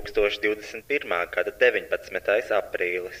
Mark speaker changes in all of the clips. Speaker 1: 2021. gada 19. aprīlis.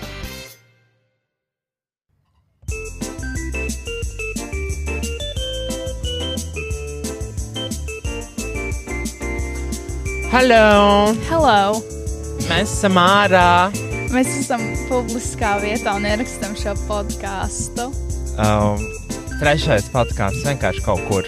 Speaker 2: Hello!
Speaker 3: Hello!
Speaker 2: Mēs esam ārā!
Speaker 3: Mēs esam publiskā vietā un ierakstam šo podkāstu.
Speaker 2: Um, trešais podkāsts vienkārši kaut kur.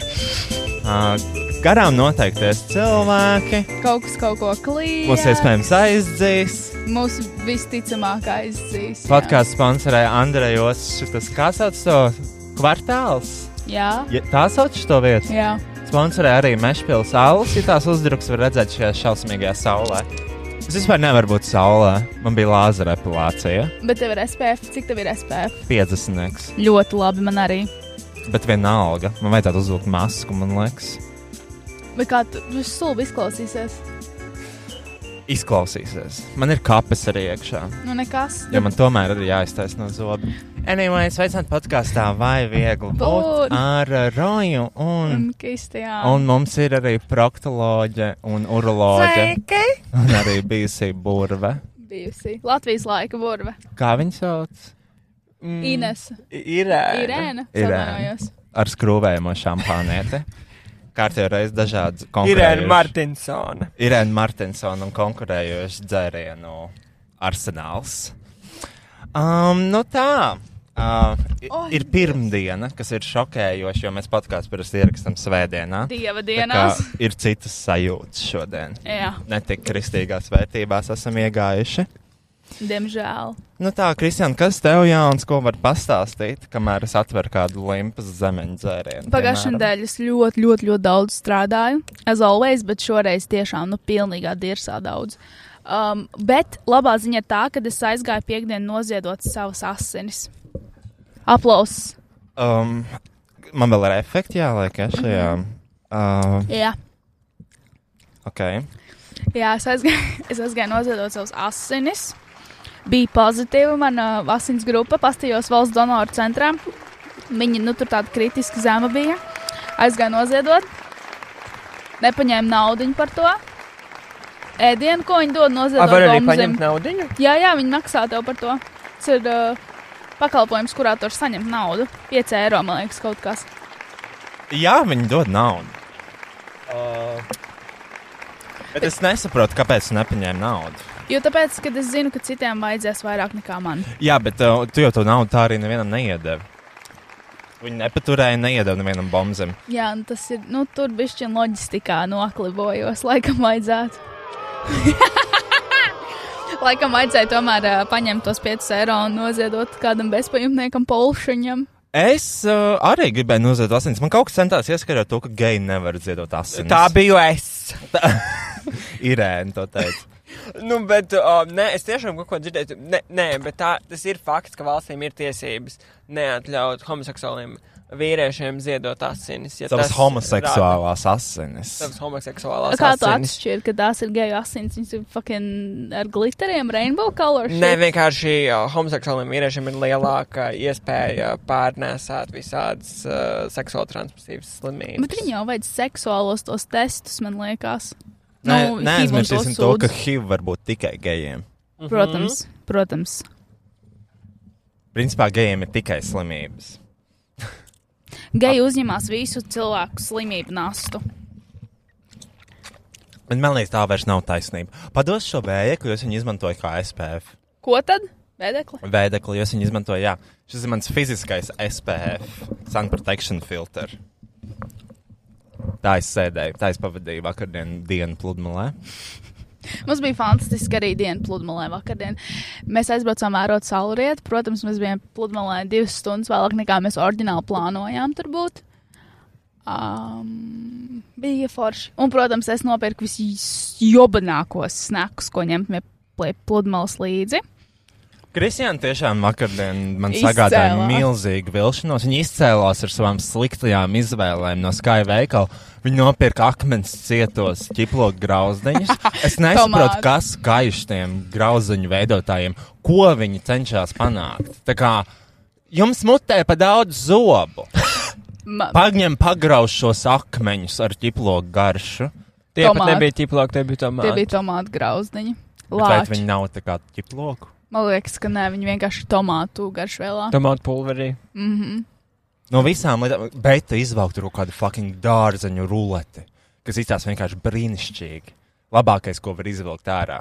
Speaker 2: Uh, garām noteikties cilvēki.
Speaker 3: Kaut kas kaut ko klīd.
Speaker 2: Mums iespējams aizdzīs.
Speaker 3: Mūsu visticamāk aizdzīs. jā.
Speaker 2: Podkāstu sponsorēja Andrejos. Tas kā sauc to kvartāls?
Speaker 3: Jā.
Speaker 2: Ja, tā sauc to vietu.
Speaker 3: Jā.
Speaker 2: Sponsorē arī Mešpils Saules. Ja tās uzdruks var redzēt šajā šausmīgajā saulē. Es vispār nevaru būt saulē. Man bija lāzera epilācija.
Speaker 3: Bet tev ir SPF, cik tev ir SPF?
Speaker 2: 50.
Speaker 3: Ļoti labi, man arī.
Speaker 2: Bet vienalga. Man vajadzētu uzvilkt masku, man liekas.
Speaker 3: Bet kā tu tu stulbi izklausīsies?
Speaker 2: Izklausīsies. Man ir kapes arī iekšā.
Speaker 3: Nu, nekas.
Speaker 2: Ja man tomēr ir jāiztaisa no zoba. Anyway, sveicināti podkāstā, vai viegli
Speaker 3: Būt.
Speaker 2: būt ar uh, Roju. Un,
Speaker 3: Un Kristijā.
Speaker 2: un mums ir arī proktoloģe un uroloģe. Un arī bijusi burve.
Speaker 3: Bijusi. Latvijas laika burve.
Speaker 2: Kā viņa sauc?
Speaker 3: Mm. Ines.
Speaker 2: Irēna.
Speaker 3: Irēna.
Speaker 2: Irēna.
Speaker 3: Sarunājos.
Speaker 2: Ar skrūvējumu šampānieti. Kārtībā reizes dažādas
Speaker 4: Irēna
Speaker 2: konkurējošas.
Speaker 4: Martinsona.
Speaker 2: Irēna Martinsona un konkurējošas dzērienu arsenāls. Um, nu tā. Uh,
Speaker 3: Oi.
Speaker 2: ir pirmdiena, kas ir šokējoša, jo mēs podkāstu parasti ierakstām svētdienā.
Speaker 3: Dieva
Speaker 2: Tā kā
Speaker 3: dienās. E-
Speaker 2: Ir citas sajūtas šodien.
Speaker 3: Jā,
Speaker 2: Ne tik kristīgās vērtībās esam iegājuši.
Speaker 3: diemžēl.
Speaker 2: Nu tā, Kristian, kas tev jauns, ko var pastāstīt, kamēr es atveru kādu limpas zemeņu dzērienu?
Speaker 3: Pagājušā
Speaker 2: piemēram?
Speaker 3: nedēļa es ļoti, ļoti, ļoti daudz strādāju. As always, bet šoreiz tiešām, nu, pilnīgā dirsā daudz. Um, bet labā ziņa ir tā, ka es aizgāju piekdienu noziedot savas asinis. Aplauss.
Speaker 2: Um, man vēl ir efekti jāliek, ja šajā. Uh,
Speaker 3: Jā.
Speaker 2: ok.
Speaker 3: Jā, es aizgāju, es aizgāju noziedot savus asinis. Bija pozitīva mana uh, asins grupa, pastījos valsts donoru centrā. Viņa nu, tur tāda kritiski zema bija. Aizgāju noziedot, nepaņēma naudu par to. Ēdienu, ko viņi dod
Speaker 4: Vai
Speaker 3: noziedot,
Speaker 4: var arī
Speaker 3: bombzem.
Speaker 4: paņemt naudu?
Speaker 3: Jā, jā, viņi maksā tev par to. Tas ir uh, pakalpojums, kurā tu vari saņemt naudu. 5 eiro, man liekas, kaut kas.
Speaker 2: Jā, viņi dod naudu.
Speaker 4: Uh,
Speaker 2: Uh, Bet es nesaprotu, kāpēc viņi nepaņēma naudu.
Speaker 3: Jo tāpēc, kad es zinu, ka citiem vajadzēs vairāk nekā man.
Speaker 2: Jā, bet uh, tu jau to naudu tā arī nevienam neiedevi. Viņi nepaturēja, neiedeva nevienam bombzem.
Speaker 3: Jā, un tas ir, nu, tur bišķiņ loģistikā noklibojos, laikam vajadzētu. laikam vajadzēja tomēr uh, paņemt tos 5 eiro un noziedot kādam bezpajumtniekam polšiņam.
Speaker 2: Es uh, arī gribēju noziet asins. Man kaut kas centās ieskarot to, ka geji nevar dziedot asins.
Speaker 4: Tā biju es.
Speaker 2: Irēna to teica.
Speaker 4: Nu, bet, um, nē, es tiešām kaut ko dzirdēju. Nē, nē bet tā, tas ir fakts, ka valstīm ir tiesības neatļaut homoseksuāliem vīriešiem ziedot asinis. Ja
Speaker 2: Savas
Speaker 4: tas
Speaker 2: homoseksuālās asinis.
Speaker 4: rada Savas homoseksuālās
Speaker 3: Kā tu
Speaker 4: asinis.
Speaker 3: atšķiri, ka tās ir geju asins, viņas ir fucking ar glitteriem, rainbow color? shit?
Speaker 4: Nē, vienkārši uh, homoseksuāliem vīriešiem ir lielāka iespēja pārnēsāt visādas uh, seksuāli transmisīvas slimības.
Speaker 3: Bet viņi jau veic seksuālos tos testus, man liekas.
Speaker 2: Nē,
Speaker 3: Nu, HIV un
Speaker 2: neaizmirsīsim
Speaker 3: tos
Speaker 2: to, ka
Speaker 3: sūdzes.
Speaker 2: HIV var būt tikai gejiem.
Speaker 3: Protams, protams.
Speaker 2: Principā gejiem ir tikai slimības.
Speaker 3: Geji uzņemās visu cilvēku slimību nastu.
Speaker 2: Bet man liekas, tā vairs nav taisnība. Pados šo vēdekli, jo es viņu izmantoju kā SPF.
Speaker 3: Ko tad? Vēdekli?
Speaker 2: Vēdekli, jo es viņu izmantoju, jā. Šis ir mans fiziskais SPF, sun protection filter. Tā es sēdēju, tā es pavadīju vakardien dienu pludmalē.
Speaker 3: Mums bija fantastiski arī diena pludmalē vakardien. Mēs aizbraucām vērot saulrietu. Protams, mēs bijām pludmalē divas stundas vēlāk nekā mēs oriģināli plānojām tur būt. Um, bija forši. Un, protams, es nopirku visjobanākos snakus, ko ņemt pie pl- pludmales līdzi.
Speaker 2: Kristiāna tiešām vakardien man
Speaker 3: Izcēlās.
Speaker 2: sagādāja milzīgu vilšanos. Viņa izcēlās ar savām sliktajām izvēlēm no Skype veikala. Viņa nopirka akmens cietos, ķiplot grauzdeņus. Es nesaprotu,
Speaker 3: Tomāti.
Speaker 2: kas gaiš tiem grauzdeņu veidotājiem, ko viņi cenšas panākt. Tā kā jums mutē pa daudz zobu.
Speaker 3: Ma-
Speaker 2: Paņem pagrauž šos akmeņus ar ķiplo garšu.
Speaker 4: Tie pat
Speaker 3: Tomāti.
Speaker 4: nebija tīplāk, tie bija
Speaker 3: Tie
Speaker 4: tomāti.
Speaker 3: bija tomātu grauzdiņi.
Speaker 2: Bet Vai viņi
Speaker 3: Lāči.
Speaker 2: nav tā kā ķiploku?
Speaker 3: Man liekas, ka nē, viņi vienkārši ir tomātu garšvēlā.
Speaker 4: Tomātu pulverī.
Speaker 2: No visām lietām, bet izvelkt tur kaut kādu fucking dārzeņu ruleti, kas izskatās vienkārši brīnišķīgi. Labākais, ko var izvilkt ārā.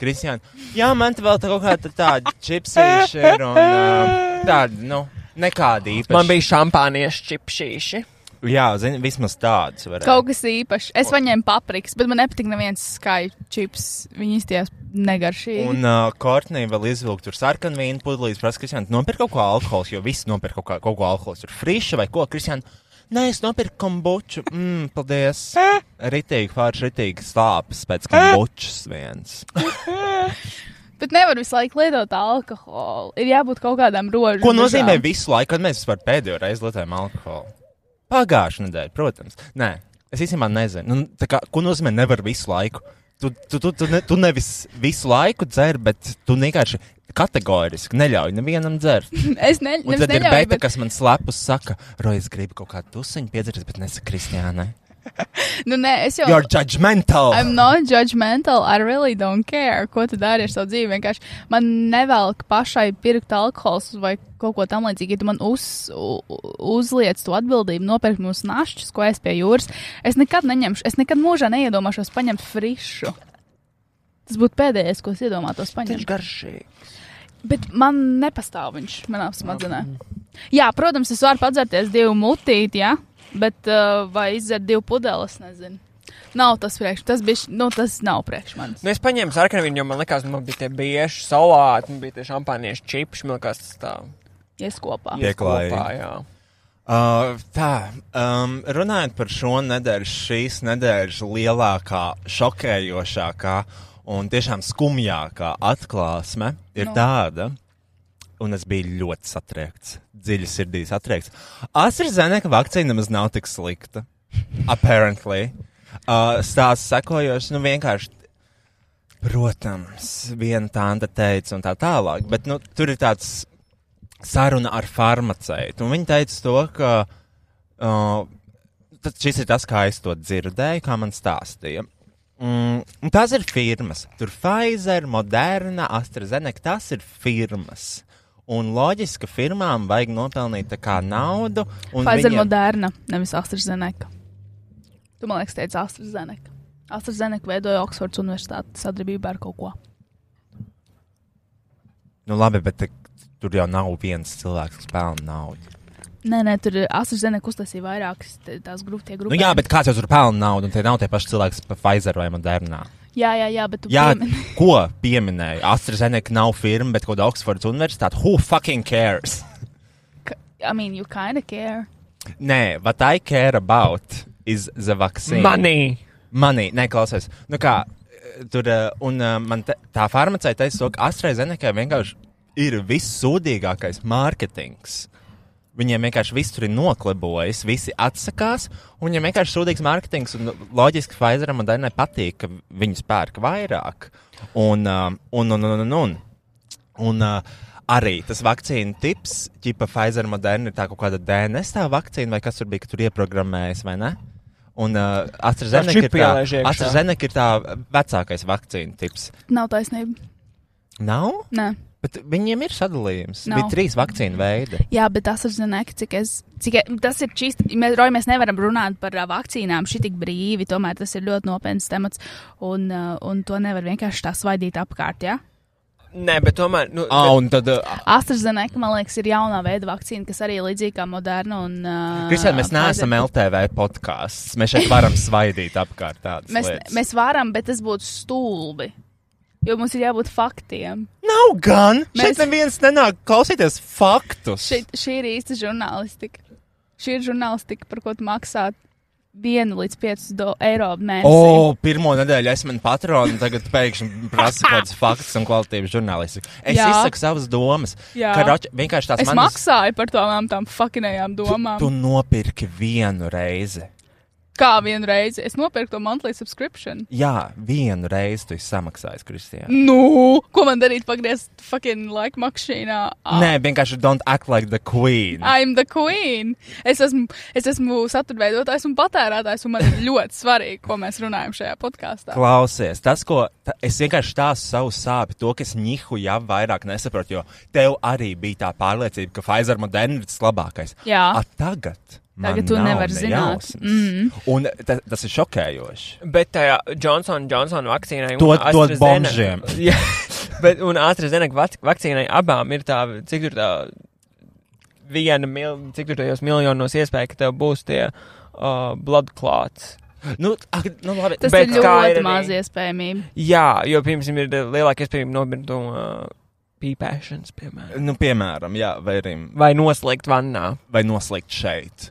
Speaker 2: Kristiāna, jā, man te vēl tā kaut kāda tāda čipsīša ir un ā, tāda, nu, nekāda īpaša.
Speaker 4: Man bija šampāniešu čipšīši.
Speaker 2: jā, zini, vismaz tāds varētu.
Speaker 3: Kaut kas īpašs. Es paņēmu paprikas, bet man nepatīk neviens skaips čips. Viņi izties negaršīgi.
Speaker 2: Un uh, Kortnī vēl izvilkt tur sarkanu vīnu pudelītes, prasa, Kristiāna, nopirkt kaut ko alkohola, jo viss nopirkt kaut, kā- kaut ko alkohola, tur frīša vai ko, Kristiāna. Nē, es nopirku kombuču. Mm, paldies. Ritīgi, pārši ritīgi slāpes pēc kombučas viens.
Speaker 3: Bet nevar visu laiku lietot alkoholu. Ir jābūt kaut kādām rožām.
Speaker 2: Ko nozīmē visu laiku, kad mēs vispār pēdējo reizi lietojam alkoholu? Pagājušā nedēļa, protams. Nē, es īstenībā nezinu. Nu, tā kā, ko nozīmē nevar visu laiku? Tu, tu, tu, tu, ne, tu nevis visu laiku dzer, bet tu vienkārši kategoriski neļauj nevienam dzert.
Speaker 3: Es ne,
Speaker 2: Un
Speaker 3: nevis
Speaker 2: tad ir
Speaker 3: neļauju,
Speaker 2: beigta,
Speaker 3: bet
Speaker 2: kas man slepus saka, Rojas, gribu kaut kādu tusiņu piedzert, bet nesaka Kristiānai.
Speaker 3: nu, nē, es jau.
Speaker 2: You're judgmental!
Speaker 3: I'm not judgmental. I really don't care. Ko tu dari ar savu dzīvi? Vienkārši man nevelk pašai pirkt alkoholu vai kaut ko tamlīdzīgu. Ja tu man uz, u- uzliec to atbildību, nopirkt mums našķus, ko es pie jūras. Es nekad neņemšu, es nekad mūžā neiedomāšos paņemt frišu. Tas būtu pēdējais, ko es iedomātos paņemt.
Speaker 4: garšīgi.
Speaker 3: Bet man nepastāv viņš manā smadzenē. Jā, protams, es varu padzerties divu mutīti, ja? bet uh, vai izdzert divu pudeles, nezinu. Nav tas priekš, tas bija, nu, tas nav priekš manis.
Speaker 4: Nu, es paņēmu sarkanu vīnu, jo man liekas, man bija tie bieži salāti, man bija tie šampāniešu čipši, man liekas, tas tā.
Speaker 3: Ies kopā.
Speaker 2: Jā.
Speaker 4: ies
Speaker 2: Pieklājīgi.
Speaker 4: kopā, jā.
Speaker 2: Uh, tā, um, runājot par šo nedēļu, šīs nedēļas lielākā, šokējošākā un tiešām skumjākā atklāsme ir
Speaker 3: Nu.
Speaker 2: no. tāda, un es biju ļoti satriekts, dziļi sirdī satriekts. AstraZeneca vakcīna nemaz nav tik slikta. Apparently. Uh, stāsts sekojošs, nu vienkārši. Protams, viena tāda teica, un tā tālāk, bet nu, tur ir tāds saruna ar farmaceitu. un Viņa teica, to, ka uh, tas- šis ir tas, kā es to dzirdēju, kā man stāstīja. Mm, un tās ir firmas. Tur Pfizer, Moderna, AstraZeneca. Tas ir firmas. Un loģiski, ka firmām vajag nopelnīt tā kā naudu. un
Speaker 3: Pfizer
Speaker 2: viņiem-
Speaker 3: viņiem... moderna, nevis AstraZeneca. Tu man liekas, teici AstraZeneca. AstraZeneca veidoja Oksfords Universitāti sadarbībā ar kaut ko.
Speaker 2: Nu, labi, bet te, tur jau nav viens cilvēks, kas pelna naudu.
Speaker 3: Nē, nē, tur asins zeneku uztaisīja vairākas t- tās grūtie
Speaker 2: Nu,
Speaker 3: grupas.
Speaker 2: jā, bet kāds jau tur pelna naudu, un tie nav tie paši cilvēki, kas pa Pfizer vai Modernā.
Speaker 3: jā, jā, jā, bet tu
Speaker 2: Jā,
Speaker 3: piemini.
Speaker 2: ko pieminēja? AstraZeneca nav firma, bet kaut kāda Oksfordas universitāte. Who fucking cares?
Speaker 3: Ka- I mean, you kinda care.
Speaker 2: Nē, what I care about is the vaccine.
Speaker 4: Manī!
Speaker 2: Manī, neklausies. Nu kā, eh, tur, eh, un eh, man te, tā farmaceita teica, to, ka AstraZeneca vienkārši ir vissūdīgākais mārketings. Viņiem vienkārši viss tur ir noklibojis, visi atsakās, un viņiem vienkārši sūdzīgs mārketings. un Loģiski Pfizeram un Dainai patīk, ka viņus pērk vairāk. Un, eh, un, un, un, un, un. Un, uh, Arī tas vakcīnu tips, ķipa Pfizer moderna, ir tā kaut kāda DNS tā vakcīna, vai kas tur bija, ka tur ieprogrammējas, vai ne? Un uh, AstraZeneca,
Speaker 4: čipu
Speaker 2: ir tā,
Speaker 4: ielaiž iekšā.
Speaker 2: AstraZeneca ir tā vecākais vakcīnu tips.
Speaker 3: Nav taisnība.
Speaker 2: Nav,
Speaker 3: Nē.
Speaker 2: bet viņiem ir sadalījums.
Speaker 3: Nav.
Speaker 2: Bija trīs vakcīnu veidi.
Speaker 3: Jā, bet tas ir zināms, cik es. Cik e- tas ir čist. Mēs, Roja, mēs nevaram runāt par ā, vakcīnām šitik brīvi. Tomēr tas ir ļoti nopietns temats. Un, ā, un to nevar vienkārši tā svaidīt apkārt. Ja?
Speaker 4: Nē, bet tomēr. Nu,
Speaker 2: Ah,
Speaker 4: bet,
Speaker 2: un tad, uh,
Speaker 3: AstraZeneca, man liekas, ir jaunā veida vakcīna, kas arī ir līdzīga kā moderna. Un, ā,
Speaker 2: Kristian, mēs
Speaker 3: Pfizer.
Speaker 2: neesam LTV podkāsts. Mēs šeit varam svaidīt apkārt tādas
Speaker 3: Mēs,
Speaker 2: lietas.
Speaker 3: mēs varam, bet tas būtu stulbi. Jo mums ir jābūt faktiem.
Speaker 2: Nav gan!
Speaker 3: Mēs-
Speaker 2: Mēs... Šeit neviens nenāk klausīties faktus.
Speaker 3: Šeit, šī ir īsta žurnālistika. Šī ir žurnālistika, par ko tu maksā 1 līdz 5 do- eiro mēnesī.
Speaker 2: O, pirmo nedēļu es esmu patronu, tagad pēkšņi prasa kaut kādas faktus un kvalitātes žurnālistiku. Es
Speaker 3: Jā.
Speaker 2: Jā. izsaku savas domas.
Speaker 3: Jā.
Speaker 2: Karoči, vienkārši tās
Speaker 3: Es manas...
Speaker 2: manas.
Speaker 3: maksāju par tām tām fucking
Speaker 2: Tu,
Speaker 3: domām.
Speaker 2: tu nopirki vienu reizi.
Speaker 3: Kā vienu reizi es nopirku to monthly subscription.
Speaker 2: Jā, vienu reizi tu esi samaksājis, Kristija.
Speaker 3: Nu, ko man darīt? Pagriezt fucking laika mašīnā. Ah,
Speaker 2: Nē, vienkārši don't act like the queen.
Speaker 3: I'm the queen. Es esmu, es esmu saturveidotājs un patērētājs, un man ir ļoti svarīgi, ko mēs runājam šajā podkāstā.
Speaker 2: Klausies, tas, ko ta, es vienkārši stāstu savu sāpju, to, kas nihu jau vairāk nesaprotu, jo tev arī bija tā pārliecība, ka Pfizer moderns ir tas labākais.
Speaker 3: Jā.
Speaker 2: A, tagad. man
Speaker 3: Ah. Tagad tu
Speaker 2: nav
Speaker 3: nevari
Speaker 2: ne
Speaker 3: zināt.
Speaker 2: jausmas.
Speaker 3: Mm.
Speaker 2: Un ta, tas ir šokējoši.
Speaker 4: bet tajā Johnson Johnson vakcīnai. un
Speaker 2: Dod- dod
Speaker 4: AstraZeneca-
Speaker 2: bombžiem.
Speaker 4: Jā, bet un AstraZeneca vac- vakcīnai abām ir tā, cik tur tā, viena mil, cik tur tajos miljonos iespēja, ka tev būs tie uh, blood clots.
Speaker 2: Nu, ak, nu labi.
Speaker 3: Tas
Speaker 4: Bet
Speaker 3: ir
Speaker 4: kā ir
Speaker 3: ļoti
Speaker 4: arī-
Speaker 3: maz iespējamība.
Speaker 4: Jā, jo, piemēram, ir lielāka iespēja nobirt no uh, pīpēšanas, piemēram.
Speaker 2: Nu, piemēram, jā, vai, arī,
Speaker 4: Vai noslēgt vannā.
Speaker 2: vai noslēgt šeit.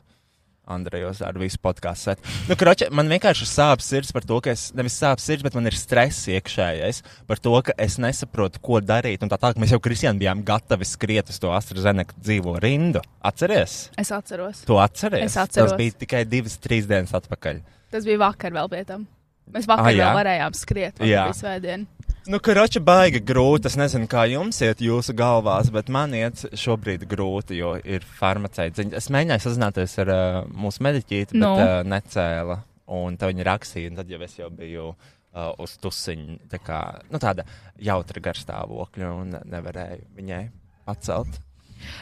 Speaker 2: Andrejos ar visu podkāstu. set. Nu, kroče, man vienkārši sāp sirds par to, ka es nevis sāp sirds, bet man ir stress iekšējais par to, ka es nesaprotu, ko darīt. Un tā tālāk mēs jau Kristiānam bijām gatavi skriet uz to AstraZeneca dzīvo rindu. Atceries?
Speaker 3: Es atceros.
Speaker 2: To atceries?
Speaker 3: Es atceros.
Speaker 2: Tas bija tikai divas, trīs dienas atpakaļ.
Speaker 3: Tas bija vakar vēl pie tam. Mēs
Speaker 2: Ah,
Speaker 3: vakar
Speaker 2: jā?
Speaker 3: vēl varējām skriet.
Speaker 2: Jā.
Speaker 3: Jā, svētdien.
Speaker 2: Nu, kroče, baigi grūti. Es nezinu, kā jums iet jūsu galvās, bet man iet šobrīd grūti, jo ir farmaceits. Viņa- Es mēģināju sazināties ar uh, mūsu mediķīti, bet
Speaker 3: Nu.
Speaker 2: no. uh, necēla. Un tad viņa rakstīja, un tad jau es jau biju uh, uz tusiņu. Tā kā nu, tāda jautra garstāvokļa, un nevarēju viņai pacelt.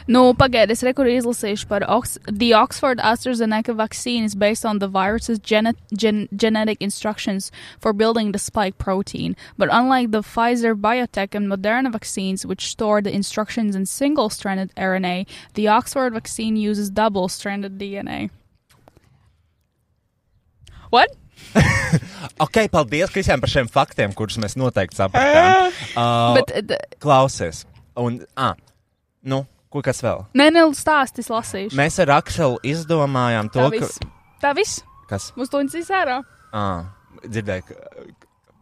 Speaker 3: Nu, pagaidiet, es rekur izlasīšu par Ox The Oxford AstraZeneca vaccine is based on the virus's gene gen genetic instructions for building the spike protein. But unlike the Pfizer, BioTech, and Moderna vaccines, which store the instructions in single stranded RNA, the Oxford vaccine uses double stranded DNA. What?
Speaker 2: Ok, paldies, Kristija, par šiem faktiem, kurus mēs noteikti sapratām. Uh,
Speaker 3: Bet, uh, d-
Speaker 2: Klausies, un ah, nu, ko kas vēl?
Speaker 3: nē, nē, stāsti, es lasīšu.
Speaker 2: Mēs ar Akšelu izdomājām to,
Speaker 3: Tā
Speaker 2: ka.
Speaker 3: viss. Tā viss.
Speaker 2: Kas?
Speaker 3: Mums to ņems ārā.
Speaker 2: Ah, dzirdēju, ka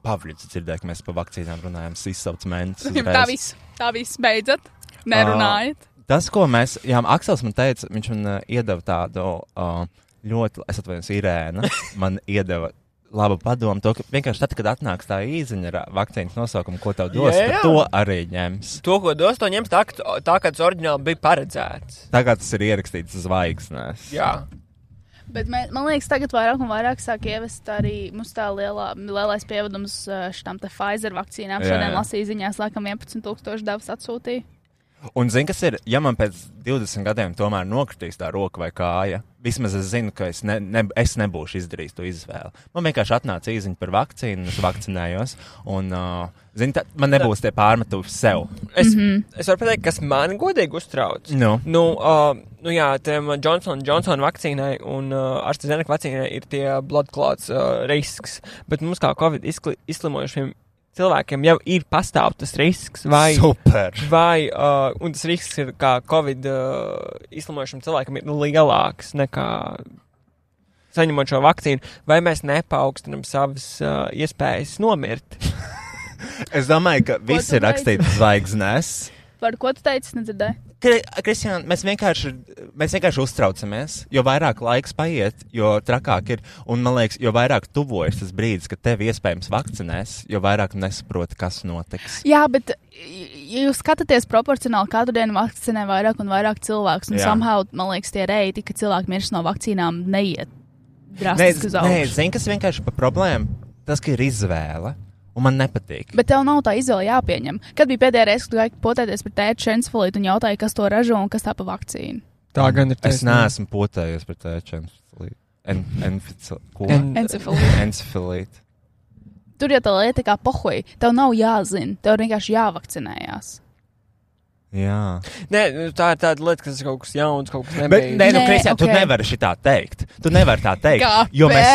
Speaker 2: Pavlīds dzirdēja, ka mēs par vakcīnām runājam, izsauc mēnesi.
Speaker 3: Tā viss. Tā viss. Beidzat. Nerunājiet.
Speaker 2: Tas, ko mēs, jā, Aksels man teica, viņš man uh, iedeva tādu uh, ļoti, es atvainojos, Irēna, man iedeva labu padomu, to, ka vienkārši tad, kad atnāks tā īziņa ar uh, vakcīnas nosaukumu, ko tev dos,
Speaker 4: Jā,
Speaker 2: yeah.
Speaker 4: jā.
Speaker 2: to arī ņems.
Speaker 4: To, ko dos, to ņems tā, ka- tā kā tas oriģināli bija paredzēts.
Speaker 2: Tagad tas ir ierakstīts zvaigznēs.
Speaker 4: Jā.
Speaker 3: Bet mē, man liekas, tagad vairāk un vairāk sāk ievest arī mums tā lielā, lielais pievadums eh, šitām te Pfizer vakcīnām.
Speaker 2: Jā,
Speaker 3: Šodien
Speaker 2: jā.
Speaker 3: lasīju ziņās, laikam 11,000 devas atsūtīja.
Speaker 2: Un zini, kas ir, ja man pēc 20 gadiem tomēr nokritīs tā roka vai kāja, Vismaz es zinu, ka es, ne, ne, es nebūšu izdarījis to izvēli. Man vienkārši atnāca īziņa par vakcīnu, es vakcinējos. Un, uh, zini, tā, man nebūs tie pārmetumi sev.
Speaker 4: Es, mm
Speaker 3: Mhm.
Speaker 4: -hmm. es varu pateikt, kas man godīgi uztrauc.
Speaker 2: Nu,
Speaker 4: Nu, uh, nu jā, tiem Johnson Johnson vakcīnai un uh, AstraZeneca vakcīnai ir tie blood clots uh, risks, bet mums kā Covid izkli, izslimojušiem cilvēkiem jau ir pastāv tas risks, vai,
Speaker 2: Super!
Speaker 4: vai uh, un tas risks ir kā Covid uh, izslimojušiem cilvēkiem ir lielāks nekā saņemot šo vakcīnu, vai mēs nepaukstinam savas uh, iespējas nomirt.
Speaker 2: Es domāju, ka viss
Speaker 3: tu
Speaker 2: ir rakstīts zvaigznēs.
Speaker 3: Par ko tu teici? Nedzirdēju.
Speaker 2: Kri- Kristija, mēs vienkārši, mēs vienkārši uztraucamies. Jo vairāk laiks paiet, jo trakāk ir. Un man liekas, jo vairāk tuvojas tas brīdis, kad tevi iespējams vakcinēs, jo vairāk nesaproti, kas notiks.
Speaker 3: Jā, bet ja jūs skatāties proporcionāli, katru dienu vakcinē vairāk un vairāk cilvēku. Un
Speaker 2: Jā.
Speaker 3: somehow, man liekas, tie reiti, ka cilvēki mirst no vakcīnām, neiet
Speaker 2: Nē,
Speaker 3: drastiski uz
Speaker 2: nē,
Speaker 3: augšu.
Speaker 2: zini, kas vienkārši par problēmu? Tas, ka ir izvēle, un man nepatīk.
Speaker 3: Bet tev nav tā izvēle jāpieņem. Kad bija pēdējā reize, kad tu gāji potēties par tēta šensfolītu un jautāji, kas to ražo un kas tā pa vakcīnu?
Speaker 4: Tā gan ir
Speaker 2: Mm. Es neesmu potējies par tēčiem. Encefalītu.
Speaker 4: En-
Speaker 3: Encefalītu. Tur jau tā lieta kā pohoja. Tev nav jāzina, tev ir vienkārši jāvakcinējās.
Speaker 2: Jā.
Speaker 4: Nē, nu, tā ir tāda lieta, kas ir kaut kas jauns, kaut kas
Speaker 2: Bet,
Speaker 4: nebija.
Speaker 2: nē, nu,
Speaker 3: Nē,
Speaker 2: Kristija, okay. tu
Speaker 3: ok.
Speaker 2: nevari šitā teikt. Tu nevari tā teikt. Jo
Speaker 3: Kāpēc?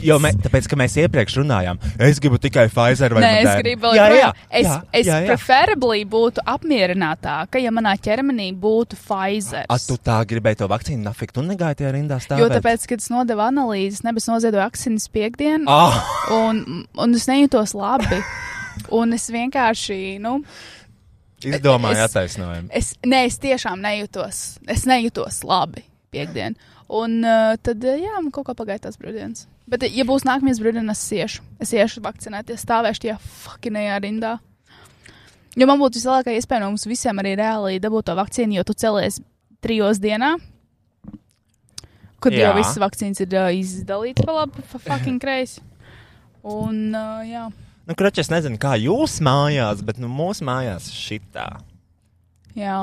Speaker 2: mēs, jo mē, tāpēc, ka mēs iepriekš runājām, es gribu tikai Pfizer vai
Speaker 3: Nē,
Speaker 2: Moderna.
Speaker 3: es gribu vēl
Speaker 2: jā, jā,
Speaker 3: joprojām- Es,
Speaker 2: jā,
Speaker 3: es
Speaker 2: jā, jā.
Speaker 3: preferabli būtu apmierinātāka, ja manā ķermenī būtu Pfizer.
Speaker 2: A, tu tā gribēji to vakcīnu, nafik, tu negāji tajā rindā stāvēt.
Speaker 3: Jo tāpēc, kad es nodevu analīzes, nebes noziedoju aksinis piekdienu,
Speaker 2: Ah,
Speaker 3: un, un es nejūtos labi. Un es vienkārši, nu,
Speaker 2: izdomāju
Speaker 3: Es-
Speaker 2: attaisnojumu.
Speaker 3: es, ne, es tiešām nejūtos, es nejūtos labi piekdienu. Un uh, tad, uh, jā, man kaut kā pagāja tās brīvdienas. Bet, eh, ja būs nākamais brīvdienas, es iešu. Es iešu vakcinēties, stāvēšu tajā fucking rindā. Jo man būtu vislielākā iespēja no mums visiem arī reāli dabūt to vakcīnu, jo tu celies trijos dienā. Kad jā.
Speaker 2: Jā.
Speaker 3: jau visas vakcīnas ir uh, izdalītas pa labi, pa fucking kreisi. Un, uh, jā.
Speaker 2: Nu, kroķi, es nezinu, kā jūs mājās, bet nu mūsu mājās šitā.
Speaker 3: Jā,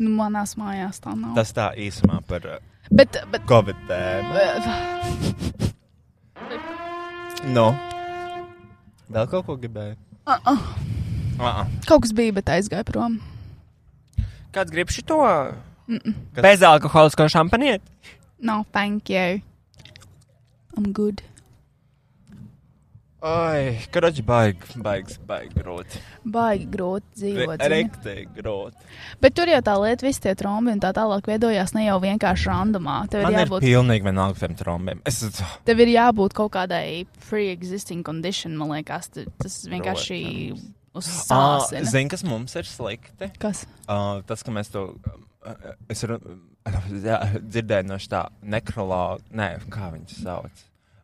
Speaker 3: nu, manās mājās tā nav. Tas...
Speaker 2: Tas tā īsumā par uh,
Speaker 3: Bet, bet, eh,
Speaker 2: Covid tēmu. Nu. Vēl kaut ko gribēju?
Speaker 3: uh, uh,
Speaker 2: Ah,
Speaker 3: kaut kas bija, bet aizgāja prom.
Speaker 4: Kāds grib šo bezalkoholisko šampanieti?
Speaker 3: No, thank you. I'm good.
Speaker 2: Ai, kroķi, baigi, baigi, baigi grūti.
Speaker 3: Baigi grūti dzīvot. zini.
Speaker 2: Rektīgi grūti.
Speaker 3: Bet tur jau tā lieta, visi tie trombi un tā tālāk veidojās ne jau vienkārši randomā. Tev
Speaker 2: Man
Speaker 3: ir
Speaker 2: ir
Speaker 3: jābūt,
Speaker 2: pilnīgi vienalga par tiem trombiem. Es
Speaker 3: tev ir jābūt kaut kādai pre-existing condition, man liekas. Tu- Tas vienkārši
Speaker 2: Ah,
Speaker 3: uzsāsina.
Speaker 2: zinu, kas mums ir slikti.
Speaker 3: Kas?
Speaker 2: Uh, tas, ka mēs to uh, es run- jā, dzirdēju no šā nekrologa, nē, kā viņas sauc.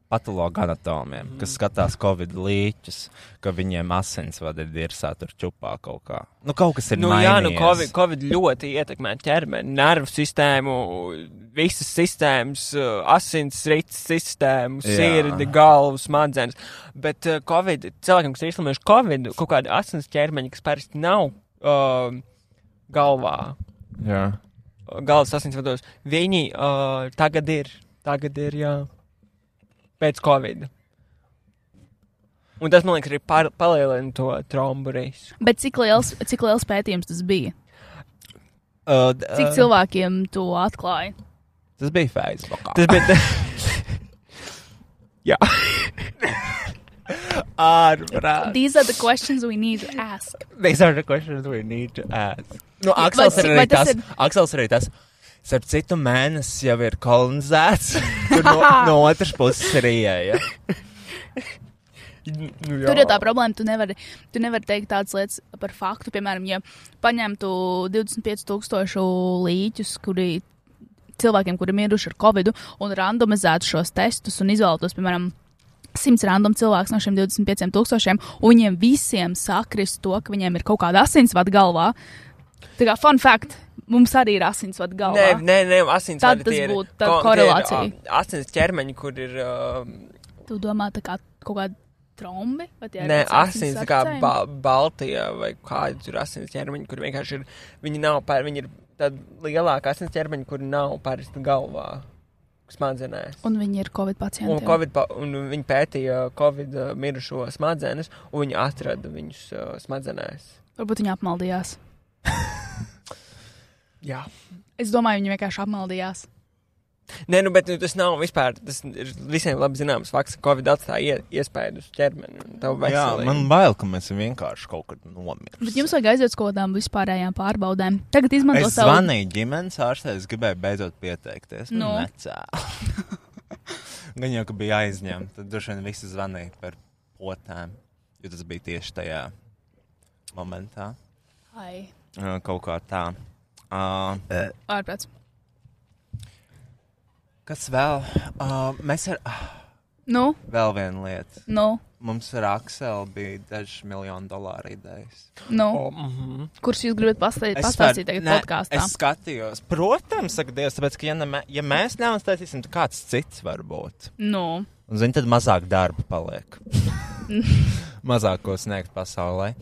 Speaker 2: Patologa anatomiem, kas skatās Covid līķus, ka viņiem asinsvadi ir dirsā tur čupā kaut kā. Nu, kaut kas ir
Speaker 4: Nu, jā, nu,
Speaker 2: mainījies.
Speaker 4: COVID, COVID ļoti ietekmē ķermeni, nervu sistēmu, visas sistēmas, uh, asins rīts sistēmu,
Speaker 2: Jā.
Speaker 4: sirdi, galvu, smadzenes. Bet uh, COVID, cilvēkiem, kas ir izslimojuši Covid, kaut kāda asins ķermeņa, kas parasti nav uh, galvā,
Speaker 2: Jā.
Speaker 4: galvas asinsvados, viņi uh, tagad ir. Tagad ir, jā, pēc Covid. Un tas, man liekas, arī par- palielina to trombu risku.
Speaker 3: Bet cik liels, cik liels pētījums tas bija?
Speaker 2: Uh, d-
Speaker 3: Cik cilvēkiem to atklāja?
Speaker 2: Tas bija Facebook.
Speaker 4: Tas bija. jā. Ah, er Eh.
Speaker 2: ārprāt.
Speaker 3: These are the questions we need to ask.
Speaker 2: These are the questions we need to ask. Nu, Aksels
Speaker 3: vai
Speaker 2: ir
Speaker 3: ci-
Speaker 2: arī
Speaker 3: vai tas
Speaker 2: tas.
Speaker 3: ir-
Speaker 2: Aksels ir arī tas. Starp citu, mēnesis jau ir kolonizēts, kur no, no otras puses ir ieeja.
Speaker 4: Nu,
Speaker 3: Tur ir tā problēma, tu nevari, tu nevari teikt tādas lietas par faktu. Piemēram, ja paņemtu 25,000 līķus, kuri cilvēkiem, kuri miruši ar covid, un randomizētu šos testus un izvēlētos, piemēram, 100 random cilvēks no šiem 25,000, un viņiem visiem sakrist to, ka viņiem ir kaut kāda asinsvada galvā. Tā kā fun fact, mums arī ir asinsvada galvā.
Speaker 4: Nē, nē, nē asins
Speaker 3: Tad tas būtu tā
Speaker 4: er-
Speaker 3: korelācija.
Speaker 4: Asins ķermeņi, kur ir. Uh,
Speaker 3: Tu domā, tā kā kaut kāda trombi? vai tie ir
Speaker 4: nē,
Speaker 3: kāds
Speaker 4: asins tā kā
Speaker 3: asinsvarcēni?
Speaker 4: ba Baltija vai kāda tur asins ķermeņi, kur vienkārši ir. er Viņi nav pār. Viņi ir tāda lielāka asins ķermeņa, kur nav pāris galvā. smadzenēs.
Speaker 3: Un viņi ir Covid
Speaker 4: Un,
Speaker 3: pacienti.
Speaker 4: COVID, pa- un viņi pētīja Covid uh, mirušo smadzenes, un viņi atrada viņus uh, smadzenēs.
Speaker 3: Varbūt viņi apmaldījās.
Speaker 4: Jā.
Speaker 3: Es domāju, viņi vienkārši apmaldījās.
Speaker 4: Nē, nu, bet nu, tas nav vispār. Tas ir visiem labi zināms, fakts, ka Covid atstāja ie- iespēju uz ķermeni. un tavu
Speaker 2: Jā,
Speaker 4: veselību.
Speaker 2: man bail, ka mēs vienkārši kaut kad nomirsim.
Speaker 3: Bet jums vajag aiziet uz kaut kādām vispārējām pārbaudēm. Tagad izmanto
Speaker 2: Es
Speaker 3: savu
Speaker 2: zvanīju ģimenes ārstē, es gribēju beidzot pieteikties. Nu,
Speaker 3: Nu.
Speaker 2: necēlu. Viņa jau ka bija aizņemta. Tad droši vien visi zvanīja par potēm. Jo tas bija tieši tajā momentā.
Speaker 3: Ai,
Speaker 2: Uh, Kaut kā tā. Uh,
Speaker 3: ārprāts.
Speaker 2: kas vēl? Uh, mēs ar ah,
Speaker 3: Nu,
Speaker 2: vēl vienu lietu.
Speaker 3: nu,
Speaker 2: Mums ar Akselu bija dažs miljonu dolāru idejas.
Speaker 3: nu.
Speaker 4: O, mhm.
Speaker 3: Kurš jūs gribat pasta-
Speaker 2: Es
Speaker 3: pastāstīt
Speaker 2: varu-
Speaker 3: tagad
Speaker 2: ne,
Speaker 3: podkāstā?
Speaker 2: Es skatījos, protams, saka Dievs, tāpēc, ka ja, ne, mē- ja mēs neuztaisīsim, tad kāds cits var būt.
Speaker 3: Nu,
Speaker 2: Un, zini, tad mazāk darba paliek. mazāk ko sniegt pasaulē.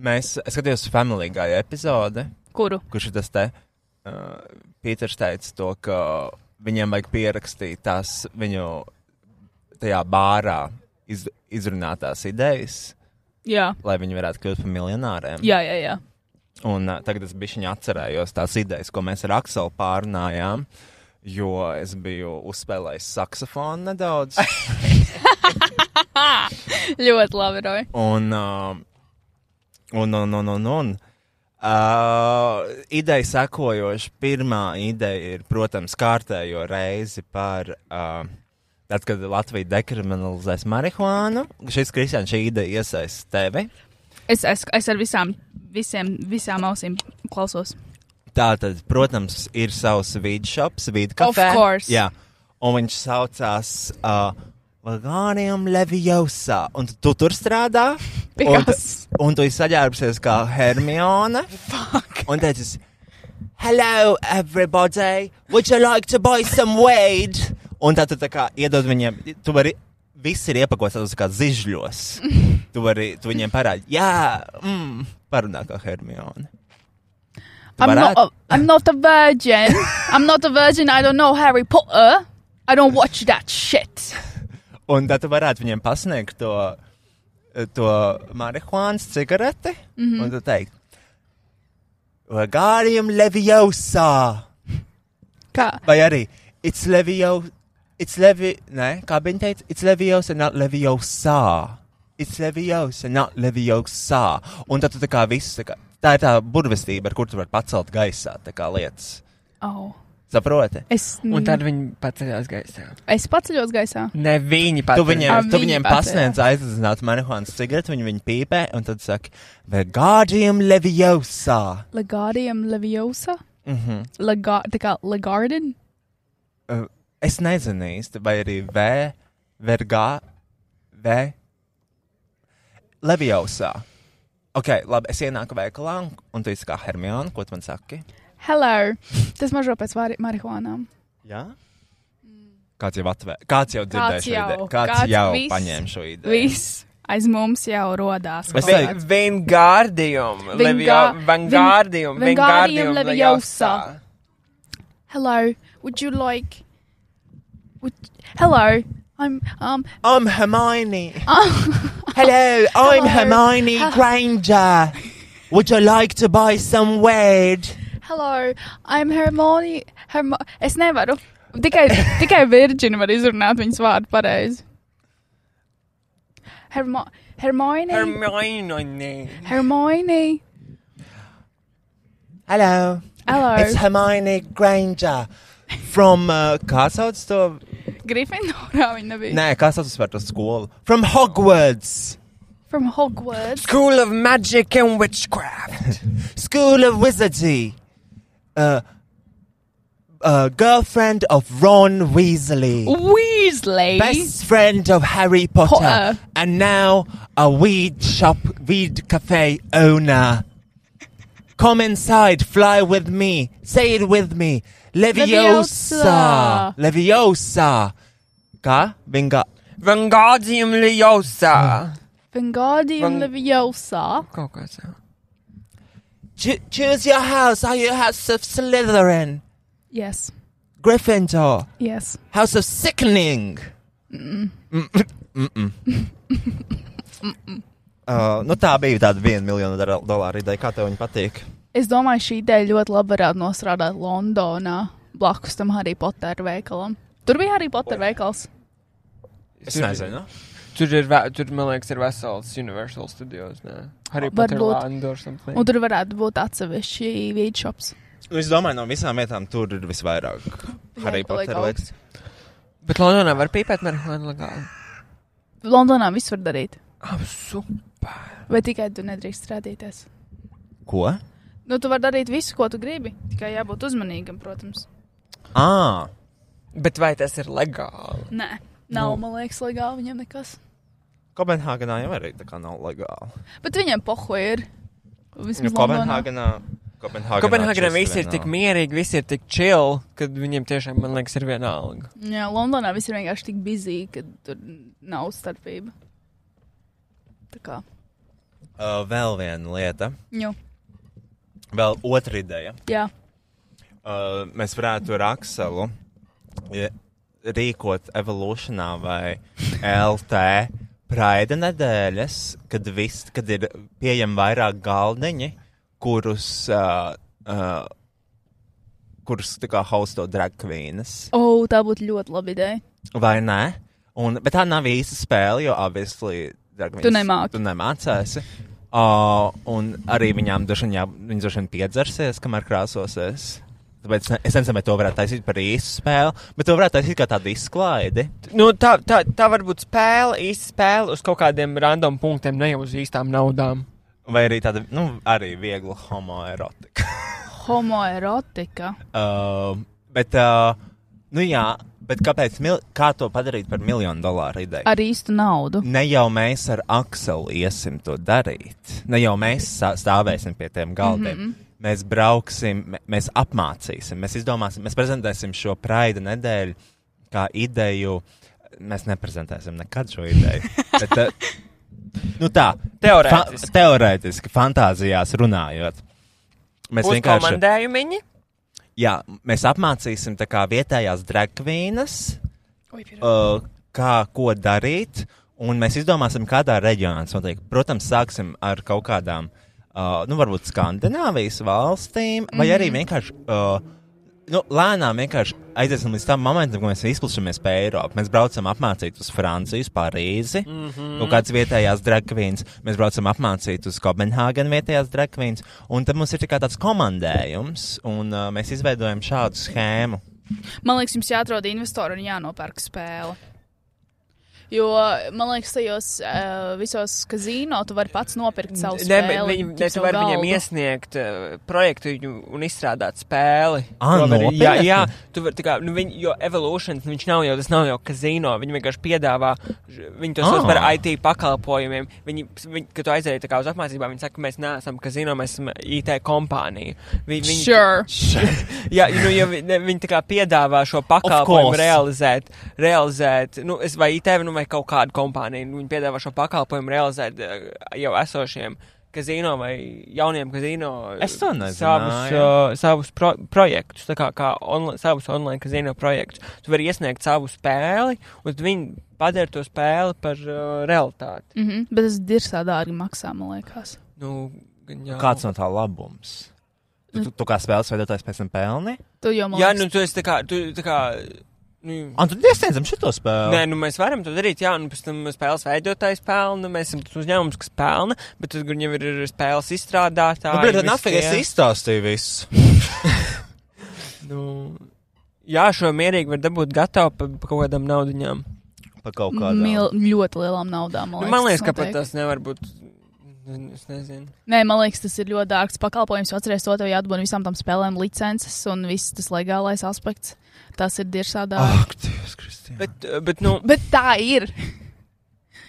Speaker 2: Mēs es skatījāmies Family Guy epizode,
Speaker 3: kuru?
Speaker 2: kurš ir tas te. Uh, Pīters teica to, ka viņiem vajag pierakstīt tās viņu tajā bārā iz, izrunātās idejas,
Speaker 3: Jā,
Speaker 2: lai viņi varētu kļūt par miljonāriem.
Speaker 3: jā, jā. jā.
Speaker 2: Un uh, tagad es bišķiņā atcerējos tās idejas, ko mēs ar Akselu pārunājām, jo es biju uzspēlējis saksofonu nedaudz.
Speaker 3: Ļoti labi, Roja.
Speaker 2: Un, uh, un, un, un, un, un. Uh, ideja sekojoša. Pirmā ideja ir, protams, kārtējo reizi par uh, tad, kad Latvija dekriminalizēs marihuānu. Šis Kristians, šī ideja iesaistīs tevi.
Speaker 3: Es, es, es ar visām, visiem, visām ausīm klausos.
Speaker 2: Tātad, protams, ir savs vidusceļš,
Speaker 3: Of course.
Speaker 2: vidusceļš. Jā, un viņš saucās uh, Vagānijam Levijausā. Un tu, tu tur strādā,
Speaker 3: Pie
Speaker 2: un,
Speaker 3: kas?
Speaker 2: tu- un tu esi saģērbusies kā Hermione. Fuck. Un teicis, Hello, everybody! Would you like to buy some weed? Un tad tu tā kā iedod viņiem, tu vari, viss ir iepakots tādos kā zižļos. Tu vari, tu viņiem parādi, jā, mm, parunā kā Hermione. Tu
Speaker 3: I'm
Speaker 2: varētu?
Speaker 3: not, a, I'm not a virgin. I'm not a virgin. I don't know Harry Potter. I don't watch that shit.
Speaker 2: Un tad tu varētu viņiem pasniegt to, to marihuānas cigareti. Mm -hmm. Un tu teikt, Gārījam, Levijausā!
Speaker 3: Kā?
Speaker 2: Vai arī It's Levijaus. It's Levi, nē, kā viņa teica, it's Levijaus and not Levijausā. It's Levijaus and not Levijausā. Un tad tu tā kā viss, tā, kā, tā ir tā burvestība, ar kur tu vari pacelt gaisā, tā kā lietas.
Speaker 3: Oh.
Speaker 2: Saproti?
Speaker 3: Es,
Speaker 4: Un tad viņi paceļās gaisā.
Speaker 3: es paceļos gaisā.
Speaker 4: Ne viņi
Speaker 2: Tu
Speaker 4: paceļās.
Speaker 2: viņiem,
Speaker 3: Ā,
Speaker 2: tu
Speaker 3: viņi
Speaker 2: viņiem
Speaker 3: patērē.
Speaker 2: pasniedz aizaudzināt marihuānas cigareti, viņi viņu pīpē, un tad saka, Vegādiem Levijausā.
Speaker 3: Legārdiem Leviosa.
Speaker 2: Mm -hmm.
Speaker 3: Legā, tā kā Legārdin.
Speaker 2: uh, es nezinu īsti, vai arī V, Vergā, V, Levijausā. Ok, labi, es ienāku veikalā, un tu esi kā Hermione, ko tu man saki?
Speaker 3: Hello. Tas mažo pēc vari- marihuānām.
Speaker 2: Jā. Kāds jau atvēr, kāds jau dzirdēja
Speaker 3: Kāds
Speaker 2: šo ideju?
Speaker 3: jau,
Speaker 2: Kāds,
Speaker 3: kāds
Speaker 2: kāds jau
Speaker 3: viss,
Speaker 2: paņēma šo ideju?
Speaker 3: Viss aiz mums jau rodās.
Speaker 2: Es
Speaker 3: kaut
Speaker 2: teiktu,
Speaker 3: kāds.
Speaker 4: Vingārdium,
Speaker 3: Vingā-
Speaker 4: Vingārdium,
Speaker 3: Vin- Wingardium Leviosa. Hello, would you like? Would, hello, I'm um.
Speaker 2: I'm Hermione. Hello, I'm
Speaker 3: Hello.
Speaker 2: Hermione Granger. Would you like to buy some weed?
Speaker 3: Hello, I'm Hermione. Hermo es nevaru. Tikai, tikai Virģina var izrunāt viņas vārdu pareizi. Hermo Hermione. Herm
Speaker 4: Hermione.
Speaker 3: Hermione.
Speaker 2: Hello,
Speaker 3: Hello.
Speaker 2: it's Hermione Granger from uh, kā sauc to?
Speaker 3: Gryffinorā viņa nebija.
Speaker 2: Nē, kā sauc par to skolu? From Hogwarts
Speaker 3: From Hogwarts.
Speaker 4: School of Magic and Witchcraft.
Speaker 2: School of Wizardry. Uh, uh, girlfriend of Ron Weasley.
Speaker 3: Weasley.
Speaker 2: best friend of Harry Potter,
Speaker 3: Potter.
Speaker 2: and now a weed shop, weed cafe owner. Come inside, fly with me, say it with me. Leviosa,
Speaker 3: Leviosa.
Speaker 2: Leviosa. Kā? Vinga.
Speaker 4: Vingārdium Leviosa.
Speaker 3: Wingardium
Speaker 4: Van-
Speaker 3: Leviosa.
Speaker 4: Kaut kā tā.
Speaker 2: Cho- choose your house, are you house of Slytherin?
Speaker 3: Yes.
Speaker 2: Gryffindor,
Speaker 3: Yes.
Speaker 2: House of Sickening. Mm-mm. Uh, nu tā bija tāda viena miljona dara- dolāra ideja. Kā tev viņa patīk?
Speaker 3: Es domāju, šī ideja ļoti labi varētu nostrādāt Londonā blakus tam Harry Potter veikalam. Tur bija arī Potter veikals.
Speaker 2: Es nezinu.
Speaker 4: Tur ir, vē- tur, man liekas, ir vesels Universal Studios. Nē, Harry Potter
Speaker 3: Varbūt.
Speaker 4: Land or something.
Speaker 3: Un tur varētu būt atsevišķi vīčops.
Speaker 2: Nu, es domāju, no visām vietām tur ir visvairāk. Harry
Speaker 3: Jā, paliek
Speaker 2: Potter
Speaker 3: augsts.
Speaker 2: liekas.
Speaker 4: Bet Londonā var pīpēt marihuānu legāli.
Speaker 3: Londonā viss var darīt.
Speaker 4: Ah, super.
Speaker 3: Vai tikai tu nedrīkst strādīties?
Speaker 2: Ko?
Speaker 3: Nu, tu vari darīt visu, ko tu gribi. Tikai jābūt uzmanīgam, protams.
Speaker 2: Ah,
Speaker 4: Bet vai tas ir legāli?
Speaker 3: Nē,
Speaker 2: Nu.
Speaker 3: nav, man liekas, legāli viņam nekas.
Speaker 2: Kopenhāgenā jau arī tā kā nav legāli.
Speaker 3: Bet viņam pohu ir.
Speaker 2: Nu,
Speaker 3: Vismaz Londonā.
Speaker 2: Kopenhāgenā. Kopenhāgenā,
Speaker 4: Kopenhāgenā
Speaker 2: čist
Speaker 4: viss ir
Speaker 2: vienalga.
Speaker 4: tik mierīgi, viss ir tik chill, ka viņiem tiešām, man liekas, ir vienalga.
Speaker 3: Jā, Londonā viss ir vienkārši tik bizīgi, ka tur nav starpība. Tā kā.
Speaker 2: Uh, vēl viena lieta,
Speaker 3: Jo,
Speaker 2: vēl otra ideja.
Speaker 3: jā,
Speaker 2: Uh, mēs varētu ar Akselu ja, rīkot evolūcijā vai LT praida nedēļas, kad, vis, kad ir pieejami vairāk galdiņi, kurus. Uh, uh, Kurus tā kā hausto dragvīnas.
Speaker 3: oh, tā būtu ļoti laba ideja.
Speaker 2: Vai ne? Un, bet tā nav īsta spēle, jo obviously, Dragmīns,
Speaker 3: Tu nemāki.
Speaker 2: Tu nemācēsi. Uh, un arī viņām droši vien jā- viņas droši vien piedzersies, kamēr krāsosies. Tāpēc ne- es nezinu, vai to varētu taisīt par īstu spēli, bet to varētu taisīt kā tādu izklaidi.
Speaker 4: Nu, tā, tā, tā var būt spēle, īsta spēle uz kaut kādiem random punktiem, ne jau uz īstām naudām.
Speaker 2: Vai arī tāda, nu, arī viegla homoerotika.
Speaker 3: Homoerotika.
Speaker 2: Uh, bet, uh, nu jā, bet kāpēc, mil- kā to padarīt par miljonu dolāru ideju?
Speaker 3: Ar īstu naudu.
Speaker 2: Ne jau mēs ar Akselu iesim to darīt. Ne jau mēs sā- stāvēsim pie tiem galdiem. Mm -hmm. Mēs brauksim, mē- mēs apmācīsim, mēs izdomāsim, mēs prezentēsim šo praida nedēļu kā ideju. Mēs neprezentēsim nekad šo ideju. Bet, eh, nu tā,
Speaker 4: Teorētiski.
Speaker 2: Fa teorētiski, fantāzijās runājot. Mēs
Speaker 4: Uz
Speaker 2: vienkārši.
Speaker 4: komandējumiņi.
Speaker 2: Jā, mēs apmācīsim tā kā vietējās dragvīnas,
Speaker 3: Oi, pierod.
Speaker 2: uh, kā ko darīt, un mēs izdomāsim, kādā reģionā tas notiek. Protams, sāksim ar kaut kādām, uh, nu, varbūt Skandināvijas valstīm, vai arī vienkārši. Uh, Nu, lēnām vienkārši aiziesim līdz tam momentam, kad mēs izplatāmies pa Eiropu. Mēs braucam apmācīt uz Franciju, Parīzi, mm -hmm. kaut kādas vietējās dragvīnas. Mēs braucam apmācīt uz Kopenhāgenu vietējās dragvīnas. Un tad mums ir tikai tāds komandējums, un uh, mēs izveidojam šādu schēmu.
Speaker 3: Man liekas, jums jāatrod investori un jānopērk spēle. Jo, man liekas, tajos uh, visos kazino tu vari pats nopirkt savu
Speaker 4: Ne,
Speaker 3: spēli.
Speaker 4: viņi,
Speaker 3: ķip
Speaker 4: ne, tu
Speaker 3: savu
Speaker 4: vari viņiem
Speaker 3: galdu.
Speaker 4: iesniegt uh, projektu viņu- un izstrādāt spēli.
Speaker 2: Ā,
Speaker 4: To var-
Speaker 2: nopietni?
Speaker 4: Ah, nu, jā, jā, tu vari, tā kā, nu, viņi, jo Evolution, nu, viņš nav jau, tas nav jau kazino, viņi vienkārši piedāvā, ž- viņi Ah. to sauc
Speaker 2: Ā.
Speaker 4: par IT pakalpojumiem. Viņi, viņi kad tu aizēji tā kā uz apmācībām, viņi saka, ka mēs neesam kazino, mēs esam IT kompānija. Viņi, viņi,
Speaker 3: Sure.
Speaker 4: Jā, nu, ja vi- ne, viņi tā kā piedāvā šo pakalpojumu
Speaker 2: course.
Speaker 4: realizēt, realizēt, nu, es vai IT, nu, vai kaut kādu kompāniju, nu, viņi piedāvā šo pakalpojumu realizēt eh, jau esošiem kazino vai jauniem kazino eh,
Speaker 2: Es to nezināju.
Speaker 4: savus, eh, savus pro projektus, tā kā, kā onla savus online kazino projektus. Tu vari iesniegt savu spēli, un tad viņi padara to spēli par uh, realitāti.
Speaker 3: Mm -hmm. Bet tas dirsā dārgi maksā, man liekas.
Speaker 4: Nu, gan jau.
Speaker 2: Kāds no tā labums? Tu, tu, tu kā spēles veidotājs pēc tam pelni?
Speaker 3: Tu jau man
Speaker 4: Jā,
Speaker 3: liekas,
Speaker 4: nu, tu esi tā kā, tu tā kā, nu,
Speaker 2: Un tad iesniedzam šo spēli.
Speaker 4: Nē, nu mēs varam to darīt. Jā, un pēc tam spēles veidotājs pelna. Mēs esam tas uzņēmums, kas pelna, bet tad viņam ir ir spēles izstrādātāji.
Speaker 2: Nu, bet tad
Speaker 4: visi
Speaker 2: nafīgi es
Speaker 4: tie.
Speaker 2: izstāstīju visu.
Speaker 4: Nu, jā, šo mierīgi var dabūt gatavu par pa kaut kādām naudiņām.
Speaker 2: Par kaut kādu.
Speaker 3: mil, ļoti lielām naudām.
Speaker 4: Nu, man liekas, ka
Speaker 3: notiek.
Speaker 4: pat tas nevar būt. nu, Es nezinu.
Speaker 3: Nē, man liekas, tas ir ļoti dārgs pakalpojums. Atcerieties, to tev jādabū visām tam spēlēm licences un viss tas legālais aspekts. Tas ir dirsā dārgi.
Speaker 2: Ak, Dievs, Kristīna.
Speaker 4: Bet, bet, nu,
Speaker 3: Bet tā ir.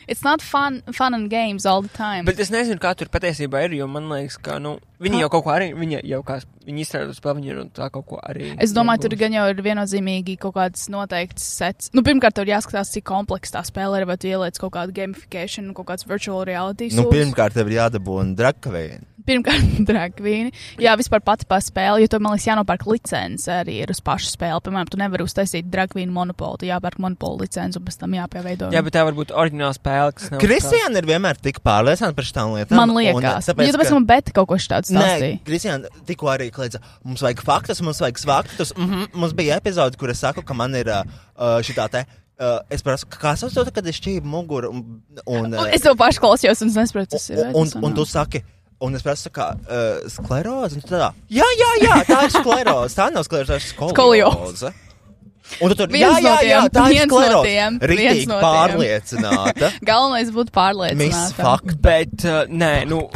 Speaker 3: It's not fun, fun and games all the time.
Speaker 4: bet es nezinu, kā tur patiesībā ir. Jo man liekas, ka nu, viņi jau kaut ko arī. Viņi jau kā viņi izstrādā spēli, viņi jau tā kaut ko arī.
Speaker 3: Es domāju, tur
Speaker 4: iegūst.
Speaker 3: gan jau ir viennozīmīgi kaut kāds noteikts sets. Nu, pirmkārt, tur jāskatās, cik komplekss tā spēle ir, vai tu ieliec kaut kādu gamification, kaut kāds virtual reality.
Speaker 2: Nu,
Speaker 3: source.
Speaker 2: pirmkārt, tev ir jādabūna drakavīna.
Speaker 3: Pirmkārt, dragvīni. Jā, vispār pati par spēli, jo to, man liekas, jānopērk licence arī ir uz pašu spēli. Piemēram, tu nevari uztaisīt dragvīnu monopolu, tu jāpērk monopolu licenci un pēc tam jāpieveido.
Speaker 4: Jā, bet tā var būt oriģināla spēle, kas nav.
Speaker 2: Kristiāna ir vienmēr tik pārliecināta par šīm lietām.
Speaker 3: Man liekas,
Speaker 2: un, tāpēc,
Speaker 3: jo tāpēc
Speaker 2: ka-
Speaker 3: man beta kaut ko šādu
Speaker 2: Nē,
Speaker 3: stāstīja.
Speaker 2: Kristiāna tikko arī kliedza, mums vajag faktus, mums vajag faktus. Mm -hmm. Mums bija epizode, kur es saku, ka man ir uh, uh, šī tā. Uh, es prasu, kā sauc to, kad es šķīvu muguru. Un, un,
Speaker 3: Un Es to pašu klausījos un es nesaprotu, tas ir.
Speaker 2: un, un,
Speaker 3: vecs
Speaker 2: un tu
Speaker 3: nav.
Speaker 2: saki, un es prasu, kā uh, skleroze. un tu Tādā, jā, jā, jā, tā ir skleroze. Tā nav skleroze, tā ir
Speaker 3: Skolioze.
Speaker 2: skolioze. Un tu tur
Speaker 3: Viens
Speaker 2: jā, jā,
Speaker 3: no
Speaker 2: jā,
Speaker 3: tiem,
Speaker 2: tā ir
Speaker 3: viens no
Speaker 2: skleroze.
Speaker 3: tiem, viens
Speaker 2: Rītīgi
Speaker 3: no tiem.
Speaker 2: pārliecināta.
Speaker 3: Galvenais būtu
Speaker 2: Miss
Speaker 3: pārliecināts.
Speaker 2: Fakt.
Speaker 4: Bet, uh, nē, nu,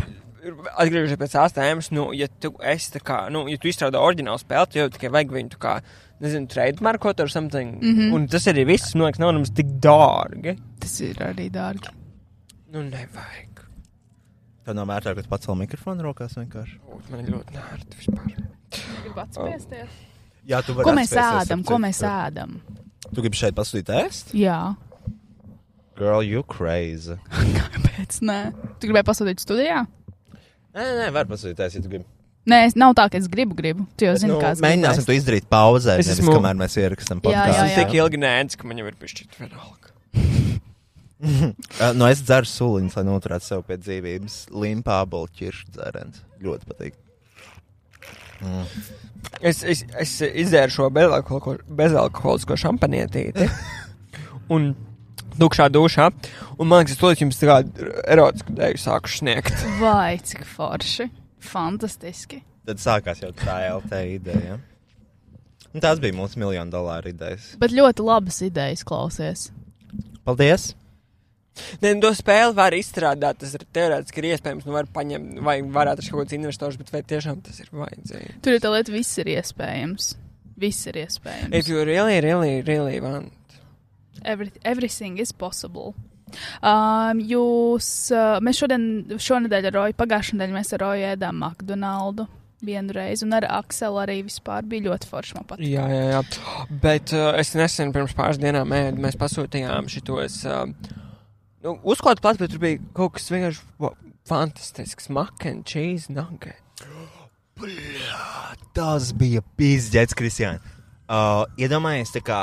Speaker 4: atgriežoties pie tās tēmas, nu, ja tu esi tā kā, nu, ja tu izstrādā oriģinālu spēli, tad jau tikai vajag viņu tā kā, nezinu, trademarkot ar something. Mm
Speaker 3: Mhm.
Speaker 4: -hmm. Un tas arī viss, man liekas, nav nemaz tik dārgi.
Speaker 3: Tas ir arī dārgi.
Speaker 4: Nu, nevajag.
Speaker 2: Tā nav mērķa, kad pacēl mikrofonu rokās vienkārši.
Speaker 4: Būt Man ļoti nērti vispār.
Speaker 2: Jā, tu vari.
Speaker 3: Ko mēs
Speaker 2: atspiesties,
Speaker 3: ēdam?
Speaker 2: ap
Speaker 3: Ko
Speaker 2: cik-
Speaker 3: mēs ēdam?
Speaker 2: Tu gribi šeit pasūtīt ēst?
Speaker 3: Jā.
Speaker 2: Girl, you crazy.
Speaker 3: Kāpēc? Nē, tu gribēji pasūtīt studijā?
Speaker 2: Nē, nē, var pasūtīt ēst, ja tu gribi.
Speaker 3: Nē, es- nav tā, ka es gribu, gribu. Tu jau
Speaker 2: Bet,
Speaker 3: zini,
Speaker 2: nu,
Speaker 3: kāds
Speaker 2: Mēģināsim to izdarīt pauzē,
Speaker 4: Es
Speaker 2: nevis
Speaker 4: esmu-
Speaker 2: kamēr mēs ierakstam
Speaker 3: Jā, jā,
Speaker 4: Tas
Speaker 2: podcastu.
Speaker 4: ir tik ilgi nēns, ka man jau ir pišķirt vienalga.
Speaker 2: Uh, Nu, es dzeru sūliņus, lai noturētu sev pie dzīvības. Limpā bolķiršu dzērens. Ļoti patīk.
Speaker 4: Es, es, es izdzēru šo bezalkohol- bezalkoholisko šampanietīti. un tukšā dušā. Un man liekas, es to līdz jums tā kā erotisku dēļu sāku sniegt.
Speaker 3: Vai, cik forši. Fantastiski.
Speaker 2: Tad sākās jau tā LT ideja. Un tās bija mūsu miljonu dolāru idejas.
Speaker 3: Bet ļoti labas idejas klausies.
Speaker 2: Paldies!
Speaker 4: Nē, nu, to spēli var izstrādāt. Tas ir teorētiski ir iespējams. Nu, var paņemt, vai var atrast kaut kādus investors, bet vai tiešām tas ir vajadzīgi?
Speaker 3: Tur ir tā lieta, viss ir iespējams. Viss ir
Speaker 4: If
Speaker 3: iespējams.
Speaker 4: you really, really, really want.
Speaker 3: Every, everything is possible. Um, jūs, uh, mēs šodien, šonadēļ ar Roju, pagājušā nedēļa mēs ar Roju ēdām McDonaldu vienu reizi, un ar Akselu arī vispār bija ļoti forši man patīk.
Speaker 4: Jā, jā, jā. Bet uh, es nesen pirms pāris dienām ēdu, mēs pasūtījām šitos. Uh, nu, uzklāt plats, bet tur bija kaut kas vienkārši wa- fantastisks. Mac and cheese nugget.
Speaker 2: Tas bija pīzdēts, Kristiāna. Uh, iedomājies, tā kā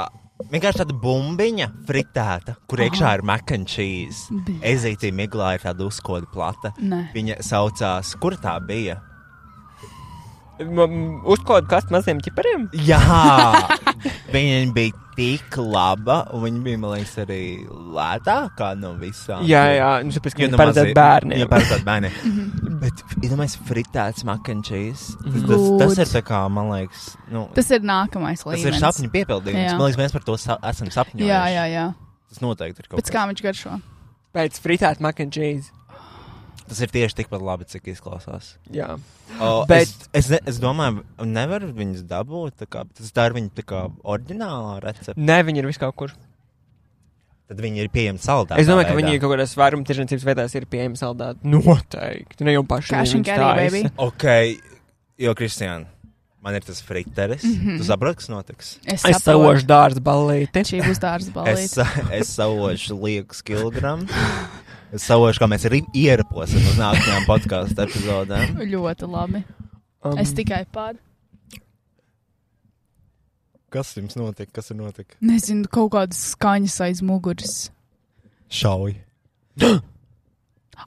Speaker 2: vienkārši tāda bumbiņa fritēta, kur iekšā ir makančīs. Ezītī miglā ir tāda uzkoda plata.
Speaker 3: Nē.
Speaker 2: Viņa saucās, kur tā bija?
Speaker 4: M- Uzklāt kas maziem ķipariem?
Speaker 2: Jā, viņa bija tik laba, un viņa bija, man liekas, arī lētākā no visām.
Speaker 4: Jā, jā, nu, tāpēc, ka
Speaker 2: Jo
Speaker 4: viņi
Speaker 2: nu
Speaker 4: paredzētu
Speaker 2: mazie-
Speaker 4: bērniem.
Speaker 2: Jā, paredzēt bērniem.
Speaker 3: Mhm.
Speaker 2: Bet, iedomājieties, fritēts makančīs. Tas,
Speaker 3: Good.
Speaker 2: tas ir tā kā, man liekas, nu,
Speaker 3: Tas ir nākamais
Speaker 2: Tas
Speaker 3: līmenis.
Speaker 2: ir sapņu piepildījums.
Speaker 3: Jā.
Speaker 2: Man liekas, mēs par to sa esam sapņojuši.
Speaker 3: Jā, jā, jā.
Speaker 2: Tas noteikti ir kaut
Speaker 3: Pēc kā viņš garšo?
Speaker 4: Pēc fritēta mac and cheese.
Speaker 2: kas. Tas ir tieši tikpat labi, cik izklausās.
Speaker 4: Jā.
Speaker 2: O,
Speaker 4: Bet-
Speaker 2: es, es, ne, es domāju, nevaru viņus dabūt. tā Kā, tas tā ir viņa tā kā oriģinālā recepte.
Speaker 4: Nē, viņi ir viskaur kur.
Speaker 2: Tad viņi ir pieejami saldētā.
Speaker 4: Es domāju, ka
Speaker 2: veidā.
Speaker 4: viņi kaut kādās vairuma tirdzniecības vietās ir pieejami saldēti. Noteikti. Nu, Ne jau paši.
Speaker 3: Cash and carry, baby.
Speaker 2: Ok, jo Kristiāna, man ir tas friteris. Mm
Speaker 3: Mhm.
Speaker 2: -hmm. Tu saproti, kas notiks?
Speaker 3: Es
Speaker 4: Es savošu dārza ballīti.
Speaker 3: Šī būs dārza
Speaker 2: Es,
Speaker 3: balīte.
Speaker 2: sa- es savošu liekas kilogramus. Es savošu, kā mēs arī ieraposim uz nākamajām podkāstu epizodēm.
Speaker 3: Ļoti labi.
Speaker 4: Um,
Speaker 3: Es tikai pār.
Speaker 2: Kas jums notika? Kas ir notika?
Speaker 3: Nezinu, kaut kādas skaņas aiz muguras.
Speaker 2: Šauj!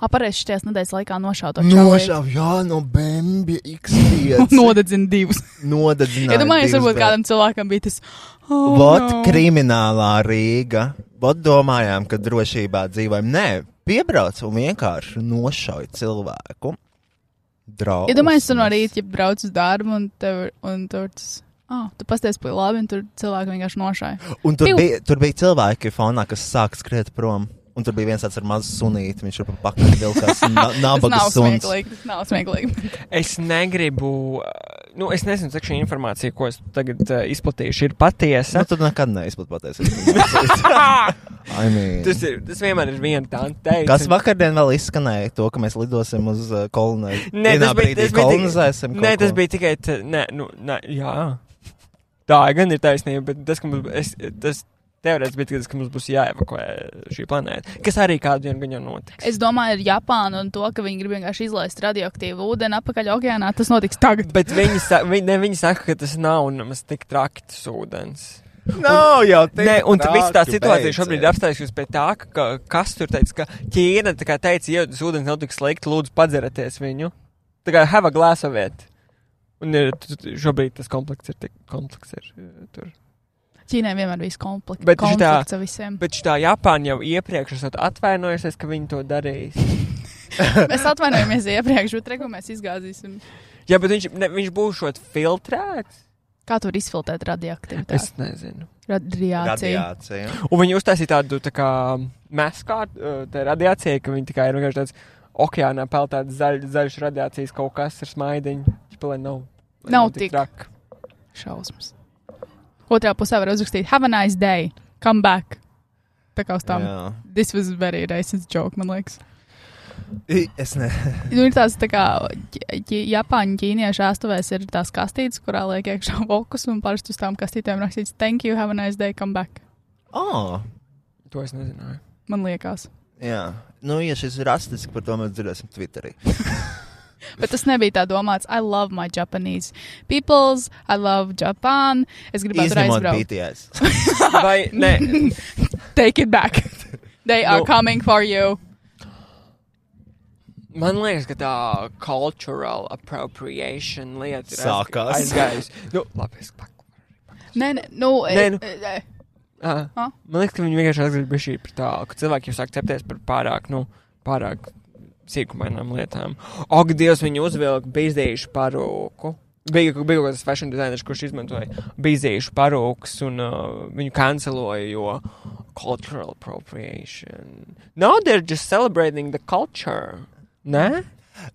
Speaker 3: Aparēs šajās nedēļas laikā nošauta.
Speaker 2: Nošāva, jā, no bēnbja X5.
Speaker 3: Nodedzina divus.
Speaker 2: Nodedzināja.
Speaker 3: Ja domāju,
Speaker 2: divas
Speaker 3: varbūt
Speaker 2: bērnas.
Speaker 3: kādam cilvēkam bija tas. Oh,
Speaker 2: Vot
Speaker 3: no.
Speaker 2: kriminālā Rīga. Vot domājām, ka drošībā dzīvojam. Nē, piebrauc un vienkārši nošauj cilvēku. Draugs.
Speaker 3: Ja domāju, es no rīta, ja braucu uz darbu un tev, un tur tas. Ah, tu pasties pa labi, un tur cilvēki vienkārši nošāja.
Speaker 2: Un tur
Speaker 3: Piu.
Speaker 2: bija, tur bija cilvēki fonā, kas sāk skriet prom. Un tur bija viens tāds ar mazu sunīti. Viņš ir pa pakaļ vilkās. na-
Speaker 3: Tas
Speaker 2: Nabaga
Speaker 3: nav
Speaker 2: suns.
Speaker 3: smieklīgi. Tas nav smieklīgi.
Speaker 4: Es negribu, uh, nu, es nezinu, cik šī informācija, ko es tagad uh, izplatīšu, ir patiesa.
Speaker 2: Nu, tad nekad neizplat patiesību. I mean.
Speaker 4: Nu, Tas, ir, tas vienmēr ir viena tā teikt.
Speaker 2: Kas vakardien vēl izskanēja to, ka mēs lidosim uz uh, kolonizāciju?
Speaker 4: Nē, tas bija, tas, bija
Speaker 2: kolonizēsim.
Speaker 4: tikai,
Speaker 2: kaut
Speaker 4: nē
Speaker 2: ko?
Speaker 4: tas bija tikai. t- Nē, nu, nē, jā. Tā gan ir taisnība, bet tas, ka mums- es, tas, te- teorētiski bija tas, ka mums būs jāevakuē šī planēta, kas arī kādu dienu gan jau notiks.
Speaker 3: Es domāju, ar Japānu un to, ka viņi grib vienkārši izlaist radioaktīvu ūdeni apakaļ okeānā, tas notiks tagad.
Speaker 4: Bet viņi, sa viņi, ne, viņi saka, ka tas nav nemaz tik traki tas ūdens.
Speaker 2: Nav jau tā,
Speaker 4: Nē, un tā viss tā situācija šobrīd ir apstājusies pie tā, ka kas tur teica, ka Ķīna tā kā teica, ja tas ūdens nav tik slikti, lūdzu padzerieties viņu. Tā kā have a glass of it. Un ir, t- t- šobrīd tas komplekss ir tik komplekss. Ir, eh, tur.
Speaker 3: Ķīnai vienmēr bijis konflikts.
Speaker 4: Bet šitā-
Speaker 3: konflikts ar visiem.
Speaker 4: Bet šitā Japāna jau iepriekš esat atvainojusies, ka viņi to darīs.
Speaker 3: Mēs atvainojamies iepriekš, bet regu mēs izgāzīsim.
Speaker 4: Jā, bet viņš, ne, viņš būs šot filtrēts.
Speaker 3: Kā tur izfiltrēt radioaktivitāti?
Speaker 4: Es nezinu.
Speaker 3: Radiācija.
Speaker 2: Radiācija.
Speaker 4: Un viņi uztaisīja tādu tā kā mēskārtu tā radiācijai, ka viņi tikai ir vienkārši tāds okeānā peld tāds zaļ, zaļš radiācijas kaut kas ar smaidiņu. Ķipa, Lai nav, lai
Speaker 3: Nav tik.
Speaker 4: traki.
Speaker 3: Šausmas. Otrā pusē var uzrakstīt, have a nice day, come back. Tā kā uz tām. Yeah.
Speaker 2: Jā.
Speaker 3: This was very racist joke, man liekas.
Speaker 2: I- Es ne.
Speaker 3: Nu, ir tās tā kā ķi- ķi- Japāņu ķīniešu āstuvēs ir tās kastītes, kurā liek iekšā vokus un parasti uz tām kastītēm rakstīts, thank you, have a nice day, come back.
Speaker 2: Oh,
Speaker 4: To es nezināju.
Speaker 3: Man liekas.
Speaker 2: jā. Nu, ja šis ir rastisks, par to mēs dzirdēsim Twitterī.
Speaker 3: Bet tas nebija tā domāts. I love my Japanese peoples, I love Japan. Es gribētu tur
Speaker 2: Izņemot
Speaker 3: aizbraukt.
Speaker 2: BTS.
Speaker 4: Vai ne?
Speaker 3: Take it back. They are
Speaker 4: Nu.
Speaker 3: coming for you.
Speaker 4: Man liekas, ka tā cultural appropriation lieta ir aizg-
Speaker 2: Sākās.
Speaker 4: aizgājusi. Nu, labi, es paku.
Speaker 3: Nē, nē, nu,
Speaker 4: Nē, nu.
Speaker 3: e- e-
Speaker 4: Ah,
Speaker 3: Ah.
Speaker 4: man liekas, ka viņi vienkārši atgriežas šī par tā, ka cilvēki jūs akceptēs par pārāk, nu, pārāk sīkumainām lietām. Ak, Dievs, viņi uzvilka bizdējušu parūku. Bija, bija kaut kāds fashion dizainers, kurš izmantoja bizdējušu parūkus un uh, viņu kanceloja, jo cultural appropriation. Now they're just celebrating the culture. Nē?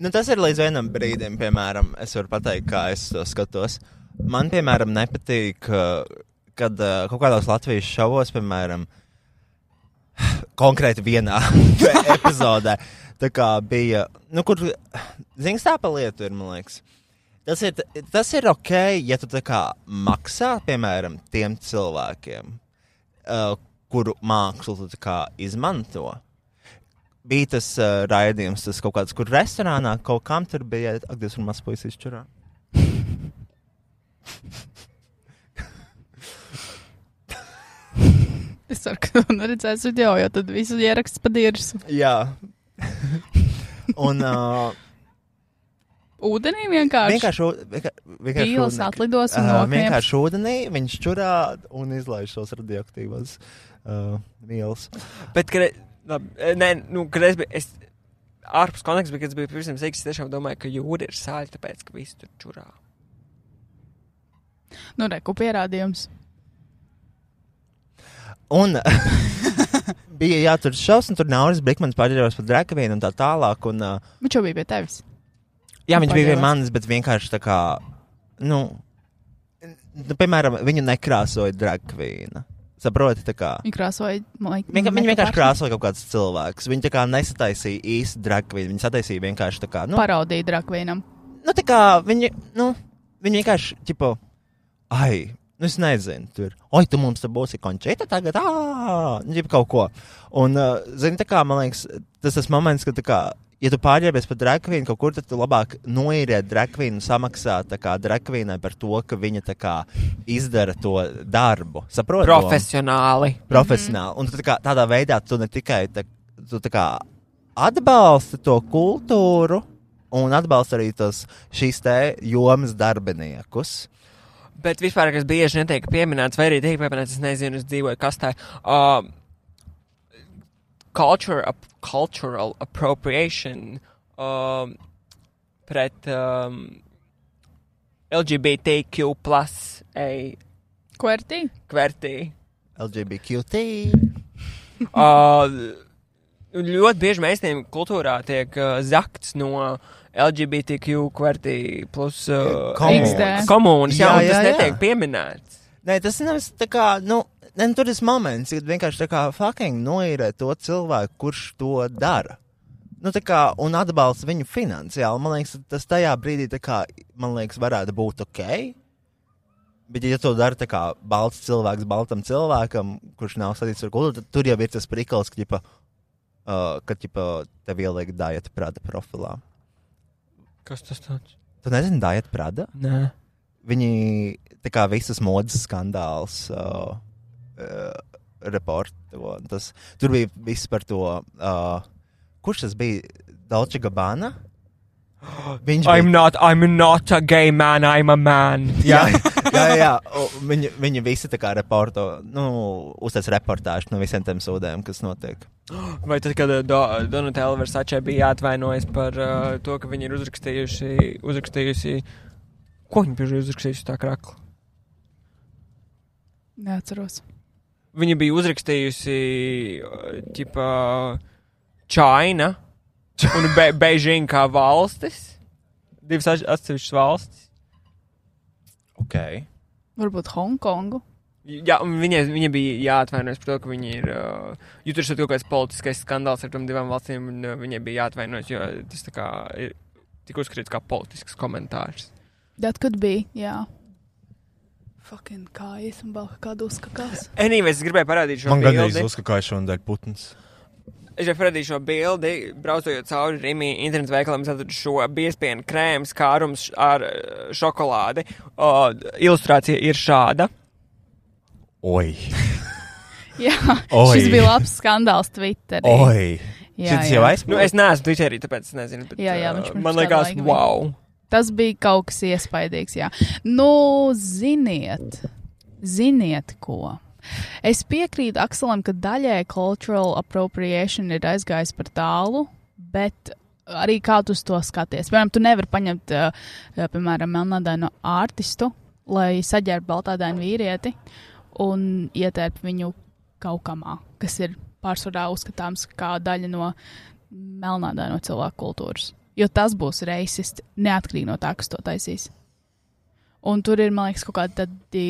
Speaker 2: Nu, tas ir līdz vienam brīdim, piemēram, es varu pateikt, kā es to skatos. Man, piemēram, nepatīk, uh, kad uh, kaut kādos Latvijas šovos, piemēram, konkrēti vienā epizodē, tā kā bija, nu, kur zināms, tā pa lietu ir, man liekas. Tas ir, tas ir ok, ja tu tā kā maksā, piemēram, tiem cilvēkiem, uh, kuru mākslu tu tā kā izmanto. Bija tas uh, raidījums, tas kaut kāds, kur restorānā kaut kam tur bija, ak, Dievs, un mazs puisis izšķirā.
Speaker 3: Es ceru, ka tu neredzēsi video, jo tad visu ieraksts padīrs
Speaker 2: Jā. un uh,
Speaker 3: ūdenī vienkārši.
Speaker 2: vienkārši, ū- vienkār- vienkārši
Speaker 3: Pīles
Speaker 2: ūdenī-
Speaker 3: atlidos un
Speaker 2: Ā,
Speaker 3: nokriep.
Speaker 2: vienkārši ūdenī, viņš čurā un izlaiž šos radioaktīvos uh, vielas.
Speaker 4: Bet, kad, e- labi, e, nē, nu, kad es biju, es ārpus konteksta, bet, kad es biju pirms tam sīgs, es tiešām domāju, ka jūra ir sāļa, tāpēc, ka viss tur čurā.
Speaker 3: Nu, reku pierādījums.
Speaker 2: Un bija jāatur šausmas, un tur Nauris Brīsmans paģērās par Drakavīnu un tā tālāk. Un, uh,
Speaker 3: Viņš jau bija pie tevis.
Speaker 2: jā, viņš bija pie
Speaker 3: Paģērās.
Speaker 2: manis, bet vienkārši tā kā, nu, nu piemēram, viņu nekrāsoja Drakavīna. Saproti, tā kā.
Speaker 3: Viņa e, krāsoja. man liek-
Speaker 2: Vienkār, viņa
Speaker 3: makeup
Speaker 2: vienkārši
Speaker 3: artistu.
Speaker 2: krāsoja kaut kāds cilvēks. Viņa tā kā nesataisīja īsti Drakavīnu. Viņa sataisīja vienkārši tā kā, nu,
Speaker 3: Parodīja Drakvīnam.
Speaker 2: nu tā kā viņa, nu, viņa vienkārši, tipo, ai, nu es nezinu, tur, oi, tu mums te būsi končēta tagad, ah, ģip kaut ko. Un, uh, zini, tā kā, man liekas, tas tas moments, ka tā kā, ja tu pārģērbies par drakvīnu kaut kur, tad tu labāk noīrē drakvīnu un samaksā tā kā drakvīnai par to, ka viņa tā kā izdara to darbu. Saproti? domu?
Speaker 4: Profesionāli.
Speaker 2: Mhm. profesionāli. Un tu tā kā, tādā veidā tu ne tikai tā, tu tā kā atbalsti to kultūru, un atbalsti arī tos šīs te jomas darbiniekus.
Speaker 4: Bet vispār, kas bieži netiek pieminēts, vai arī tiek pieminēts, es nezinu, es dzīvoju kastē. Uh, culture, ap, cultural appropriation um, pret um, LGBTQ plus A
Speaker 3: Kvertī?
Speaker 4: kvertī.
Speaker 2: LGBTQT.
Speaker 4: Ā, Um, ļoti bieži mēsniem kultūrā tiek uh, zakts no LGBTQ kvartī plus uh,
Speaker 2: Komunas.
Speaker 3: XD.
Speaker 4: komunas. Jā,
Speaker 2: Jā,
Speaker 4: jā, jā,
Speaker 2: jā,
Speaker 4: tas
Speaker 2: jā.
Speaker 4: netiek jā. pieminēts.
Speaker 2: Nē, tas nav tā kā, nu, ne, tur ir moments, kad vienkārši tā kā fucking noīrē to cilvēku, kurš to dara. Nu, tā kā, un atbalsta viņu finansiāli. Man liekas, tas tajā brīdī, tā kā, man liekas, varētu būt ok. Bet, ja to dara tā kā balts cilvēks, baltam cilvēkam, kurš nav saistīts ar kultūru, tad tur jau ir tas prikals, ka, ģipa, uh, ka ģipa, tev ieliek diētu prāta profilā.
Speaker 4: Kas tas tāds?
Speaker 2: Tu nezini, diētu prāta?
Speaker 4: Nē.
Speaker 2: Viņi tā kā visas modes skandāls. Uh, uh, Reporto, tas, tur bija viss par to, uh, kurš tas bija Dalča Gabana. Viņš
Speaker 4: I'm not, I'm not a gay man, I'm a man.
Speaker 2: Jā, jā, jā. O, Viņi, viņi visi tā kā reporto, nu, uztaisīja reportāžu no visiem tiem sūdēm, kas notiek.
Speaker 4: Vai tad, kad uh, Do- Donatella Versace bija atvainojis par uh, to, ka viņi ir uzrakstījuši, uzrakstījusi, ko viņi bija uzrakstījuši tā krakli?
Speaker 3: Neatceros.
Speaker 4: Viņa bija uzrakstījusi, uh, tipā, Čaina un Be Beijing kā valstis. Divas atš- atsevišķas valstis.
Speaker 5: Okay.
Speaker 3: Varbūt Hongkongu.
Speaker 4: Jā, un viņai, viņai bija jāatvainojas par to, ka viņi ir. Uh, jo tur ir kaut kāds politiskais skandāls ar tām divām valstīm, un uh, viņai bija jāatvainojas, jo tas tā kā ir tik uzskatīts kā politisks komentārs.
Speaker 3: That could be, jā. Fucking kājas un balka kādu uzkakās.
Speaker 4: Anyways, es gribēju parādīt šo
Speaker 5: Man gandrīz
Speaker 4: bildi.
Speaker 5: uzskakāja šodien putns.
Speaker 4: Es jau parādīju šo bildi, braucot cauri Rīgā, interneta veikalam, atradu šo biespienu krēmu, skārums ar uh, šokolādi. Uh, ilustrācija ir šāda.
Speaker 5: Oi,
Speaker 3: Jā,
Speaker 5: Oi.
Speaker 3: šis bija labs skandāls Twitterī.
Speaker 5: oi.
Speaker 3: Jā,
Speaker 5: Šis
Speaker 3: jā.
Speaker 5: jau aizpildījis.
Speaker 4: Nu, es neesmu Twitterī, tāpēc es nezinu. Bet,
Speaker 3: Jā, jā,
Speaker 4: uh,
Speaker 3: viņš pirms
Speaker 4: man
Speaker 3: kāda
Speaker 4: liekas,
Speaker 3: laika bija.
Speaker 4: wow!
Speaker 3: Tas bija kaut kas iespaidīgs. Jā. Nu, ziniet, ziniet, ko. Es piekrītu Akselam, ka daļai cultural appropriation ir aizgājis par tālu, bet arī kā tu uz to skaties. Piemēram, tu nevari paņemt, eh, piemēram, melnādainu artistu, lai saģērbtu baltādainu vīrieti un ietērp viņu kaut kamā, kas ir pārsvarā uzskatāms kā daļa no melnādaino cilvēku kultūras. Jo tas būs reisists, neatkarīgi no tā, kas to taisīs. Un tur ir, man liekas, kaut kādi tādi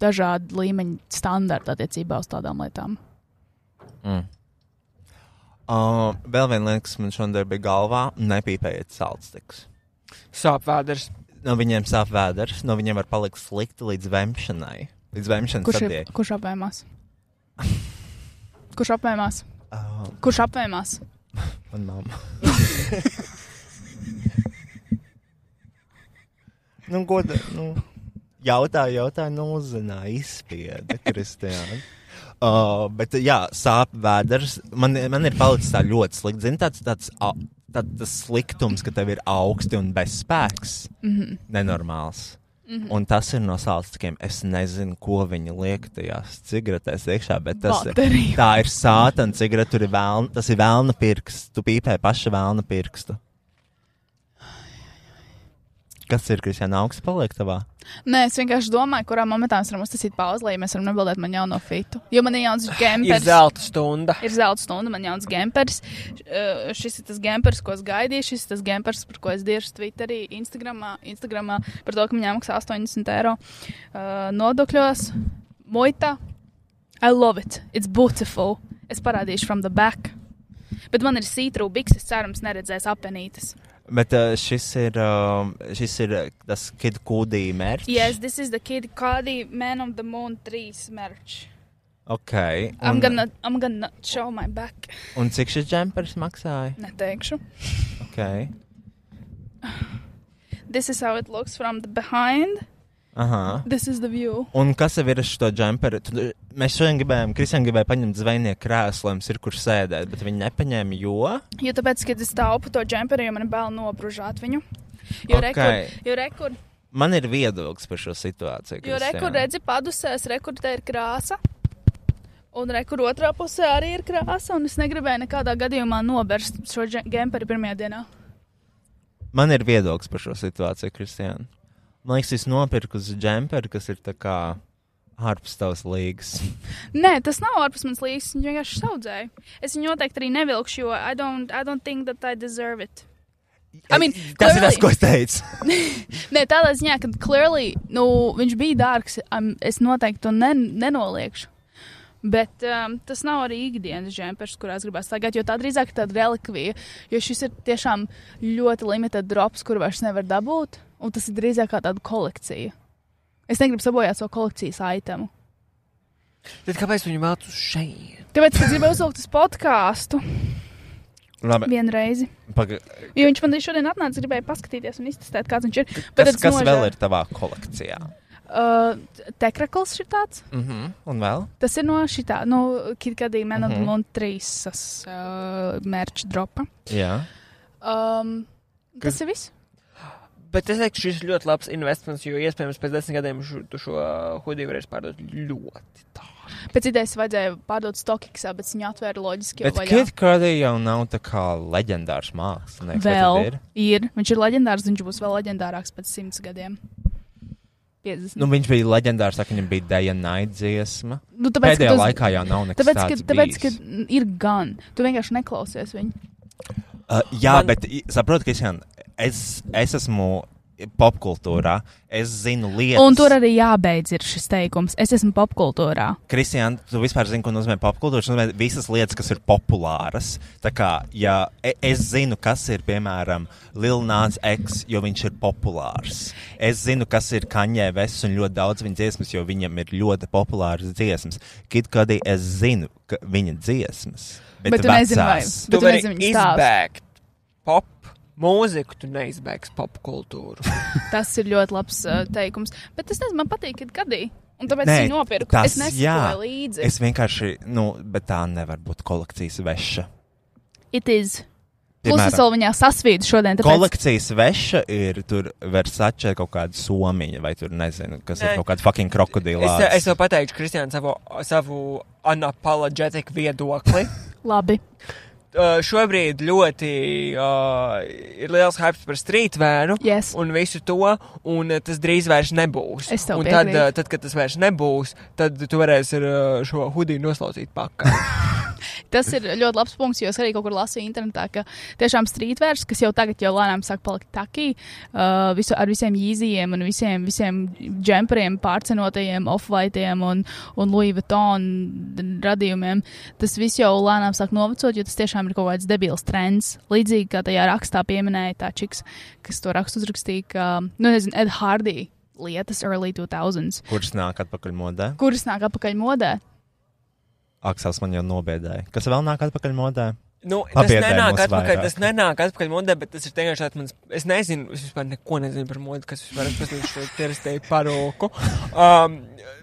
Speaker 3: dažādi līmeņi standarta attiecībā uz tādām lietām.
Speaker 2: Uh, vēl viena lieta, kas man šodien bija galvā, nepīpējiet sālstiks.
Speaker 4: Sāpvēders.
Speaker 2: No viņiem sāp vēders, no viņiem var palikt slikti līdz vemšanai. Līdz vemšanas
Speaker 3: Kurš, ir,
Speaker 2: sadiek.
Speaker 3: kurš apēmās? Kurš apēmās?
Speaker 2: Uh,
Speaker 3: Kurš apēmās?
Speaker 2: man mamma. nu, goda, nu. Jautā, jautā, nu, uzzināja, izspieda Kristiāna. Uh, bet, jā, sāp vēders. Man, man ir palicis tā ļoti slikti. Zini, tāds, tāds, au- tāds, tāds sliktums, ka tev ir augsti un bezspēks. Mm -hmm. Nenormāls. Mm -hmm. Un tas ir no sālstīkiem. Es nezinu, ko viņi liek tajās cigaretēs iekšā, bet tas
Speaker 3: Baterija.
Speaker 2: ir. Tā ir sātana cigarete, tur ir vēlna, tas ir vēlna pirksts. Tu pīpē paša vēlna pirkstu. Kas ir, Kristiāna, augsts paliek tavā?
Speaker 3: Nē, es vienkārši domāju, kurā momentā mēs varam uztaisīt pauzi, lai mēs varam nobildēt man jauno fitu. Jo man ir jauns
Speaker 4: Ir
Speaker 3: gēmpers.
Speaker 4: zelta stunda.
Speaker 3: Ir zelta stunda, man jauns gēmpers. Uh, Šis ir tas gēmpers, ko es gaidīju. Šis ir tas gēmpers, par ko es dirzu Twitterī, Instagramā, Instagramā par to, ka man jāmaksā 80 eiro uh, nodokļos. Moita. I love it. It's beautiful. Es parādīšu from the back. Bet man ir sītrū bikses, cerams, neredzēs apenītes.
Speaker 2: Bet uh, šis ir, um, šis ir uh, tas kidkūdī mērķis.
Speaker 3: Yes, this is the kid Cardi Man on the Moon 3 merch.
Speaker 2: Ok.
Speaker 3: I'm
Speaker 2: Un,
Speaker 3: gonna, I'm gonna show my back.
Speaker 2: un cik šis džempers maksāja?
Speaker 3: Neteikšu.
Speaker 2: Ok.
Speaker 3: This is how it looks from the behind.
Speaker 2: Aha.
Speaker 3: This is the view.
Speaker 2: Un kas ir virs šo džemperu? Tu- Mēs šodien gribējām, Kristian gribēja paņemt zvejnieku krēslu, lai mums ir kur sēdēt, bet viņi nepaņēma, jo.
Speaker 3: Jo tāpēc, kad es taupu to džemperi, jo man ir bail nobružāt viņu. Jo
Speaker 2: Ok.
Speaker 3: rekur,
Speaker 2: Man ir viedoklis par šo situāciju.
Speaker 3: jo
Speaker 2: Kristian.
Speaker 3: rekur redzi padusēs, rekur te ir krāsa. Un rekur otrā pusē arī ir krāsa, un es negribēju nekādā gadījumā nobērst šo dže- džemperi pirmajā dienā.
Speaker 2: Man ir viedoklis par šo situāciju, Kristian. Man liekas, es nopirku džemperu, kas ir tā kā ārpus tavas līgas.
Speaker 3: Nē, tas nav ārpus manas līnijas, viņa vienkārši saudzēja. Es viņu noteikti arī nevilkšu, jo I don't, I don't think that I deserve it. I mean,
Speaker 2: tas ir tas,
Speaker 3: clearly-
Speaker 2: ko es teicu.
Speaker 3: Nē, tādā ziņā, ka clearly, nu, viņš bija dārgs. am- Es noteikti to ne, nenoliekšu. Bet um, tas nav arī ikdienas džempers, kurās gribēs tagad, jo tā drīzāk ir tāda relikvija. Jo šis ir tiešām ļoti limited drops, kuru vairs nevar dabūt. Un tas ir drīzāk kā tāda kolekcija. Es negribu sabojāt savu kolekcijas aitemu.
Speaker 4: Tad kāpēc viņi mācu šeit?
Speaker 3: Tāpēc es gribēju uzlikt uz podkāstu
Speaker 2: Labi,
Speaker 3: vienreiz.
Speaker 2: paga,
Speaker 3: Jo viņš man arī šodien atnāca, gribēja paskatīties un iztestēt, kāds viņš ir. Bet
Speaker 2: kas,
Speaker 3: tad
Speaker 2: kas
Speaker 3: nožēl-
Speaker 2: vēl ir tavā kolekcijā?
Speaker 3: Uh, Tekrakls ir tāds.
Speaker 2: Mm -hmm. Un vēl?
Speaker 3: Tas ir no šitā, no Kirkadīna Man
Speaker 2: Mhm.
Speaker 3: un Montrīsas uh, mērķa dropa.
Speaker 2: Jā.
Speaker 3: Um, tas ir viss.
Speaker 4: Bet es teiktu, šis ir ļoti labs investments, jo iespējams pēc desmit gadiem šo, tu šo hudiju varēs pārdot ļoti tālu.
Speaker 3: Pēc idejas vajadzēja pārdot Stokiksā, bet viņi atvēra loģiski. jau
Speaker 2: Bet
Speaker 3: vaļā.
Speaker 2: Kitkardī jau nav tā kā leģendārs mākslinieks. vai tad
Speaker 3: Vēl
Speaker 2: ir?
Speaker 3: ir. ir. Viņš ir leģendārs, viņš būs vēl leģendārāks pēc simts gadiem. 50.
Speaker 2: Nu, viņš bija leģendārs, tā, ka viņam bija Dēļa Naidziesma.
Speaker 3: Nu, tāpēc,
Speaker 2: Pēdējā
Speaker 3: ka tu-
Speaker 2: laikā jau nav nekas
Speaker 3: Tāpēc, ka,
Speaker 2: tāds.
Speaker 3: tāpēc, ka
Speaker 2: bijis.
Speaker 3: ir gan. Tu vienkārši neklausies viņu.
Speaker 2: Uh, jā,
Speaker 4: Man-
Speaker 2: Man... bet i- saprotu, Kristian, es, es esmu popkultūrā. Es zinu lietas.
Speaker 3: Un tur arī jābeidz ir šis teikums. Es esmu popkultūrā.
Speaker 2: Kristian, tu vispār zini, ko nozīmē popkultūra? Tas nozīmē visas lietas, kas ir populāras. Tā kā, ja e- es zinu, kas ir, piemēram, Lil Nāns X, jo viņš ir populārs. Es zinu, kas ir Kaņē Vests un ļoti daudz viņa dziesmas, jo viņam ir ļoti populāras dziesmas. Kitkadī es zinu ka viņa dziesmas. Bet,
Speaker 3: Bet
Speaker 2: bet
Speaker 3: tu nezini, vai-
Speaker 2: vecās.
Speaker 3: Bet tu nezini viņu stāstu.
Speaker 4: izbēgt pop mūziku, tu neizbēgs pop kultūru.
Speaker 3: Tas ir ļoti labs uh, teikums. Bet es nezinu, man patīk, kad gadī. Un tāpēc
Speaker 2: Nē,
Speaker 3: es viņu nopirku.
Speaker 2: tas,
Speaker 3: es
Speaker 2: jā.
Speaker 3: nesaku līdzi.
Speaker 2: Es vienkārši, nu, bet tā nevar būt kolekcijas veša.
Speaker 3: It is. Plus es
Speaker 2: Piemēram,
Speaker 3: vēl viņā sasvīdu šodien. Tāpēc...
Speaker 2: Kolekcijas veša ir tur Versace kaut kāda somiņa, vai tur nezinu, kas
Speaker 4: Nē.
Speaker 2: ir kaut kāda fucking krokodila.
Speaker 4: Es, es jau pateikšu, Kristiāna, savu, savu anapoloģetisku viedokli.
Speaker 3: Labi.
Speaker 4: Uh, šobrīd ļoti uh, ir liels hype par streetvēru
Speaker 3: Yes.
Speaker 4: un visu to, un uh, tas drīz vairs nebūs.
Speaker 3: Es tev
Speaker 4: un tad,
Speaker 3: piekrītu.
Speaker 4: uh, tad, kad tas vairs nebūs, tad tu varēsi ar uh, šo hudiju noslaucīt pakaļ.
Speaker 3: Tas ir ļoti labs punkts, jo es arī kaut kur lasīju internetā, ka tiešām strīdvērs, kas jau tagad jau lēnām sāk palikt takī, uh, visu, ar visiem īzijiem un visiem, visiem džemperiem, pārcenotajiem, off-whiteiem un, un Louis Vuitton radījumiem, tas viss jau lēnām sāk novecot, jo tas tiešām ir kaut kāds debils trends. Līdzīgi kā tajā rakstā pieminēja tā čiks, kas to rakstu uzrakstīja, ka, nu, nezinu, Ed Hardy lietas early 2000s,
Speaker 2: Kurš nāk atpakaļ modē?
Speaker 3: kuras nāk apakaļ modē.
Speaker 2: Aksels man jau nobiedēja. Kas vēl nāk atpakaļ modē?
Speaker 4: Nu, tas
Speaker 2: Pabiedē
Speaker 4: nenāk
Speaker 2: mūs
Speaker 4: atpakaļ,
Speaker 2: vairāk.
Speaker 4: tas nenāk atpakaļ modē, bet tas ir vienkārši tāds mans. Es nezinu, es vispār neko nezinu par modi, kas vispār atpazīst šo terastēju parūku. Um,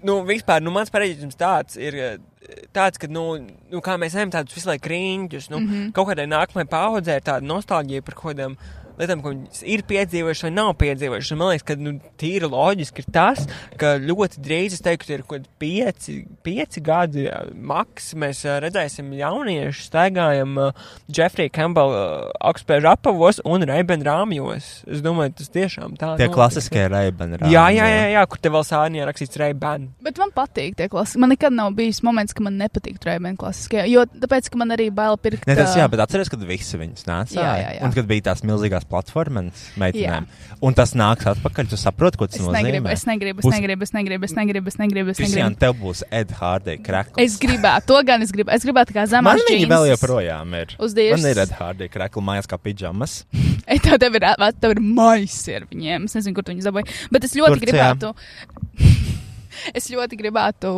Speaker 4: nu, vispār, nu, mans pareģījums tāds ir eh, tāds, ka, nu, nu kā mēs ejam tādus visu laiku riņķus, nu, mm
Speaker 3: Mhm.
Speaker 4: -hmm. kaut kādai nākamajai paudzē ir tāda nostalģija par kaut kādām lietām, ko viņi ir piedzīvojuši vai nav piedzīvojuši. Un Man liekas, ka, nu, tīri loģiski ir tas, ka ļoti drīz, es teiktu, ir kaut kādi pieci, pieci gadi eh, maks, mēs eh, redzēsim jauniešus staigājam eh, Jeffrey Campbell uh, augstspēju apavos un Reiben rāmjos. Es domāju, tas tiešām tā.
Speaker 2: Tie
Speaker 4: notiek.
Speaker 2: klasiskie reibeni.
Speaker 4: Jā, jā, jā, jā, kur te vēl sānijā rakstīts Reiben.
Speaker 3: Bet man patīk tie klasiski. Man nekad nav bijis moments, ka man nepatīk trījiem klasiskie. Jo tāpēc, ka man arī bail pirkt.
Speaker 2: Ne, tas,
Speaker 3: ā,
Speaker 2: jā, bet atceries, kad visi viņus nāca.
Speaker 3: Jā, jā, jā.
Speaker 2: Un kad bija tās milzīgās platformas meitenēm. Un tas nāks atpakaļ, tu saproti, ko tas
Speaker 3: Es
Speaker 2: nozīmē.
Speaker 3: negribu, es negribu, es
Speaker 2: Būs-
Speaker 3: negribu, es negribu, es negribu, es negribu. Es,
Speaker 2: Kristian,
Speaker 3: negribu.
Speaker 2: tev būs Ed Hardie krekls.
Speaker 3: es gribētu, to gan es gribētu. Es gribētu kā zemā
Speaker 2: Man viņa vēl joprojām ir.
Speaker 3: Uz dievs.
Speaker 2: Man ir Ed Hardie krekla mājās kā pidžamas.
Speaker 3: Ei, tev, tev ir, ā, tev ir maisi ar viņiem. Es nezinu, kur tu viņus dabūji. Bet es ļoti
Speaker 2: Turcijā.
Speaker 3: gribētu. es ļoti gribētu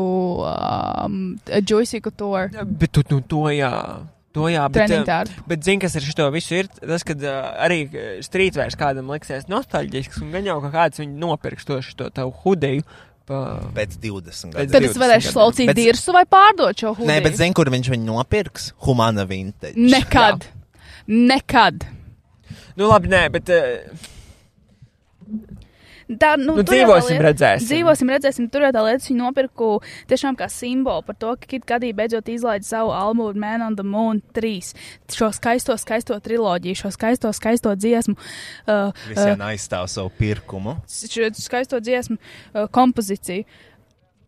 Speaker 3: um, Joyce Couture
Speaker 4: Bet tu, nu, to jā. To jā, bet,
Speaker 3: treniņu
Speaker 4: eh,
Speaker 3: tārpu.
Speaker 4: Bet, zini, kas ar šo visu ir? Tas, kad uh, arī eh, strīdvērs kādam liksies nostalģisks, un gan jau kā kāds viņu nopirks to šo tavu hudiju. Pa...
Speaker 2: Pēc 20
Speaker 4: Pēc
Speaker 2: gadiem.
Speaker 3: Tad es
Speaker 4: 20
Speaker 3: varēšu
Speaker 4: gadiem.
Speaker 3: slaucīt
Speaker 2: Bet-
Speaker 3: dirsu vai pārdot šo hūdu.
Speaker 2: Nē, bet zini, kur viņš viņu nopirks? Humana vintage.
Speaker 3: Nekad. Nekad.
Speaker 4: Nu, labi, nē, bet uh,
Speaker 3: Tā, nu,
Speaker 4: nu,
Speaker 3: tur jau tā
Speaker 4: dzīvosim,
Speaker 3: lieta-
Speaker 4: redzēsim.
Speaker 3: Dzīvosim, redzēsim, tur jau tā lieta, viņa nopirku tiešām kā simbolu par to, ka Kitkadī beidzot izlaiž savu albumu Man on the Moon 3. Šo skaisto, skaisto triloģiju, šo skaisto, skaisto dziesmu, uh, uh,
Speaker 2: Visiem aizstāv savu pirkumu.
Speaker 3: šo skaisto dziesmu uh, kompozīciju.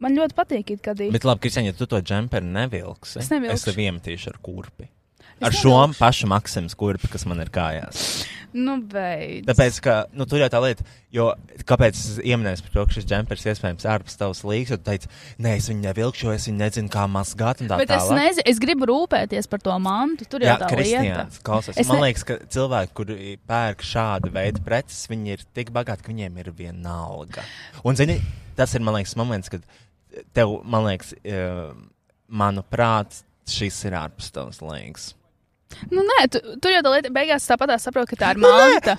Speaker 3: Man ļoti patīk Kitkadī.
Speaker 2: Bet labi, Kristian, ja tu to džemperi nevilksi,
Speaker 3: Es nevilkšu.
Speaker 2: es tev iemetīšu ar kurpi. Ar šo pašu maksimumu skurpi, kas man ir kājās.
Speaker 3: Nu, beidz.
Speaker 2: Tāpēc, ka nu, tur jau tā lieta, jo kāpēc es ieminēju par to, ka šis džempers iespējams ārpus tavas līgas, un tu teici, nē, es viņu nevilkšu, jo es viņu nezinu, kā mazgāt. un Tā
Speaker 3: Bet es
Speaker 2: tālāk.
Speaker 3: nezinu, es gribu rūpēties par to mantu. Tur jau
Speaker 2: Jā,
Speaker 3: tā lieta.
Speaker 2: Kristians, klausies.
Speaker 3: Es
Speaker 2: Man
Speaker 3: ne-
Speaker 2: liekas, ka cilvēki, kuri pērk šādu veidu preces, viņi ir tik bagāti, ka viņiem ir viena alga. Un, zini, tas ir, man liekas, moments, kad tev, man liekas, eh, manuprāt, šis ir ārpus tavas līgas.
Speaker 3: Nu, nē, tu, tur jau tā lieta beigās tāpat saprot, ka tā ir manta.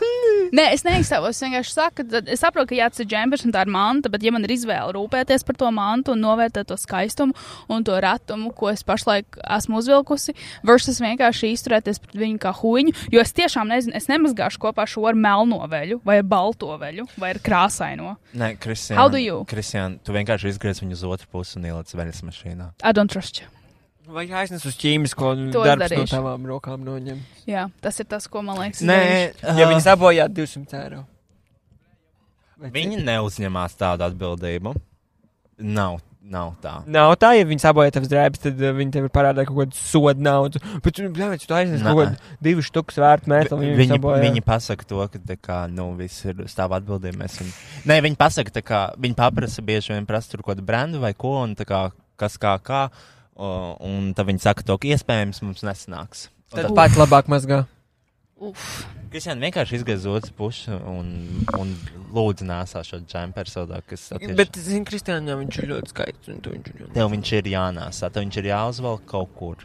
Speaker 3: Nē, es neizstāvos. Es vienkārši saku, ka es saprotu, ka jā, tas ir džempers un tā ir manta, bet ja man ir izvēle rūpēties par to mantu un novērtēt to skaistumu un to ratumu, ko es pašlaik esmu uzvilkusi, versus vienkārši izturēties pret viņu kā huņu, jo es tiešām nezinu, es nemazgāšu kopā šo ar melno veļu vai ar balto veļu vai ar krāsaino.
Speaker 2: Nē, Kristian,
Speaker 3: How do you?
Speaker 2: Kristian, tu vienkārši izgriez viņu uz otru pusi un ieliec veļas mašīnā.
Speaker 3: I don't trust you.
Speaker 4: Vai aiznes uz ķīmisko
Speaker 3: To es
Speaker 4: darbu no
Speaker 3: darīšu.
Speaker 4: tavām rokām noņemt?
Speaker 3: Jā, tas ir tas, ko man liekas. es darīšu.
Speaker 2: Nē,
Speaker 4: Ja viņi sabojā 200 eiro. Vai
Speaker 2: Viņi neuzņemās tādu atbildību. Nav, nav tā.
Speaker 4: Nav tā, ja viņi sabojā tavas drēbes, tad uh, viņi tev ir parādā kaut kādu sodu naudu. Bet, bļāviet, tu aiznes
Speaker 2: Nā.
Speaker 4: kaut kādu divu štukus vērtu metu, un viņi
Speaker 2: Viņi,
Speaker 4: sabojā.
Speaker 2: viņi pasaka to, ka tā kā, nu, viss ir uz tām atbildēm. Un... Nē, viņi pasaka, tā kā, viņi paprasa bieži vien prasa tur kaut kādu brendu vai ko, un tā kā, kas kā kā. o, Un tad viņi saka, to, ka iespējams mums nesanāks.
Speaker 4: Tad pats labāk mazgā.
Speaker 3: Uf.
Speaker 2: Kristiāna vienkārši izgaiz otru pusi un, un lūdzu nāsā šo džemperu sodā, kas attiec-
Speaker 4: Bet, zini, Kristiāna, viņš ir ļoti skaists. un to viņš ir ļoti-
Speaker 2: tev viņš ir jānāsā, tev viņš ir jāuzvelk kaut kur.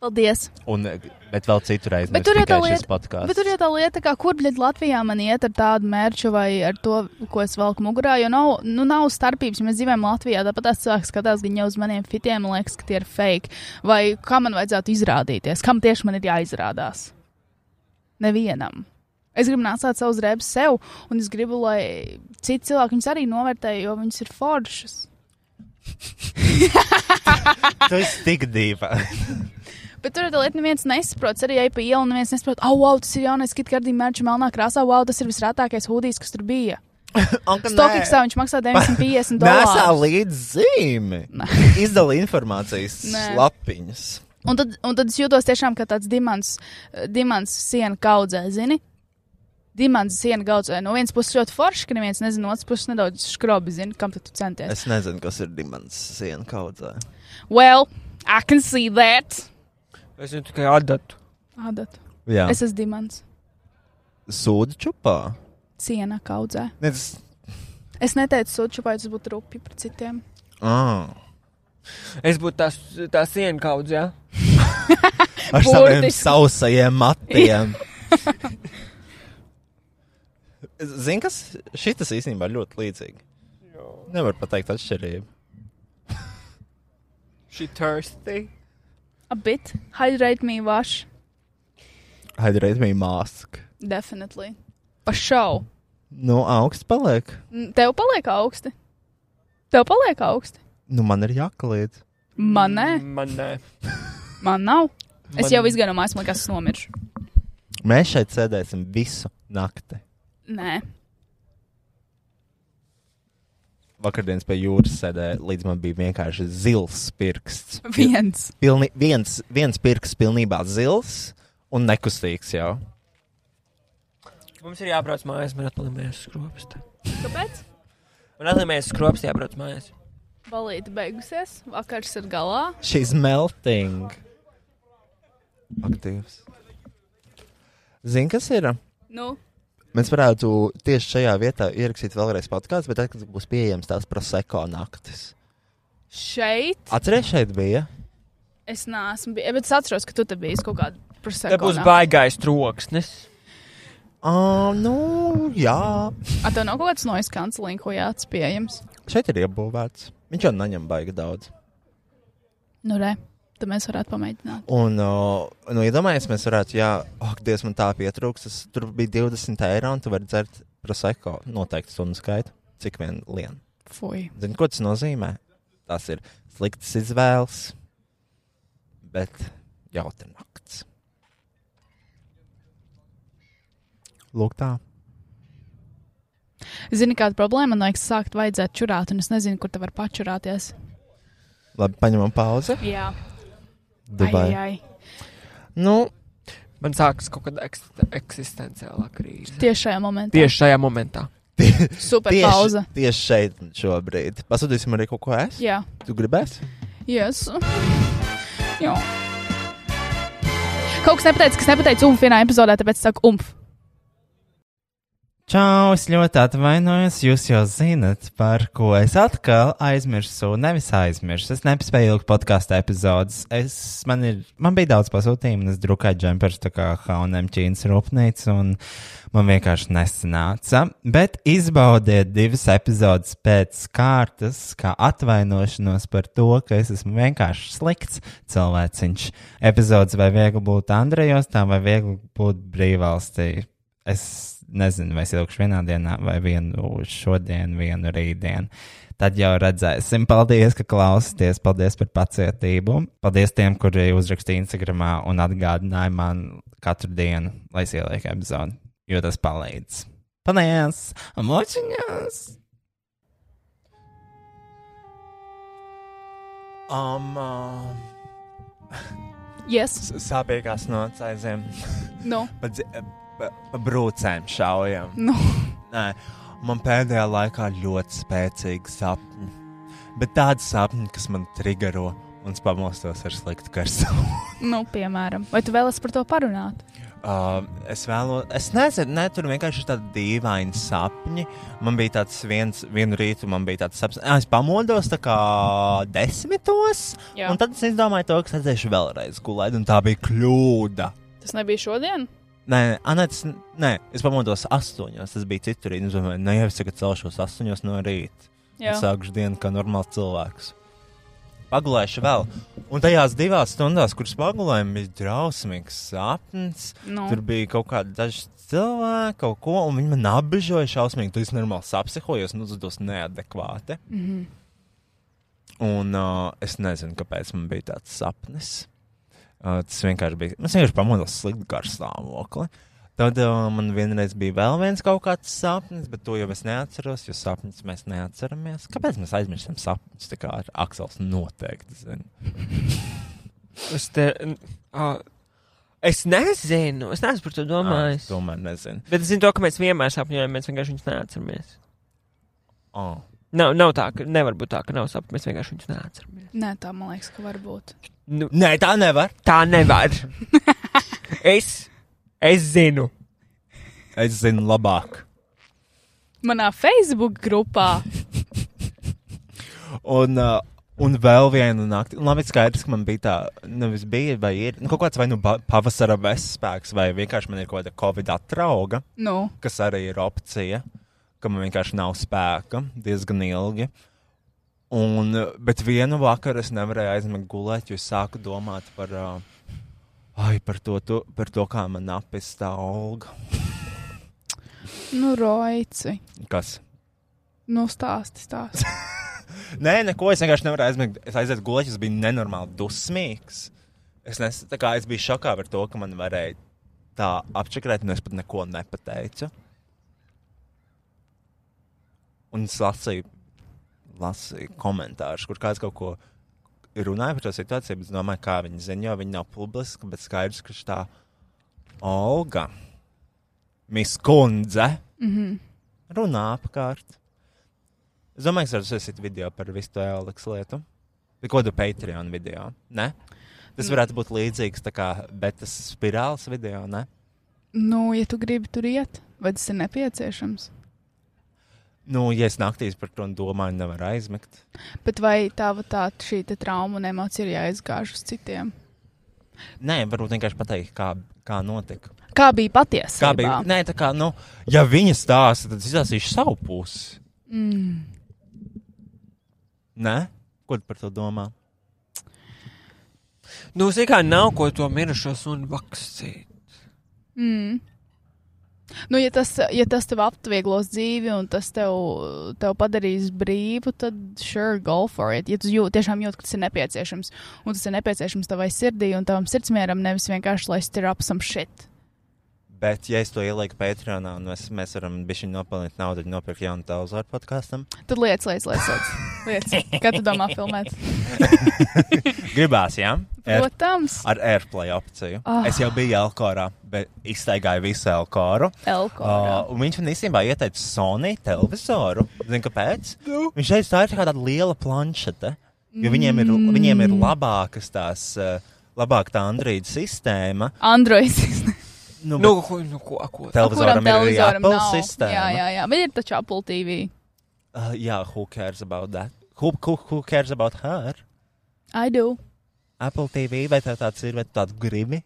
Speaker 3: Paldies!
Speaker 2: Un, bet vēl citur aiz.
Speaker 3: Bet tur ir tā lieta-
Speaker 2: podkāsts.
Speaker 3: Bet tur jau tā lieta, kā kur bļaļ Latvijā man iet ar tādu mērķu vai ar to, ko es velku mugurā, jo nav, nu, nav starpības. Ja mēs dzīvojam Latvijā, tāpat tās cilvēks skatās gan jau uz maniem fitiem, un liekas, ka tie ir fake. Vai kā man vajadzētu izrādīties? Kam tieši man ir jāizrādās? Nevienam. Es gribu nācāt savus drēbes sev, un es gribu, lai citi cilvēki viņus arī novērtē, jo viņas ir foršas.
Speaker 2: Tu esi tik dīva.
Speaker 3: Bet tur ir tā lieta, ka neviens nesaprot. Es Arī ej pa ielu, un neviens nesaprot, ah, oh, wow, tas ir jaunais kitkārdīgi mērķis, melnā krāsā, wow, tas ir visrētākais hūdijs, kas tur bija. Stokiksā viņš maksā
Speaker 1: Nesā
Speaker 3: 950 dolārus.
Speaker 1: līdzi zīmi. Izdala informācijas
Speaker 3: Nē.
Speaker 1: lapiņas.
Speaker 3: Un tad, un tad es jūtos tiešām kā tāds dimants, eh, dimants siena kaudzē, zini? Dimants siena kaudzē. No vienas puses ļoti forši, ka neviens nezina, no otras puses nedaudz skrobi, zini, kam tad tu centies.
Speaker 1: Es nezinu, kas ir dimants sienu kaudzē.
Speaker 3: Well, I can see that.
Speaker 4: Es viņu tikai atdatu.
Speaker 3: Adat.
Speaker 1: Jā.
Speaker 3: Es esmu dimants
Speaker 1: Sūdu čupā.
Speaker 3: siena kaudzē.
Speaker 1: Nē, tas...
Speaker 3: Es neteicu sūču, vai tas būtu rupi par citiem.
Speaker 1: Ah.
Speaker 4: Es būtu tās, tā siena kaudz, jā.
Speaker 1: Ar saviem
Speaker 3: Burtiski.
Speaker 1: sausajiem matiem. Zini, kas šitas īstenībā ir ļoti līdzīgi. Nevar pateikt atšķirību.
Speaker 4: She thirsty.
Speaker 3: A bit. Hydrate me wash.
Speaker 1: Hydrate me mask.
Speaker 3: Definitely. Pa šau.
Speaker 1: Nu, augsts paliek.
Speaker 3: N- Tev paliek augsti. Tev paliek augsti.
Speaker 1: Nu, man ir jāklīt.
Speaker 3: Man nē.
Speaker 4: Man nē.
Speaker 3: Man nav. Man... Es
Speaker 4: Man-
Speaker 3: jau izgāju no mājas, man liekas, es nomiršu.
Speaker 1: Mēs šeit sēdēsim visu nakti.
Speaker 3: Nē,
Speaker 1: Vakardienas pie jūras sēdēja, līdz man bija vienkārši zils pirksts.
Speaker 3: viens.
Speaker 1: Pilni, viens, viens pirksts pilnībā zils un nekustīgs jau.
Speaker 4: Mums ir jābrauc mājās, man atlimējas skropsta.
Speaker 3: Kāpēc?
Speaker 4: Man atlimējas skropsta, jābrauc mājās.
Speaker 3: Balīti beigusies, vakars ir galā.
Speaker 1: She's melting. Aktīvs. Zini, kas ir?
Speaker 3: Nu,
Speaker 1: Mēs varētu tieši šajā vietā ierakstīt vēlreiz podkāstu, bet tad būs pieejams tās proseko naktis.
Speaker 3: šeit
Speaker 1: Atcerieties, šeit bija.
Speaker 3: es neesmu bijis, bet es atceros, ka tu te biji kaut kāda
Speaker 4: Te
Speaker 3: prasēta.
Speaker 4: būs baigais troksnis.
Speaker 1: Ah, nu, jā.
Speaker 3: Ar tev nav kaut kāds noise cancelling, ko jāatspējams.
Speaker 1: Šeit ir iebūvēts. Viņš jau neņem baigi daudz.
Speaker 3: Nu, re, tad mēs varētu pamēģināt.
Speaker 1: Un, o, nu, iedomājieties, mēs varētu, jā, oh, Dievs, man tā pietrūks. Tas, tur bija 20 eiro, un tu vari dzert proseko noteikti stundu skaitu, cik vien lien.
Speaker 3: Fui.
Speaker 1: Zini, ko tas nozīmē? Tas ir slikts izvēles, bet jautra nakts. Lūk, tā.
Speaker 3: Zini, kāda problēma man liekas, sākt vajadzētu čurāt, un es nezinu, kur te var pačurāties.
Speaker 1: Labi, paņemam pauzi.
Speaker 3: Jā,
Speaker 1: Dubai.
Speaker 3: ai, ai.
Speaker 4: Nu, man sākas kaut kāda ekst- eksistenciālā krīze.
Speaker 3: Tieši šajā momentā.
Speaker 4: Tieši šajā momentā.
Speaker 3: Super
Speaker 6: Tieši-
Speaker 3: pauze.
Speaker 6: Tieši šeit šobrīd. Pasūtīsim arī kaut ko es.
Speaker 3: Jā,
Speaker 6: Tu gribēsi?
Speaker 3: yes. Jā. Kaut kas nepateicis, kas nepateicis umf vienā epizodē, tāpēc saku umf.
Speaker 1: Čau, es ļoti atvainojos. Jūs jau zinat, par ko es atkal aizmirsu. Nevis aizmirsu, es nespēju ilgi podkāstu epizodus. Es, man, ir, man bija daudz pasūtījumu, un es drukāju džempers, tā kā Haunam Čīnas rūpnīca, un man vienkārši nesanāca. Bet izbaudiet divas epizodes pēc kārtas, kā atvainošanos par to, ka es esmu vienkārši slikts cilvēciņš. Epizodes vai viegli būt Andrejos, tā vai viegli būt brīvvalstī. Es nezinu, vai es ilgšu vienā dienā, vai vienu šodien, vienu rītdienu. Tad jau redzēsim. Paldies, ka klausāties. Paldies par pacietību. Paldies tiem, kuri uzrakstīja Instagram un atgādināja man katru dienu, lai es ielieku epizodi, jo tas palīdz. Paldies! Močiņās!
Speaker 2: Um, uh,
Speaker 3: Yes, Nu.
Speaker 2: sāpīgās nots aizējām.
Speaker 3: no.
Speaker 2: Pa, dzi- eh, pa, pa brūcēm šaujam.
Speaker 3: Nu.
Speaker 2: Nē, man pēdējā laikā ļoti spēcīgi sapņi. Bet tādi sapņi, kas man trigero un es pamostos ar sliktu karstumu.
Speaker 3: Nu, piemēram, vai tu vēlas par to parunāt?
Speaker 2: Uh, es vēlos, es nezinu, ne, tur vienkārši ir tādi dīvaini sapņi. Man bija tāds viens, vienu rītu, man bija tāds sapnis, Ah, es pamodos tā kā desmitos,
Speaker 3: Jā,
Speaker 2: un tad es izdomāju to, ka redzēšu vēlreiz gulēt, un tā bija kļūda.
Speaker 3: tas nebija šodien.
Speaker 2: Nē, Anets, nē, es pamodos astoņos. Tas bija citur. Es domāju, ne jau es tagad celšos astoņos no rīta.
Speaker 3: Jā,
Speaker 2: Es sākušu dienu kā normāls cilvēks. Pagulējuši vēl. Un tajās divās stundās, kuras pagulējām, bija drausmīgs sapnis.
Speaker 3: nu.
Speaker 2: Tur bija kaut kāda daži cilvēki, kaut ko, un viņi man apbežoja šausmīgi. Tu esi normāli sapsihojos, nu, tas neadekvāti.
Speaker 3: Mm -hmm.
Speaker 2: Un uh, es nezinu, kāpēc man bija tāds sapnis. Uh, tas vienkārši bija. Es vienkārši pamodos slikti gar stāvokli. Tad uh, man vienreiz bija vēl viens kaut kāds sapnis, bet to jau es neatceros, jo sapnis mēs neatceramies. Kāpēc mēs aizmirstam sapnis? Tā kā ar Aksels noteikti zina.
Speaker 4: Es, te, n- ā, es nezinu, es neesmu par to
Speaker 2: Ā, es
Speaker 4: domājis.
Speaker 2: Tomēr nezinu.
Speaker 4: Bet es zinu, to, ka mēs vienmēr sapņojam, mēs vienkārši viņus neatceramies.
Speaker 2: Oh.
Speaker 4: Nav, nav tā, ka nevar būt tā, ka nav sapņu, mēs vienkārši viņus neatceramies.
Speaker 3: Nē, tā man liekas, ka var būt.
Speaker 4: Nu,
Speaker 2: Nē, tā nevar.
Speaker 4: tā nevar. es, es zinu.
Speaker 2: Es zinu labāk.
Speaker 3: Manā Facebook grupā
Speaker 2: Un, uh, un vēl vienu nakti. Un Labi, skaidrs, ka man bija tā, nevis bija, vai ir nu, kaut kāds vai nu ba- pavasara bezspēks, vai vienkārši man ir kaut kāda covid atrauga,
Speaker 3: nu,
Speaker 2: kas arī ir opcija, ka man vienkārši nav spēka diezgan ilgi. Un, uh, bet vienu vakaru es nevarēju aizmigt gulēt, jo es sāku domāt par, uh, ai, par, to, to, par to, kā man apēst tā auga.
Speaker 3: nu roici.
Speaker 2: Kas?
Speaker 3: Nu, stāsti, stāsti.
Speaker 2: Nē, neko es vienkārši nevaru aizmigt. Es aizēju gulēt, es biju nenormāli dusmīgs. Es, nes, tā kā, es biju šokā par to, ka man varēja tā apčakarēt, un es pat neko nepateicu. Un es lasīju, lasīju komentārus, kur kāds kaut ko runāja par šo situāciju, bet es domāju, kā viņi zina, jo viņi nav publiski, bet skaidrs, ka šī Olga, miskundze,
Speaker 3: Mm -hmm.
Speaker 2: runā apkārt. Es domāju, ka tas ir video par visu to Aleks lietu. Vai Ko tu Patreon video? Ne? Tas varētu būt līdzīgs tā kā betas spirāles video, ne?
Speaker 3: Nu, ja tu gribi tur iet, vai tas ir nepieciešams?
Speaker 2: Nu, ja es naktīs par to domāju, nevar aizmigt.
Speaker 3: Bet vai tava tā šī te trauma un emocija ir jāizgāž uz citiem?
Speaker 2: Nē, varbūt vienkārši pateikt, kā, kā notika.
Speaker 3: Kā bija patiesībā?
Speaker 2: Kā bija? Nē, tā kā, nu, ja viņa stāsta, tad es izlasīšu savu pusi.
Speaker 3: Mm.
Speaker 2: Nē? Ko tu par to domā?
Speaker 4: Nu, es kā nav ko to mirušo sunu vakcīt.
Speaker 3: Mm. Nu, ja tas, ja tas tev atvieglos dzīvi un tas tev, tev padarīs brīvu, tad sure, go for it. Ja tu jūt, tiešām jūti, ka tas ir nepieciešams, un tas ir nepieciešams tavai sirdī un tavam sirdsmieram, nevis vienkārši lai stir up some shit.
Speaker 2: Bet, ja es to ielieku Patreonā, un mēs, mēs varam bišķi nopelnīt naudu, nopirkt jaunu tauzu ar podkāstam,
Speaker 3: Tad lietas, lietas, lietas. lietas. lietas. Kā tu domā filmēt?
Speaker 2: gribās, jā? Air,
Speaker 3: Protams,
Speaker 2: ar AirPlay opciju.
Speaker 3: Ah.
Speaker 2: Oh. Es jau biju Elkorā, bet iztaigāju visu Elkoru.
Speaker 3: Elko.
Speaker 2: Uh, un viņš man īstenībā ieteica Sony televizoru. Zini, kāpēc?
Speaker 3: Nu?
Speaker 2: Viņš teica, tā ir kā tāda liela planšete. Jo viņiem ir,
Speaker 3: Mm.
Speaker 2: viņiem ir labākas tās, uh, labāk tā Android
Speaker 3: Mm.
Speaker 2: sistēma.
Speaker 3: Androids.
Speaker 2: Nu,
Speaker 4: Nu, ko, nu, ko, ko? Tā.
Speaker 2: televizoram ir arī Apple
Speaker 3: nav?
Speaker 2: sistēma.
Speaker 3: Jā, jā, jā. Viņi ir taču Apple TV.
Speaker 2: Uh, jā, who cares about that? Who, who, who cares about her?
Speaker 3: I do.
Speaker 2: Apple TV vai tā tāds ir, vai tu tādu gribi?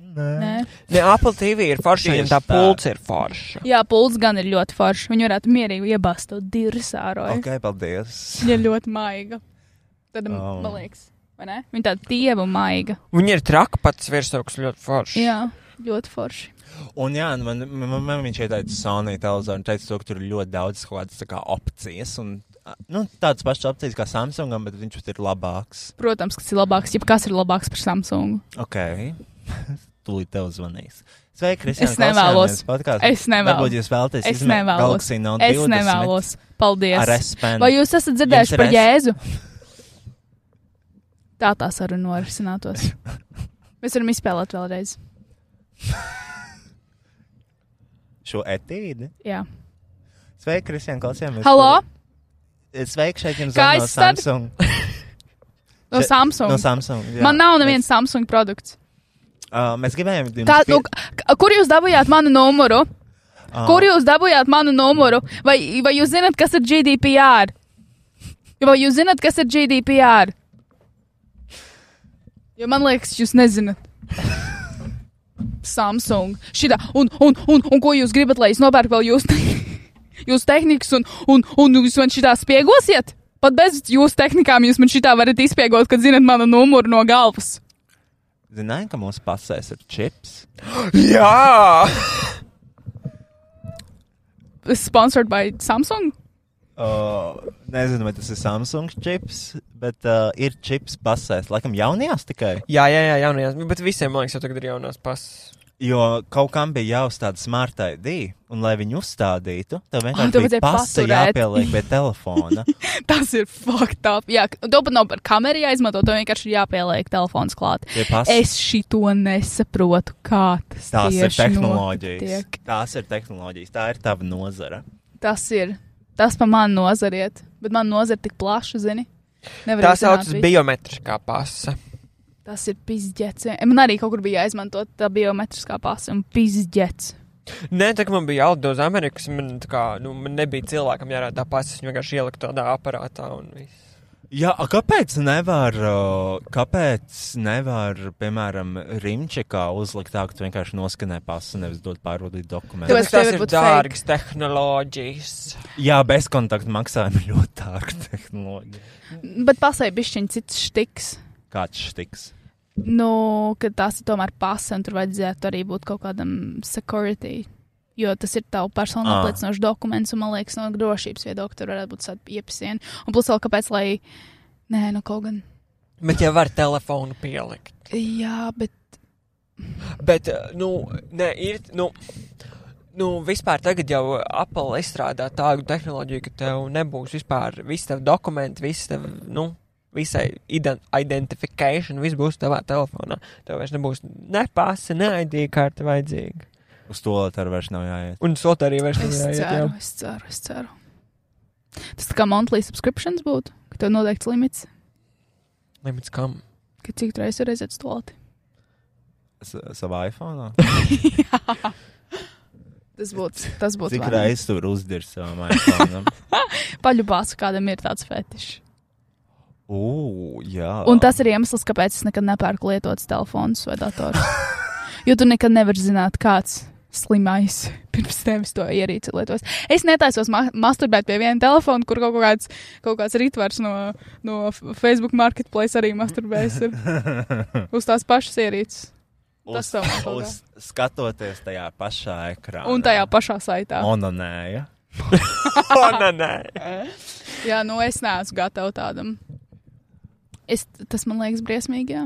Speaker 3: Nē.
Speaker 4: Ne, Apple TV ir forša,
Speaker 2: Tieši
Speaker 4: viņam tā
Speaker 2: tā.
Speaker 4: pulce ir forša.
Speaker 3: Jā, pults gan ir ļoti foršs. Viņi varētu mierīgi iebāzt to dirvis ārā.
Speaker 2: Ok, paldies.
Speaker 3: Viņa ir ļoti maiga. Tad, oh.
Speaker 2: Oh.
Speaker 3: man liekas, vai ne? Viņa tāda dieva maiga.
Speaker 4: Viņa ir traka pats virsaugs ļoti forša.
Speaker 3: Jā, ļoti forši.
Speaker 2: Un jā, nu, man, man, man viņš ieteica Sony televizoru un teica, to, ka tur ir ļoti daudz kaut kādas tā kā, opcijas. Un, ah, nu, tādas pašas opcijas kā Samsungam, bet viņš pat ir labāks.
Speaker 3: Protams, kas ir labāks, ja kas ir labāks par Samsungu.
Speaker 2: Ok. Tūlīt tev zvanīs. Sveiki, Kristija.
Speaker 3: Es nevēlos. Es nevēlos.
Speaker 2: Varbūt jūs vēlaties
Speaker 3: Es nevēlos.
Speaker 2: Galaxy Note
Speaker 3: Es
Speaker 2: 20
Speaker 3: nevēlos. Paldies.
Speaker 2: Ar S-Pen.
Speaker 3: Vai jūs esat
Speaker 2: Jums ir
Speaker 3: dzirdējuši par
Speaker 2: es?
Speaker 3: Jēzu? Tā tā saruna norisinātos. Mēs varam izspēlēt vēlreiz.
Speaker 2: Šo etīdi.
Speaker 3: Jā.
Speaker 2: Sveiki, Kristija. Klausījāmies. Eh,
Speaker 3: Halo?
Speaker 2: Sveiki, šeit jums
Speaker 3: Kā
Speaker 2: zvan no
Speaker 3: es tad-
Speaker 2: Samsung.
Speaker 3: No
Speaker 2: Še-
Speaker 3: Samsung.
Speaker 2: No Samsung. jā.
Speaker 3: Man nav neviens Samsung produkts.
Speaker 2: Uh, mēs gribējām, jums
Speaker 3: Tā,
Speaker 2: pie-
Speaker 3: nu, k- kur jūs dabūjāt manu numuru?
Speaker 2: Ā.
Speaker 3: Kur jūs dabūjāt manu numuru? Vai, vai jūs zināt, kas ir GDPR? Vai jūs zināt, kas ir GDPR? Jo man liekas, jūs nezināt. Samsung. Šitā. Un, un, un, un ko jūs gribat, lai es nopērku vēl jūs, jūs tehnikas un, un, un jūs man šitā spiegosiet? Pat bez jūsu tehnikām jūs man šitā varat izspiegot, kad zinat manu numuru no galvas.
Speaker 2: Zināju, ka mūsu pasēs ir čips.
Speaker 4: Jā!
Speaker 3: Sponsored by Samsung?
Speaker 2: Uh, nezinu, vai tas ir Samsung čips, bet uh, ir čips pasēs. Laikam jaunajās tikai.
Speaker 4: Jā, jā, jā, jaunajās, bet visiem, man liekas, jau tagad ir jaunās pasas.
Speaker 2: Jo kaut kam bija jāuzstāda smart ID, un lai viņu uzstādītu, tev vienkārši
Speaker 3: tev
Speaker 2: bija
Speaker 3: vajadzēja
Speaker 2: pasta
Speaker 3: paturēt.
Speaker 2: jāpieliek pie telefona.
Speaker 3: Tas ir fucked up. Jā, to pat nav par kameru jāizmanto. To vienkārši ir jāpieliek telefons klāt.
Speaker 2: Pie pasta.
Speaker 3: Es šito nesaprotu, kā tas
Speaker 2: Tās ir
Speaker 3: tieši
Speaker 2: tehnoloģijas.
Speaker 3: notiek.
Speaker 2: Tās ir tehnoloģijas. Tā ir tava nozara.
Speaker 3: Tas ir. Tas pa man nozariet. Bet man nozara tik plaša, zini. Nevar
Speaker 4: Tā
Speaker 3: izzināt
Speaker 4: saucas
Speaker 3: visu.
Speaker 4: biometriskā pasa.
Speaker 3: Tas ir pizģets. Man arī kaut kur bija jāizmanto tā biometriskā pasa un pizģets.
Speaker 4: Nē, tā kā man bija jālido uz Amerikas, man, tā kā, nu, man nebija cilvēkam jārāda tā pasa, viņa vienkārši ielika tādā aparātā un viss.
Speaker 2: Jā, a kāpēc nevar, uh, kāpēc nevar, piemēram, rīčekā uzlikt tā, ka tu vienkārši noskanē pasu, nevis dod pārvadīt dokumentu?
Speaker 3: Tev-
Speaker 4: Tāpēc tās
Speaker 3: tev
Speaker 4: ir
Speaker 3: būtu
Speaker 4: dārgas tehnoloģijas.
Speaker 2: Jā, bezkontaktu maksājumi ir ļoti dārga tehnoloģija.
Speaker 3: Bet pasai bišķiņ cits štiks.
Speaker 2: Kāds štiks?
Speaker 3: Nu, ka tās ir tomēr pasa un tur vajadzētu arī būt kaut kādam security. Jo tas ir tavs personīgi
Speaker 2: Ā.
Speaker 3: apliecinošs dokuments, un man liekas, no drošības viedokļa tur varētu būt tāda iepsiena. Un plus vēl kāpēc, lai. Nē, nu kaut gan.
Speaker 4: Bet ja var telefonu pielikt.
Speaker 3: Jā, bet.
Speaker 4: Bet, eh, nu, nē, ir, nu, nu, vispār tagad jau Apple izstrādā tādu tehnoloģiju, ka tev nebūs vispār visi tavi dokumenti, visi tev, nu, visai ident- identification, viss būs tavā telefonā. Tev vairs nebūs ne pasi, ne ID karte vajadzīga.
Speaker 2: Uz to lietu vairs nav jāiet.
Speaker 4: Un sot arī vairs
Speaker 3: Es
Speaker 4: nevarēja iet,
Speaker 3: ceru,
Speaker 4: jā.
Speaker 3: es ceru, es ceru. Tas tā kā monthly subscriptions būtu, ka tev noteikts limits,
Speaker 4: Limits kam?
Speaker 3: ka cik tu reizes reizes stulti.
Speaker 2: S savā iPhone?
Speaker 3: Tas būtu. Tas būtu.
Speaker 2: Cik
Speaker 3: vai ne?
Speaker 2: reizes tu vari uzdirst savam iPhone? Nu?
Speaker 3: Paļubās, kādam ir tāds fetišs.
Speaker 2: Ugh, jā.
Speaker 3: Un tas ir iemesls, kāpēc es nekad nepērku lietotus telefonus vai datorus. Jo tu nekad nevari zināt, kāds slimais pirms tevis to ierīci lietos. Es netaisos ma masturbēt pie viena telefona, kur kaut kāds, kaut kāds rītvars no, no F- Facebook marketplace arī masturbēs ir uz tās pašas ierīces. tas tev nav kaut
Speaker 2: uz skatoties tajā pašā ekrānā.
Speaker 3: Un tajā pašā saitā.
Speaker 2: Onanēja.
Speaker 4: O, nē, nē.
Speaker 3: Jā, nu es neesmu gatava tādam. Es, tas man liekas briesmīgi, jā.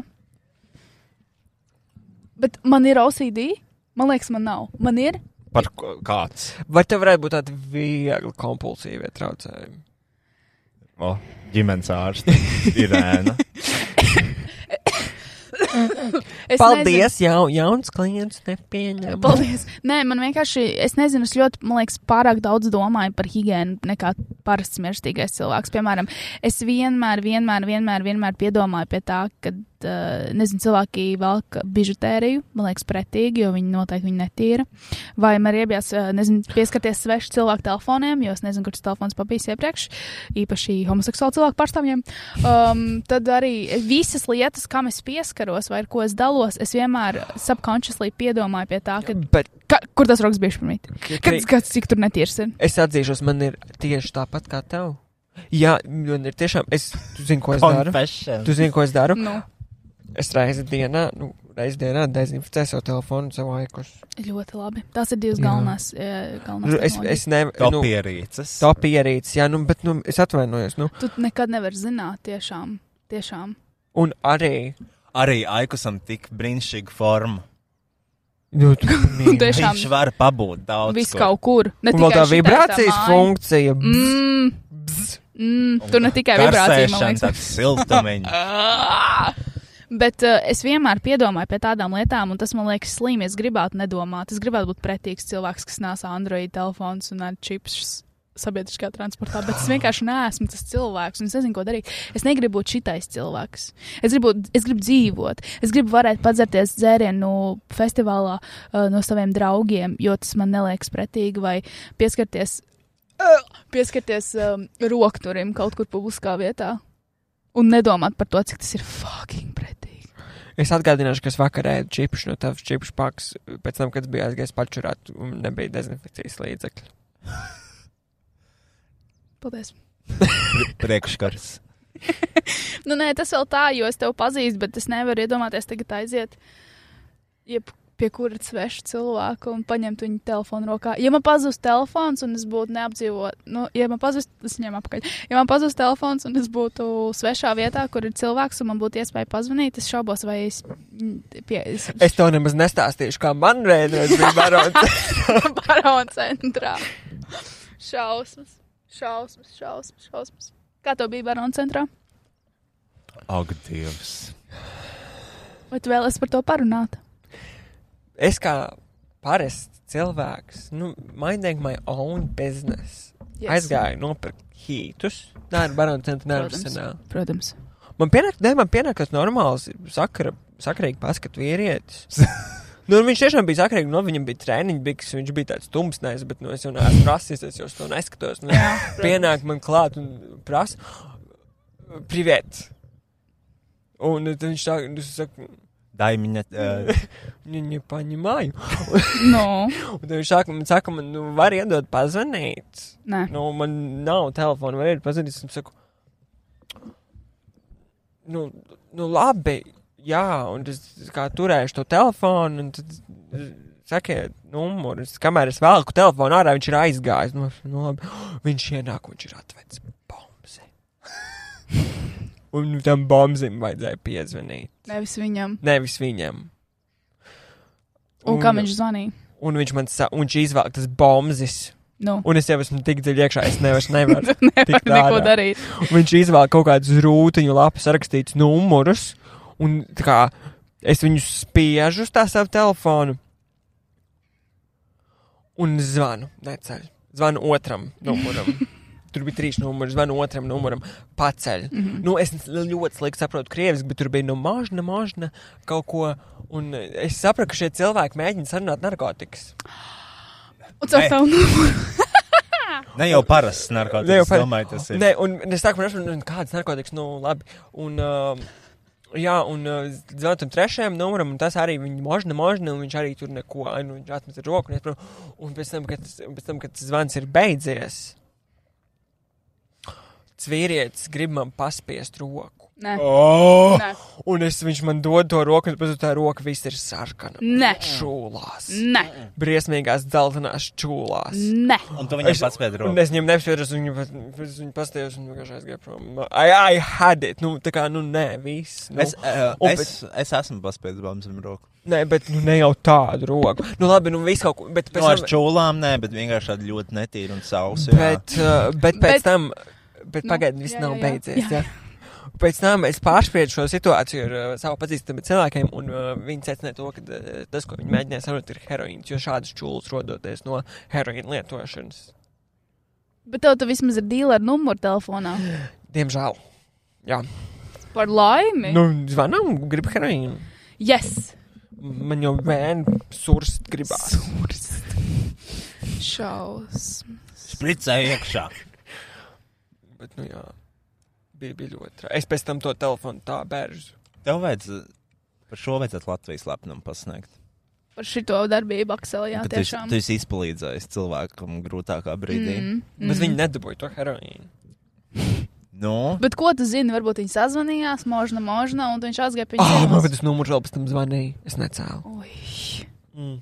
Speaker 3: Bet man ir OCD, Man liekas, man nav. Man ir.
Speaker 2: Par ko- kāds?
Speaker 4: Vai tev varētu būt tāda viegla kompulsīva traucējuma?
Speaker 2: O, ģimenes ārsts Irēna.
Speaker 3: Es nezinu.
Speaker 4: Paldies, jau, jauns klients nepieņem.
Speaker 3: Paldies. Nē, man vienkārši, es nezinu, es ļoti, man liekas, pārāk daudz domāju par higiēnu nekā parasts mirstīgais cilvēks. Piemēram, es vienmēr, vienmēr, vienmēr, vienmēr piedomāju pie tā, ka, uh, nezinu, cilvēki velk bižutēriju, man liekas, pretīgi, jo viņi noteikti viņu netīra. Vai man ir iebijās, uh, nezinu, pieskarties svešu cilvēku telefoniem, jo es nezinu, kurš telefons papīs iepriekš, īpaši homoseksuālu cilvēku pārstāvjiem. Um, tad arī visas lietas, kam es pieskaros vai ar ko es dalos, es vienmēr subconsciously piedomāju pie tā, ka
Speaker 4: Bet
Speaker 3: Ka, kur tas rokas bija pirmīt? Kad
Speaker 4: Kad-
Speaker 3: skats, cik tur netīrs ir?
Speaker 4: es atzīšos, man ir tieši tāpat kā tev. Jā, man ir tiešām, es tu zinu, ko es daru.
Speaker 1: Confession.
Speaker 4: Tu zini, ko es daru.
Speaker 3: Nu,
Speaker 4: Es reizi dienā, nu, reizi dienā dezinficēju savu telefonu, savu laiku.
Speaker 3: ļoti labi. Tās ir divas
Speaker 4: Jā.
Speaker 3: galvenās. eh, galvenās
Speaker 4: Nu, es
Speaker 3: tehnoloģijas.
Speaker 4: es nevaru. Nu,
Speaker 2: Topierīces.
Speaker 4: to pierīts, jā, nu, bet nu, es atvainojos. Nu.
Speaker 3: Tu nekad nevari zināt, tiešām. tiešām.
Speaker 4: Un arī.
Speaker 1: Arī Aikusam tik brīnišķīga forma.
Speaker 4: Nu, tu,
Speaker 3: Un tiešām
Speaker 1: Viņš var pabūt daudz.
Speaker 3: viss
Speaker 1: kur.
Speaker 3: kaut kur. Ne
Speaker 4: un vēl
Speaker 3: tikai
Speaker 4: tā
Speaker 3: šitā,
Speaker 4: vibrācijas
Speaker 3: māja.
Speaker 4: funkcija. Mm.
Speaker 3: Mm, mm, tur ne tikai vibrācija, man
Speaker 1: Karsēšana,
Speaker 3: liekas.
Speaker 1: tāds siltumiņš.
Speaker 3: Ah! Bet uh, es vienmēr piedomāju par tādām lietām, un tas man liekas slīmi. Es gribētu nedomāt. Es gribētu būt pretīgs cilvēks, kas nāca Android telefons un ar čips sabiedriskā transportā, bet es vienkārši neesmu tas cilvēks, un es nezinu, ko darīt. Es negribu būt šitais cilvēks. Es gribu, es gribu dzīvot, es gribu varēt padzerties dzērienu festivālā uh, no saviem draugiem, jo tas man neliekas pretīgi, vai pieskarties, uh, pieskarties um, rokturim kaut kur publiskā vietā un nedomāt par to, cik tas ir fucking pretīgi.
Speaker 4: Es atgādināšu, ka es vakar ēdu čipšu no tavas čipšu pakas, pēc tam, kad es biju aizgājis pačurāt un nebija dezinfekcijas līdzekļi.
Speaker 3: Paldies.
Speaker 1: Priekškars.
Speaker 3: Nu, nē, tas vēl tā, jo es tevi pazīstu, bet es nevaru iedomāties, tagad aiziet jeb pie kura sveša cilvēka un paņemt viņu telefonu rokā. Ja man pazūs telefons un es būtu neapdzīvot, nu, ja man pazūs, es ņemu apakaļ. Ja man pazūs telefons un es būtu svešā vietā, kur ir cilvēks un man būtu iespēja pazvanīt, es šaubos, vai es. mm, Pie, es,
Speaker 4: Es to nemaz nestāstīšu, kā man reiz bija barons.
Speaker 3: Barona centrā. Šausmas, šausmas, šausmas, šausmas. Kā tev bija Barona centrā?
Speaker 2: Ak, Dievs.
Speaker 3: Vai tu vēlies par to parunāt?
Speaker 4: es kā parasts cilvēks, nu, minding my own business. Yes. Aizgāju nopirkt hītus, nē, nu, ar baronu centru
Speaker 3: Protams.
Speaker 4: nervusenā.
Speaker 3: Protams.
Speaker 4: Man pienāk, ne, man pienākas normāls, sakara, sakarīgi paskat vīrietis. Nu, un viņš tiešām bija sakrīgi, no viņam bija treniņš, biks, viņš bija tāds tumsnēs, bet, nu, es jau neesmu prasījis, es jau uz to neskatos. Nu, pienāk man klāt un prasa, priviet. Un tad viņš tā, nu, es saku,
Speaker 1: Daimiņa. Uh,
Speaker 4: viņa nepaņemāju.
Speaker 3: No,
Speaker 4: Un tad viņš saka, man saka, man, nu, var iedot pazvanīt.
Speaker 3: nē.
Speaker 4: Nu, man nav telefona, man ir pazudis. Es saku, nu, nu labi, jā, un es kā turēšu to telefonu, un tad eh, sakiet, numuru. Es, kamēr es velku telefonu ārā, viņš ir aizgājis. Nu, nu, labi. viņš ienāk, un viņš ir atvedis bomzi. un tam bombzim vajadzēja piezvanīt.
Speaker 3: Nevis viņam.
Speaker 4: Nevis viņam.
Speaker 3: Un kam viņš zvanīja?
Speaker 4: Un viņš man sa, un viņš izvelk tas bombzis.
Speaker 3: Nu.
Speaker 4: Un es jau esmu tik dziļi iekšā, es nevaru, nevaru.
Speaker 3: Nevar
Speaker 4: tik tādā.
Speaker 3: neko darīt.
Speaker 4: Viņš izvēlēja kaut kādus rūtiņu lapus, rakstīts numurus, un tā kā es viņus spiežu uz tā savu telefonu. Un zvanu, neceļ. Zvanu otram numuram. Tur bija trīs numuri, zvanu otram numuram, paceļ. Mm -hmm. Nu, es ļoti slikti saprotu krieviski, bet tur bija no mažna, mažna kaut ko. Un es sapratu, ka šie cilvēki mēģina sarunāt narkotikas.
Speaker 3: Un caur nu-
Speaker 1: Nē.
Speaker 3: savu numuru.
Speaker 1: ne jau parasts narkotikas.
Speaker 4: Ne jau par-
Speaker 1: Domāju, tas ir.
Speaker 4: Nē, un un es saku, protams, nu, kādas narkotikas, nu, labi. Un, uh, jā, un uh, zvanu tam trešajam numuram, un tas arī viņa možna, možna, un viņš arī tur neko, ai, nu, viņš atmet roku, un, es, pravu, un pēc, tam, kad, tas- pēc tam, kad tas zvans ir beidzies, cvīrietis grib man paspiest roku.
Speaker 3: Nē,
Speaker 4: Oh!
Speaker 3: nē,
Speaker 4: Un es, viņš man dod to roku, un pēc tam tā roka viss ir sarkana.
Speaker 3: Nē.
Speaker 4: Čūlās.
Speaker 3: nē,
Speaker 4: Briesmīgās dzeltenās čūlās.
Speaker 3: nē.
Speaker 7: Un tu viņam pats
Speaker 4: Un
Speaker 7: pēdējo.
Speaker 4: es viņam nepieskaros, viņu, pat- es viņu pastījos, un vienkārši aizgāju prom. I, I had it. Nu, tā kā, nu, nē, viss. Nu,
Speaker 2: Es, uh,
Speaker 4: un
Speaker 2: es, es esmu paspēdis bāmas ar roku.
Speaker 4: Nē, bet nu, ne jau tādu roku. Nu, labi, nu, viss kaut ko. Bet pēc
Speaker 2: No ar
Speaker 4: tam.
Speaker 2: čūlām, nē, bet vienkārši tādu ļoti netīru un sausu. jā.
Speaker 4: Bet, uh, bet
Speaker 3: Bet-
Speaker 4: pēc bet, tam, bet
Speaker 3: Nu,
Speaker 4: pagaidiet, viss
Speaker 3: jā,
Speaker 4: nav
Speaker 3: jā, jā.
Speaker 4: beidzies.
Speaker 3: Jā,
Speaker 4: Jā. Pēc tam es pārspēju šo situāciju ar uh, savu pazīstamu cilvēkiem, un uh, viņi secināja to, ka uh, tas, ko viņi mēģināja sarunāt, ir heroīns, jo šādas čūlas rodoties no heroīna lietošanas.
Speaker 3: Bet tev tur vismaz ir dīla ar numuru telefonā.
Speaker 4: Diemžēl. Jā,
Speaker 3: Par laimi.
Speaker 4: nu, zvanām, gribu heroīnu.
Speaker 3: Yes.
Speaker 4: Man jau bērnu surst gribās.
Speaker 3: Šausmas.
Speaker 1: Spricē iekšā.
Speaker 4: Bet, nu, jā, bija, bija ļoti. tra- Es pēc tam to telefonu tā bērzu.
Speaker 2: Tev vajadzētu par šo vajadzētu Latvijas lepnumu pasniegt.
Speaker 3: Par šito darbību Akselē, jā,
Speaker 2: Ka tu esi-
Speaker 3: tiešām.
Speaker 2: Tu esi izpalīdzējis cilvēkam grūtākā brīdī. Mm.
Speaker 4: Mm. Bet viņi nedabūja to heroīnu.
Speaker 2: Nu,
Speaker 3: Bet ko tu zini? Varbūt viņi sazvanījās, možna, možna, un viņš aizgāja pie
Speaker 4: Ah, man
Speaker 3: viņiem.
Speaker 4: tas numurs vēl pēc tam zvanīja. Es necēlu.
Speaker 3: Ui,
Speaker 4: Mm.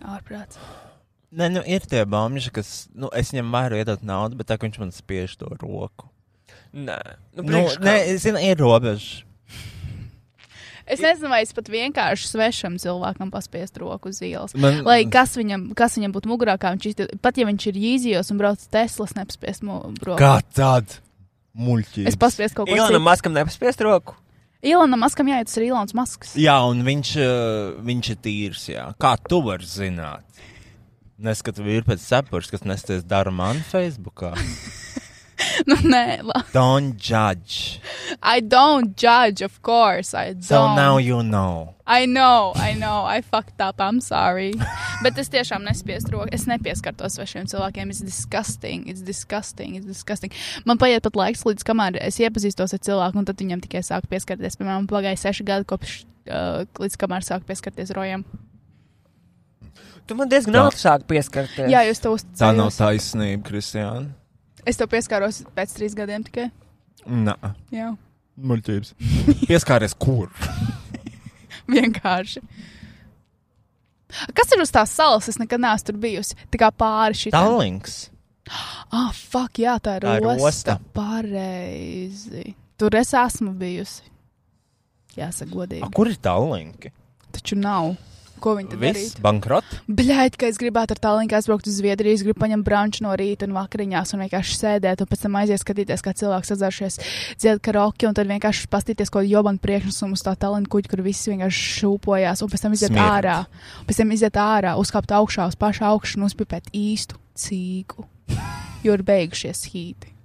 Speaker 3: ārprāts.
Speaker 2: ne, nu, ir tie bāmiņi, kas, nu, es viņam varu iedot naudu, bet tā ka viņš man spiež to roku.
Speaker 4: Nē,
Speaker 2: Nu,
Speaker 4: nu, priekš,
Speaker 2: nē, es zinu, ir robeža.
Speaker 3: Es nezinu, vai es pat vienkārši svešam cilvēkam paspiestu roku uz ielas.
Speaker 2: Man,
Speaker 3: Lai kas viņam, kas viņam būtu mugurā, kā viņš iztur, pat ja viņš ir īzijos un brauc Teslas, nepaspiest mu roku.
Speaker 2: Kā tad? Muļķīgi.
Speaker 3: Es paspiestu kaut ko
Speaker 4: Ilona
Speaker 3: citu.
Speaker 4: Maskam nepaspiest roku.
Speaker 3: Ilona Maskam, jā, tas ir Ilons Masks.
Speaker 2: Jā, un viņš, uh, viņš ir tīrs. Jā. Kā tu vari zināt? Neskatu vīru pēc saprāta, kas nesties dara man Facebookā.
Speaker 3: nu, nē, la-
Speaker 2: Don't judge.
Speaker 3: I don't judge, of course, I don't.
Speaker 2: So now you know.
Speaker 3: I know, I know, I fucked up, I'm sorry. Bet es tiešām nespiestu roku, es nepieskartos svešiem cilvēkiem. It's disgusting, it's disgusting, it's disgusting. Man paiet pat laiks, līdz kamēr es iepazīstos ar cilvēku, un tad viņam tikai sāk pieskarties. Piemēram, pagāja seši gadi kopš, uh, līdz kamēr sāk pieskarties rojam.
Speaker 4: Tu man diezgan
Speaker 2: Tā.
Speaker 4: ātri sāk pieskarties.
Speaker 3: Jā, jūs to
Speaker 2: Tā nav
Speaker 3: uzticējāt.
Speaker 2: taisnība, Kristiāna.
Speaker 3: Es tev pieskāros pēc trīs gadiem tikai.
Speaker 2: Nē,
Speaker 3: Jā,
Speaker 2: muļķības. Pieskāries kur?
Speaker 3: vienkārši. Kas ir uz tās salas? Es nekad neesmu tur bijusi. Tā kā pāri šī
Speaker 2: Tallinks.
Speaker 3: Ah, fuck, jā, tā ir
Speaker 2: Tā ir
Speaker 3: osta.
Speaker 2: osta.
Speaker 3: Pareizi. Tur es esmu bijusi. Jāsaka,
Speaker 2: A,
Speaker 3: godīgi.
Speaker 2: kur ir Tallinki?
Speaker 3: Taču nav. Ko viņi tad
Speaker 2: Viss
Speaker 3: darīja?
Speaker 2: bankrot.
Speaker 3: Bļaigi, ka es gribētu ar tālruni aizbraukt uz Zviedriju, es gribu paņemt brunču no rīta un vakariņās un vienkārši sēdēt un pēc tam aiziet skatīties, kā cilvēks sazāršies dziedāt karaoke un tad vienkārši pastīties, ko joban priekšnesumu uz tā tālruni kuģi, kur visi vienkārši šūpojās un pēc tam iziet
Speaker 2: Smirdz.
Speaker 3: ārā. Pēc tam iziet ārā, uzkāpt augšā uz pašu augšu un uzpipēt īstu cīgu, jo ir beigušies hīti.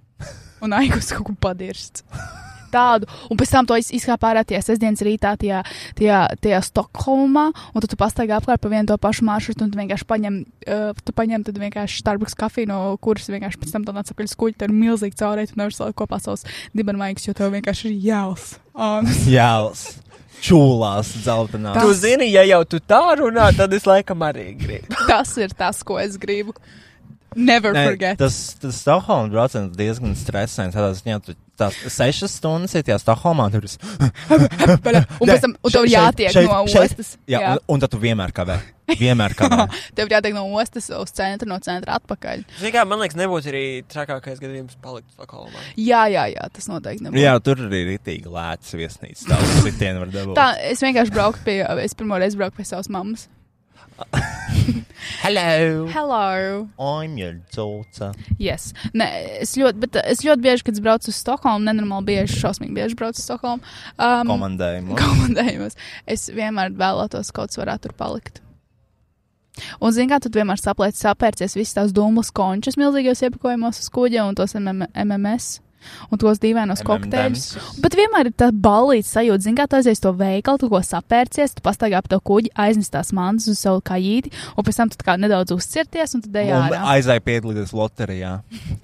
Speaker 3: Un aigus kaut ko padirst. Tādu, un pēc tam to iz- izkāpa ārā tajā sestdienas rītā, tajā, tajā, tajā Stokholmā, un tad tu pastaigā apkārt pa vienu to pašu maršrutu, un tu vienkārši paņem, uh, tu paņem tad vienkārši Starbucks kafiju, no kuras vienkārši pēc tam tā nāca pakaļ skuļi, tur ir milzīgi caurēji, tu nevar salikt kopā savus dibenmaigus, jo tev vienkārši ir jāls. Um,
Speaker 2: Jēls. Čūlās dzeltenā.
Speaker 4: Tu zini, ja jau tu tā runā, tad es laikam arī gribu.
Speaker 3: tas ir tas, ko es gribu. Never ne, forget.
Speaker 2: tas, tas Stokholmas brauciens diezgan stresains. Tādā ziņā, tu tās sešas stundas ir tajā Stokholmā. Tur es,
Speaker 3: un pēc tam, un tev
Speaker 2: Šeit-
Speaker 3: jātiek
Speaker 2: šeit-
Speaker 3: no
Speaker 2: šeit-
Speaker 3: ostas.
Speaker 2: jā, jā. Un, un tad tu vienmēr kavē. Vienmēr kavē.
Speaker 3: Tev ir jātiek no ostas uz centra, no centra atpakaļ.
Speaker 4: Zini, kā man liekas, nebūs arī trakākais gadījums palikt Stokholmā.
Speaker 3: Jā, jā, jā, tas noteikti nebūs.
Speaker 2: jā, tur arī ir itīgi lēts viesnīca. Tādu sitienu var dabūt.
Speaker 3: Tā, es vienkārši braucu pie, es pirmo reizi braucu pie savas mammas.
Speaker 2: Hello!
Speaker 3: Hello!
Speaker 2: I'm your dzūca.
Speaker 3: Yes. Nē, es ļoti, bet es ļoti bieži, kad es braucu uz Stokholmu, nenormāli bieži, šausmīgi bieži braucu uz Stokholmu. Um,
Speaker 2: Komandējumu.
Speaker 3: komandējumos. Es vienmēr vēlētos, ka kaut kas varētu tur palikt. Un, zinām, kā tu vienmēr saplēci, sapērcies visas tās dūmas končas milzīgajos iepakojumos uz kuģa un tos MM MMS. Un tos dīvainos kokteļus. Bet vienmēr ir tā balīta sajūta, zina, kā tu aizies to veikalu, tu ko sapērcies, tu pastaigā ap to kuģi, aiznes tās mantas uz savu kājīti, un pēc tam tu tā kā nedaudz uzcirties, un tad ejā.
Speaker 2: Un aizēja piedalīties loterijā,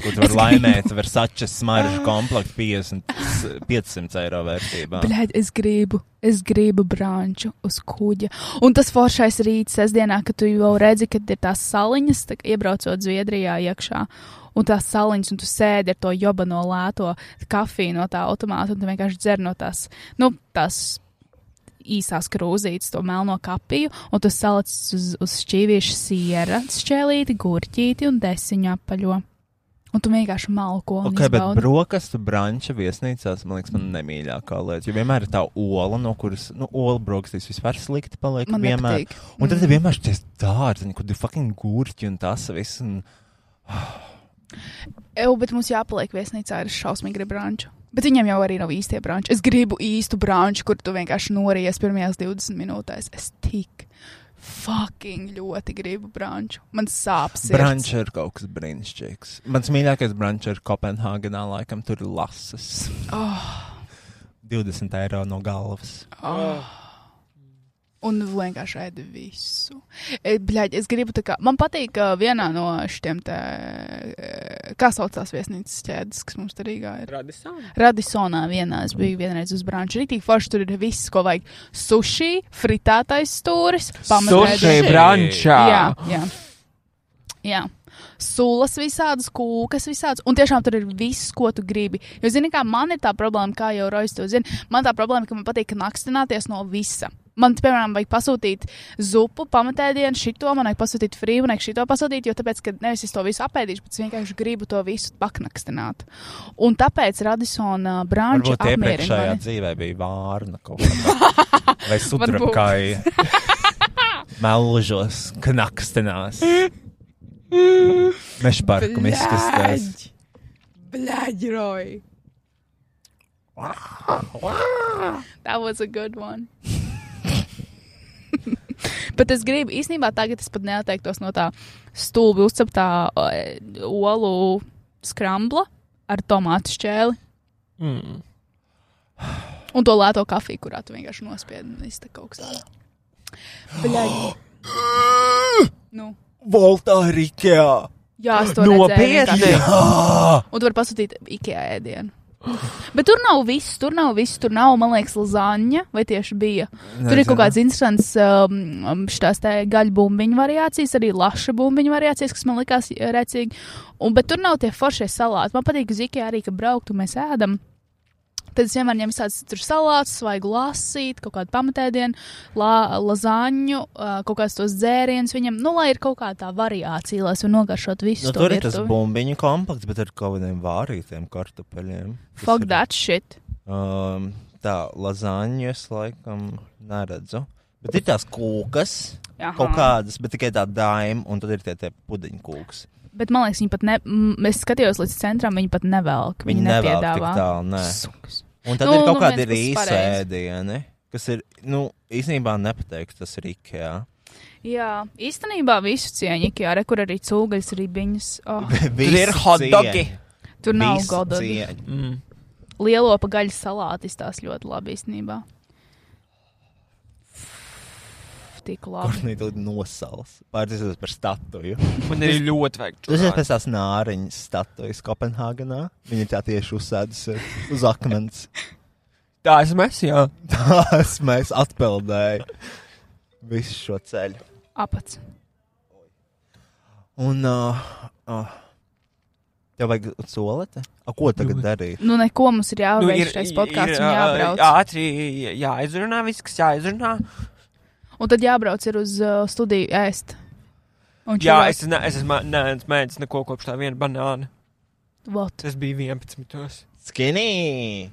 Speaker 2: kur tu vari laimēt Versačes smaržu komplektu 50, 500 eiro vērtībā.
Speaker 3: Bļaigi, es gribu, es gribu brāņu uz kuģa. Un tas foršais rīts, sestdienā, kad tu jau redzi, kad ir tās saliņas, tā, kā iebraucot Zviedrijā iekšā. un tās saliņas, un tu sēdi ar to jobano lēto kafiju no tā automāta, un tu vienkārši dzer no tās, nu, tās īsās krūzītes, to melno kapiju, un tu salic uz, uz šķīviešu siera, šķēlīti, gurķīti un desiņu apaļo. Un tu vienkārši malko. un
Speaker 2: Ok, bet
Speaker 3: izbaudi. Mm.
Speaker 2: brokastu branča viesnīcās, man liekas, man nemīļākā lieta. Jo vienmēr ir tā ola, no kuras, nu, ola brokastīs vispār slikti paliek.
Speaker 3: Man
Speaker 2: vienmēr.
Speaker 3: nepatīk. Mm.
Speaker 2: Un tad ir vienmēr šis dārziņš, kur ir fucking gurķi un tas viss. Un...
Speaker 3: Eju, bet mums jāpaliek viesnīcā ar šausmīgu branču. Bet viņiem jau arī nav īstie branči. Es gribu īstu branču, kur tu vienkārši nories pirmajās 20 minūtēs. Es tik fucking ļoti gribu branču. Man sāp sirds.
Speaker 2: Branča ir kaut kas brīnišķīgs. Mans mīļākais branča ir Kopenhāgenā, laikam tur ir lasas.
Speaker 3: Oh,
Speaker 2: 20 eiro no galvas.
Speaker 3: oh. Un vienkārši ēdu visu. E, Bļaļ, es gribu tā kā. Man patīk uh, vienā no šiem te. eh, Kā sauc tās viesnīcas ķēdes, kas mums te Rīgā ir?
Speaker 4: Radisona.
Speaker 3: Radisonā vienā es biju vienreiz uz brāļa. Rītīgi forši tur ir viss, ko vajag. Sushi, fritātais stūris,
Speaker 4: Sushi
Speaker 3: pamatīgi.
Speaker 4: brančā.
Speaker 3: Jā, jā. jā. Sulas visādas, kūkas visādas, un tiešām tur ir viss, ko tu gribi. Jo, zini, kā man ir tā problēma, kā jau Rojas to zina, man tā problēma, ka man patīk nakstināties no visa. Man, piemēram, vajag pasūtīt zupu, pamatēdienu, šito, man vajag pasūtīt frīvu, man vajag šito pasūtīt, jo tāpēc, ka nevis es to visu apēdīšu, bet es vienkārši gribu to visu paknakstināt. Un tāpēc Radisona brāņš
Speaker 2: Varbūt
Speaker 3: apmierina
Speaker 2: iepriekšējā
Speaker 3: mani.
Speaker 2: dzīvē bija vārna kaut kāda. Vai sudrabkaja. Melžos, knakstinās. Meža parku izskatās.
Speaker 3: Bļaģi, Roji! That was a good one. Bet es gribu, īstenībā, tagad es pat neatteiktos no tā stulbi uzceptā eh, olu skrambla ar tomātu šķēli
Speaker 4: Mm.
Speaker 3: un to lēto kafiju, kurā tu vienkārši nospiedi un iztek kaut kas tāds. Bļaigi. Nu,
Speaker 2: Voltā ir Ikea.
Speaker 3: jā, es to redzēju, vienkārši. Un tu vari pasūtīt IKEA ēdienu. Bet tur nav viss, tur nav viss, tur nav, man liekas, lazaņa vai tieši bija. Tur ir kaut kāds interesants um, šīs gaļu bumbiņu variācijas, arī laša bumbiņu variācijas, kas man likās eh, recīgi. Un, bet tur nav tie foršie salāti. Man patīk, ka Zikijā arī, ka brauktu mēs ēdam. Tad es vienmēr ņemu tādu tur salātu, svaigu lasīt, kaut kādu pamatēdienu, la, lazaņu, uh, kaut kādas tos dzērienus viņam, nu, lai ir kaut kā tā variācija, lai es varu nogaršot visu.
Speaker 2: Nu,
Speaker 3: to
Speaker 2: tur ir tas
Speaker 3: virtuvi.
Speaker 2: bumbiņu komplekts, bet ar kaut kādiem vārītiem kartupeļiem. Tas
Speaker 3: Fuck
Speaker 2: ir-
Speaker 3: that shit.
Speaker 2: Um, tā, lazaņas laikam neredzu. Bet ir tās kūkas,
Speaker 3: Aha.
Speaker 2: kaut kādas, bet tikai tā daima, un tad ir tie, tie pudiņu kūkas.
Speaker 3: Bet man liekas, viņi pat ne. m, Es skatījos līdz centram, viņi pat nevelk. Viņi,
Speaker 2: Viņi
Speaker 3: viņi
Speaker 2: nevēl tik
Speaker 3: nepiedāvā.
Speaker 2: tālu, nē.
Speaker 3: Sukas.
Speaker 2: Un tad
Speaker 3: Nu,
Speaker 2: nu, ir kaut
Speaker 3: nu,
Speaker 2: nu, kādi
Speaker 3: viens puses
Speaker 2: rīsa
Speaker 3: pareizi.
Speaker 2: ēdieni, kas ir, nu, īstenībā nepateikts, tas ir Ikea.
Speaker 3: Jā, īstenībā visu cieņu, jā, re, kur arī cūgaļas ribiņas. Oh,
Speaker 4: Tur ir hotdogi.
Speaker 3: tur nav godīgi.
Speaker 2: godīgi.
Speaker 4: Mm.
Speaker 3: Lielo pagaļu salāti izstās ļoti labi īstenībā. Tik labi.
Speaker 2: Kornī tad nosals. Pārties par statuju.
Speaker 4: Man arī ļoti vajag
Speaker 2: Tas ir
Speaker 4: čurāt.
Speaker 2: pēc tās nāriņas statujas Kopenhāgenā. Viņa ir tā tieši uzsēdusies uz akmens.
Speaker 4: Tā esmu es, jā.
Speaker 2: Tās mēs atpeldēju visu šo ceļu.
Speaker 3: Apats.
Speaker 2: Un, uh, uh, tev vajag solete? A, ko tagad darīt?
Speaker 3: Nu, neko mums ir
Speaker 4: Nu,
Speaker 3: jāveic nu, šais podkāsts un jābrauc.
Speaker 4: Jā, ātri jāizrunā viss, kas jāizrunā.
Speaker 3: Un tad jābrauc ir uz uh, studiju ēst. Un
Speaker 4: Jā,
Speaker 3: čurāt.
Speaker 4: es, ne, es esmu mēģinājis neko kopš tā viena banāna.
Speaker 3: What?
Speaker 4: Tas bija 11.
Speaker 2: Skinny!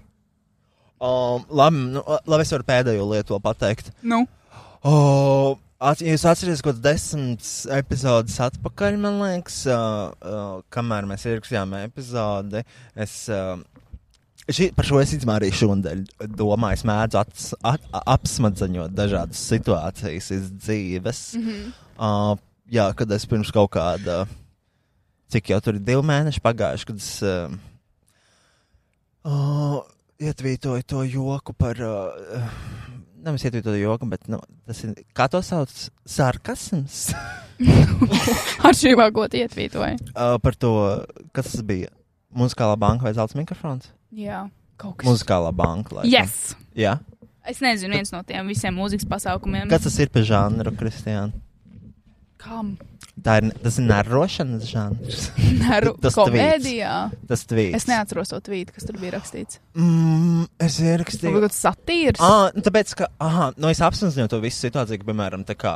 Speaker 2: Um, labi, nu, labi, es varu pēdējo lietu vēl pateikt.
Speaker 3: Nu,
Speaker 2: Oh, at, jūs atcerieties, ko desmit epizodes atpakaļ, man liekas, uh, uh, kamēr mēs ierakstījām epizodi. Es, uh, šī, par šo es īstenībā arī šodien domāju. Es mēdzu ats, at, a- apsmadzaņot dažādas situācijas iz dzīves. Mm
Speaker 3: Mhm.
Speaker 2: -hmm. uh, jā, kad es pirms kaut kāda, cik jau tur ir divi mēneši pagājuši, kad es. Uh, uh, Ietvītoju to joku par uh, Nevis iet to joku, bet nu, tas ir. Kā to sauc? Sarkasms.
Speaker 3: atšķirībā, ko tie ietvītoja.
Speaker 2: uh, par to, kas tas bija. Mūzikālā banka vai zelta mikrofons?
Speaker 3: Jā, kaut kas.
Speaker 2: Mūzikālā banka. Laikam.
Speaker 3: Yes!
Speaker 2: Jā.
Speaker 3: Mm. Es nezinu, viens no tiem visiem mūzikas pasākumiem.
Speaker 2: Kas tas ir par žanru, Kristiāna?
Speaker 3: Kam?
Speaker 2: Tā ir, tas ir nervošanas žanrs.
Speaker 3: Neru,
Speaker 2: Tas tweets.
Speaker 3: komēdijā.
Speaker 2: Tas tvīts.
Speaker 3: Es neatceros to tvītu, kas tur bija rakstīts.
Speaker 2: Mm,
Speaker 3: Tas
Speaker 2: es ierakstīju.
Speaker 3: bija kaut kas satīrs.
Speaker 2: Ah, nu tāpēc, ka, aha, nu es apzināju to visu situāciju, ka, piemēram, tā kā,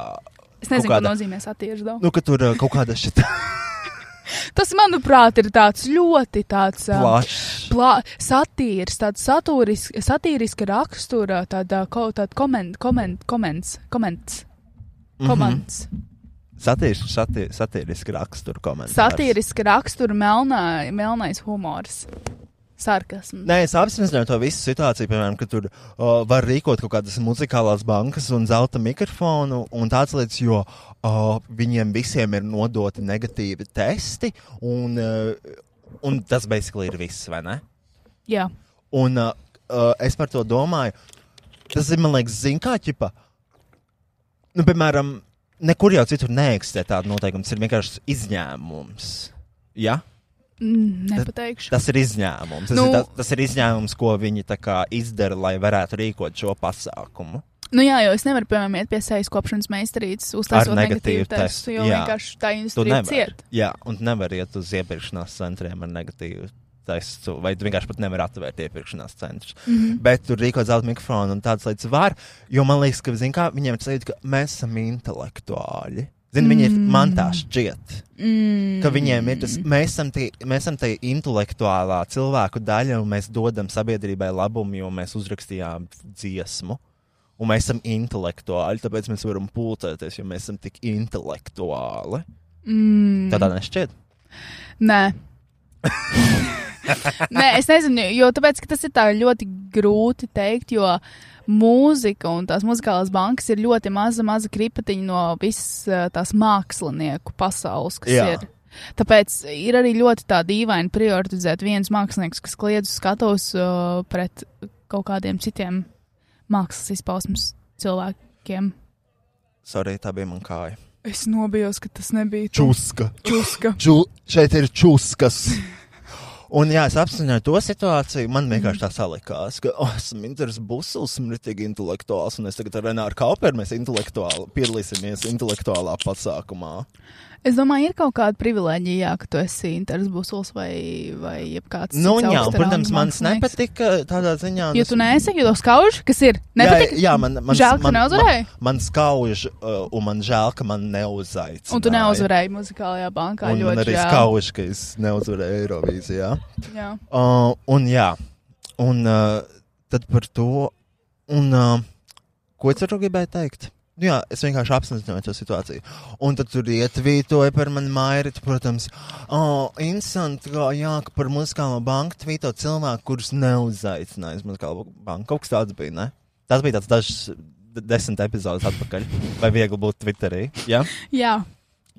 Speaker 3: Es nezinu, ko
Speaker 2: kāda-
Speaker 3: nozīmē satīrs. daudz.
Speaker 2: nu, ka tur uh, kaut kāda šita
Speaker 3: Tas, manuprāt, ir tāds ļoti tāds. ā,
Speaker 2: plaša.
Speaker 3: Plā, satīrs, tāds satūris, satīriska rakstura, tāda ko, tāda koment, koment, koments, koments,
Speaker 2: Mhm.
Speaker 3: koments. Mm -hmm.
Speaker 2: Satīriski sati, satiriski rakstura komentāri.
Speaker 3: Satīriska rakstura melnā, melnais humors, sarkasms.
Speaker 2: Nē, es apzināju to visu situāciju, piemēram, ka tur uh, var rīkot kaut kādas muzikālās bankas un zelta mikrofonu un tādas lietas, jo uh, viņiem visiem ir nodoti negatīvi testi, un, uh, un tas basically ir viss, vai ne?
Speaker 3: Jā,
Speaker 2: Un uh, uh, es par to domāju, tas ir man liekas, zina, kā ķipa. Nu, piemēram, nekur jau citur neeksistē tāda noteikuma. Tas ir vienkārši izņēmums. Ja?
Speaker 3: Mm, nepateikšu.
Speaker 2: Tas ir izņēmums. Tas, nu,
Speaker 3: Nu-
Speaker 2: ir tas, tas ir izņēmums, ko viņi tā kā izdara, lai varētu rīkot šo pasākumu.
Speaker 3: Nu jā, jo es nevaru, piemēram, iet pie sejas kopšanas meistarītes, uztaisot
Speaker 2: Ar
Speaker 3: negatīvu
Speaker 2: negatīvu
Speaker 3: testu,
Speaker 2: testu,
Speaker 3: jo
Speaker 2: jā.
Speaker 3: vienkārši tā
Speaker 2: Tu
Speaker 3: industrija
Speaker 2: nevari.
Speaker 3: ciet.
Speaker 2: Jā, un tu nevari iet uz iepirkšanās centriem ar negatīvu testu, vai tu vienkārši pat nevari atvērt iepirkšanās centrus. Mm
Speaker 3: Mhm.
Speaker 2: -hmm. Bet tur rīkot zelta mikrofonu un tādas lietas var, jo man liekas, ka zin, kā, viņiem ir sajūta, ka mēs esam intelektuāļi. Zini, viņi ir man tā šķiet,
Speaker 3: Mm.
Speaker 2: ka viņiem ir tas, mēs esam tie- mēs esam tie intelektuālā cilvēku daļa, un mēs dodam sabiedrībai labumu, jo mēs uzrakstījām dziesmu. Un mēs esam intelektuāli, tāpēc mēs varam pulcēties, jo mēs esam tik intelektuāli.
Speaker 3: Mm.
Speaker 2: Tā tā nešķiet.
Speaker 3: Nē. Nē, es nezinu, jo tāpēc, ka tas ir tā ļoti grūti pateikt, jo mūzika un tās muzikālās bankas ir ļoti maza, maza kripatiņa no visas eh, tās mākslinieku pasaules, kas
Speaker 2: Jā.
Speaker 3: Jā. ir. Tāpēc ir arī ļoti tā dīvaini prioritizēt viens mākslinieks, kas kliedz uz skatos uh, pret kaut kādiem citiem mākslas izpausmes cilvēkiem.
Speaker 2: Sorry, tā bija mana kāja.
Speaker 3: Es nobijos, ka tas nebija
Speaker 2: Čuska.
Speaker 3: čūska.
Speaker 2: Ču, šeit ir čuskas. Un jā, es apzināju to situāciju. Man vienkārši tā salikās, ka oh, esmu Intrs Busls, un ir tik intelektuāls, un es tagad ar Renāru Kauperu mēs intelektuāli piedalīsimies intelektuālā pasākumā.
Speaker 3: Es domāju, ir kaut kāda privilēģija, jā, ka tu esi Interes Busls vai, vai jebkāds.
Speaker 2: Nu,
Speaker 3: cits
Speaker 2: un jā, un,
Speaker 3: augsta
Speaker 2: protams,
Speaker 3: ranga
Speaker 2: man
Speaker 3: mākslinieks.
Speaker 2: nepatika eh, tādā ziņā. un
Speaker 3: Jo
Speaker 2: es-
Speaker 3: tu neesi, jo tev skauž, kas ir
Speaker 2: Jā,
Speaker 3: nepatīk.
Speaker 2: jā, man, man,
Speaker 3: Žēl, ka tu
Speaker 2: man,
Speaker 3: neuzvarēji?
Speaker 2: man, man skauž, uh, un man žēl, ka man neuzaicināja.
Speaker 3: Un tu neuzvarēji muzikālajā bankā
Speaker 2: Un man
Speaker 3: ļoti
Speaker 2: arī
Speaker 3: žēl.
Speaker 2: skauž, ka es neuzvarēju Eirovīzijā.
Speaker 3: Jā.
Speaker 2: Uh, un jā, un uh, tad par to, un, uh, ko es ar to gribēju teikt? Nu jā, es vienkārši apzināju to situāciju. Un tad tur ietvītoja par mani mairīti, protams, oh, interesanti, kā jā, ka par muzikālo banku tvīto cilvēku, kurus neuzaicināja uz muzikālo banku. Kaut kas tāds bija, ne? Tas bija tāds dažs d- desmit epizodes atpakaļ, vai viegli būt Twitterī. Jā,
Speaker 3: jā,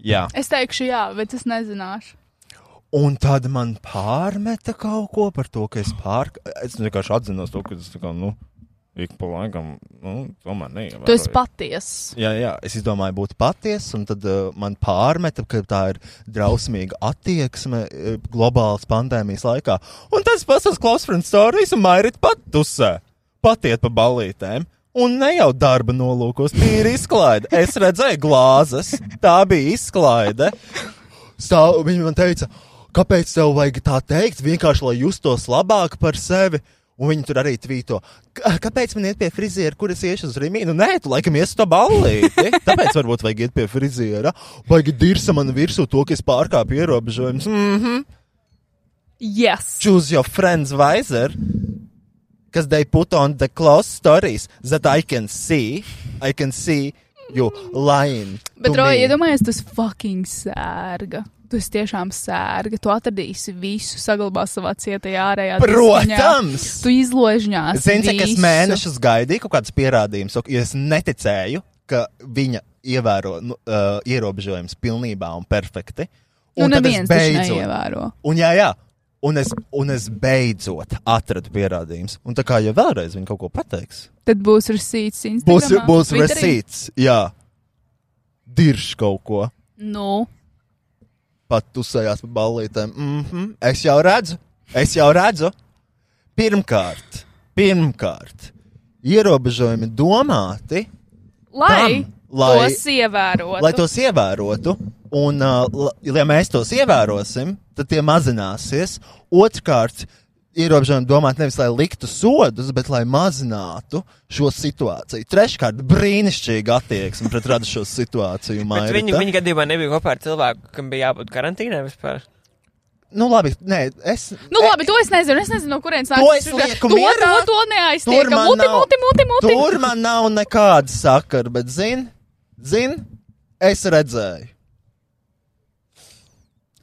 Speaker 2: jā.
Speaker 3: es teikšu jā, bet es nezināšu.
Speaker 2: Un tad man pārmeta kaut ko par to, ka es pārk... Es vienkārši atzinos to, ka es tā kā, nu, ik pa laikam, nu, tomēr neievēroju.
Speaker 3: Tu esi patiesa.
Speaker 2: Jā, jā, es izdomāju būt patiesa, un tad uh, man pārmeta, ka tā ir drausmīga attieksme uh, globālas pandēmijas laikā. Un tas pasaules klausfrāns stāstījis, un Mairīt pat dusē. Patiet pa balītēm. Un ne jau darba nolūkos, tie ir izklaide. Es redzēju glāzes, tā bija izklaide. Stāv, viņa man teica, kāpēc tev vajag tā teikt, vienkārši lai justos labāk par sevi. Un viņi tur arī tvīto, "K- kāpēc man iet pie friziera, kur es iešu uz rīmīnu? Nē, tu laikam iesi to ballīti. Tāpēc varbūt vajag iet pie friziera. Vajag dirsa man virsū to, ka es pārkāpu ierobežojumus. Mm -hmm.
Speaker 3: Yes.
Speaker 2: Choose your friends wiser. Because they put on the close stories that I can see. I can see you lying.
Speaker 3: Bet,
Speaker 2: to
Speaker 3: Roja,
Speaker 2: me.
Speaker 3: iedomājies, tu esi fucking sērga. Tu esi tiešām sērga. Tu atradīsi visu, saglabās savā cietajā ārējā. diskiņā.
Speaker 2: Protams!
Speaker 3: Tu izložņās.
Speaker 2: Zini, cik es
Speaker 3: visu.
Speaker 2: mēnešus gaidīju kaut kādas pierādījumus, jo es neticēju, ka viņa ievēro nu, uh, ierobežojumus pilnībā un perfekti.
Speaker 3: Nu,
Speaker 2: tad es
Speaker 3: neviens taču neievēro.
Speaker 2: un, jā, jā, un, es, un es beidzot atradu pierādījumus. Un tā kā jau vēlreiz viņa kaut ko pateiks,
Speaker 3: Tad būs receipts.
Speaker 2: būs,
Speaker 3: Instagramā,
Speaker 2: būs
Speaker 3: Twitterī.
Speaker 2: recīts, jā, dirš kaut ko.
Speaker 3: Nu,
Speaker 2: pat uzsājās pa ballītēm. Mm -hmm. Es jau redzu, es jau redzu. Pirmkārt, pirmkārt ierobežojumi domāti
Speaker 3: lai
Speaker 2: tam, lai,
Speaker 3: tos ievērotu.
Speaker 2: lai tos ievērotu. Un, uh, la- ja mēs tos ievērosim, tad tie mazināsies. Otrkārt, ierobežojumi domāt nevis lai liktu sodus, bet lai mazinātu šo situāciju. Treškārt, brīnišķīga attieksme pret radušo situāciju.
Speaker 4: Bet
Speaker 2: Mairita.
Speaker 4: viņi, viņi gadījumā nebija kopā ar cilvēku, kam bija jābūt karantīnā vispār.
Speaker 2: Nu, labi, nē, es.
Speaker 3: Nu, labi, to es nezinu. Es nezinu, no kurienes nāk.
Speaker 2: To es
Speaker 3: tas-
Speaker 2: lieku
Speaker 3: to, to,
Speaker 2: mierā.
Speaker 3: to neaiztiek.
Speaker 2: Tur man
Speaker 3: Muti,
Speaker 2: nav.
Speaker 3: muti, muti, muti.
Speaker 2: Tur man nav nekāda sakara, bet zini, zin, es redzēju.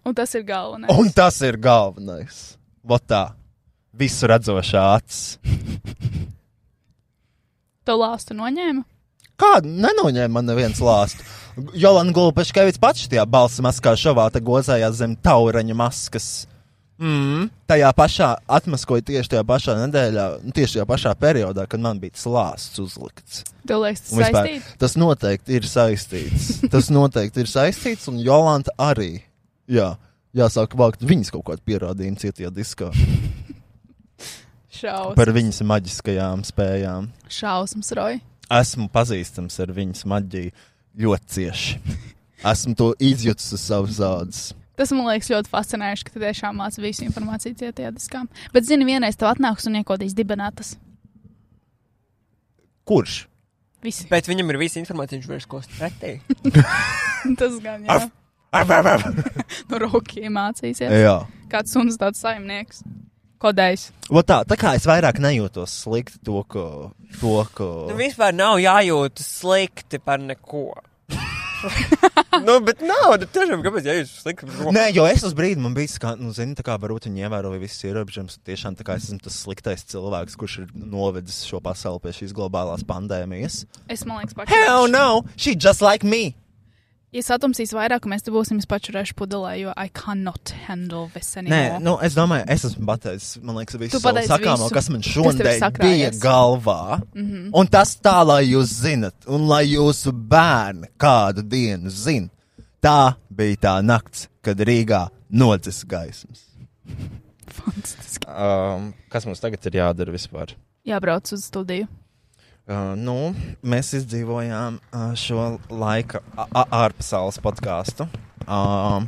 Speaker 3: Un tas ir galvenais.
Speaker 2: Un tas ir galvenais. Vot tā, visu redzošā acis.
Speaker 3: To lāstu noņēma.
Speaker 2: Kādu nenoņēma man neviens lāstu? Jolanda Gulbaškevits pats šajā balss maskā šovā te gozājās zem tauraņa maskas. Mm. Tajā pašā atmaskoja tieši tajā pašā nedēļā, nu, tieši tajā pašā periodā, kad man bija slāsts uzlikts.
Speaker 3: Tev liekas, tas
Speaker 2: Un vispār,
Speaker 3: saistīts.
Speaker 2: tas noteikti ir saistīts. Tas noteikti ir saistīts, un Jolanta arī. Jā, jāsāk vākt viņas kaut kādu pierādījumu cietajā diskā
Speaker 3: Šausmas.
Speaker 2: par viņas maģiskajām spējām.
Speaker 3: Šausmas, Roja.
Speaker 2: Esmu pazīstams ar viņas maģiju ļoti cieši. Esmu to izjutis uz savas zādzes.
Speaker 3: Tas man liekas ļoti fascinējoši, ka tu tiešām māci visu informāciju cietajā diskā. Bet, zini, vienreiz tev atnāks un iekodīs dibinātas.
Speaker 2: Kurš?
Speaker 3: Visi.
Speaker 4: Bet viņam ir visa informācija, viņš vairs ko pretī.
Speaker 3: Tas gan jā. No rokiem mācīsies.
Speaker 2: Jā.
Speaker 3: Kāds suns tāds saimnieks. Kodējs.
Speaker 2: Vot tā, tā kā es vairāk nejūtos slikti to, ko. To, ko...
Speaker 4: Nu, vispār nav jājūtas slikti par neko. nu, bet nav, tad tiešām kāpēc jājūtas slikti par neko?
Speaker 2: Nē, jo es uz brīdi man bija, kā, nu, zini, tā kā varbūt viņi ievēroja visus ierobežojumus. un Tiešām tā kā es esmu tas sliktais cilvēks, kurš ir novedis šo pasauli pie šīs globālās pandēmijas.
Speaker 3: Es man liekas,
Speaker 2: Hell
Speaker 3: pakaļ.
Speaker 2: no! She just like me!
Speaker 3: Ja satumsīs vairāk, mēs te būsim pačurējuši pudelē, jo I cannot handle this anymore.
Speaker 2: Nē, nu, es domāju, es esmu pateicis, man liekas, visu
Speaker 3: Tu
Speaker 2: savu
Speaker 3: pateici
Speaker 2: sakāmo,
Speaker 3: visu,
Speaker 2: kas man
Speaker 3: tev ir
Speaker 2: šodien bija
Speaker 3: sakrājies.
Speaker 2: galvā. Mm -hmm.
Speaker 3: Mhm.
Speaker 2: Un tas tā, lai jūs zinat, un lai jūsu bērni kādu dienu zin. Tā bija tā nakts, kad Rīgā nocis gaismas.
Speaker 3: Fantastiski.
Speaker 2: Um, kas mums tagad ir jādara vispār?
Speaker 3: Jābrauc uz studiju.
Speaker 2: Uh, nu, mēs izdzīvojām uh, šo laika a- a- ārpasaules podkāstu. Um,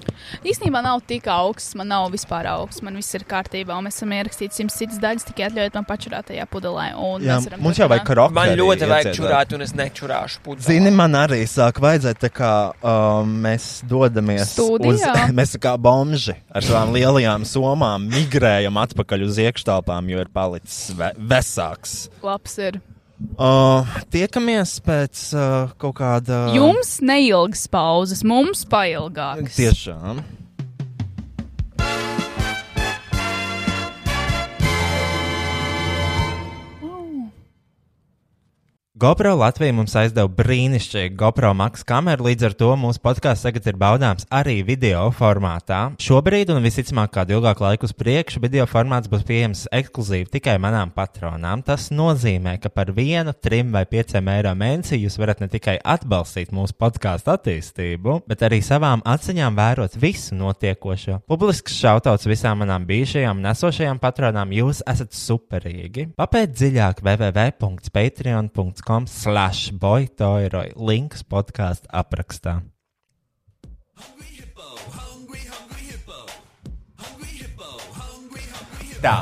Speaker 3: Īsnībā nav tik augsts, man nav vispār augsts, man viss ir kārtībā, un mēs esam ierakstījuši simts citas daļas, tikai atļaujiet man pačurāt tajā pudelē. un
Speaker 2: jā,
Speaker 3: mēs varam
Speaker 2: mums jau vajag
Speaker 3: turpināt.
Speaker 2: karogu.
Speaker 4: Man ļoti vajag čurāt, un es nečurāšu pudelē.
Speaker 2: Zini, man arī sāk vajadzēt, tā kā um, mēs dodamies
Speaker 3: Studijā.
Speaker 2: uz, mēs tā kā bomži ar savām lielajām somām migrējam atpakaļ uz iekštelpām, jo ir palicis ve vesāks.
Speaker 3: Labs ir.
Speaker 2: Uh, tiekamies pēc uh, kaut kāda.
Speaker 3: Jums neilgas pauzes, mums pailgākas.
Speaker 2: Tiešām.
Speaker 1: GoPro Latvija mums aizdeva brīnišķīgu GoPro Max kameru, līdz ar to mūsu podkāsts tagad ir baudāms arī video formātā. Šobrīd, un visticamāk, kādu ilgāku laiku uz priekšu, video formāts būs pieejams ekskluzīvi tikai manām patronām. Tas nozīmē, ka par vienu, trim vai pieciem eiro mēnesī jūs varat ne tikai atbalstīt mūsu podkāstu attīstību, bet arī savām acīm vērot visu notiekošo. Publisks šautauts visām manām bijušajām nesošajām patronām, jūs esat superīgi. Papēt dziļāk www.patreon.com slash boytoiroi links podkāstu aprakstā.
Speaker 2: Tā.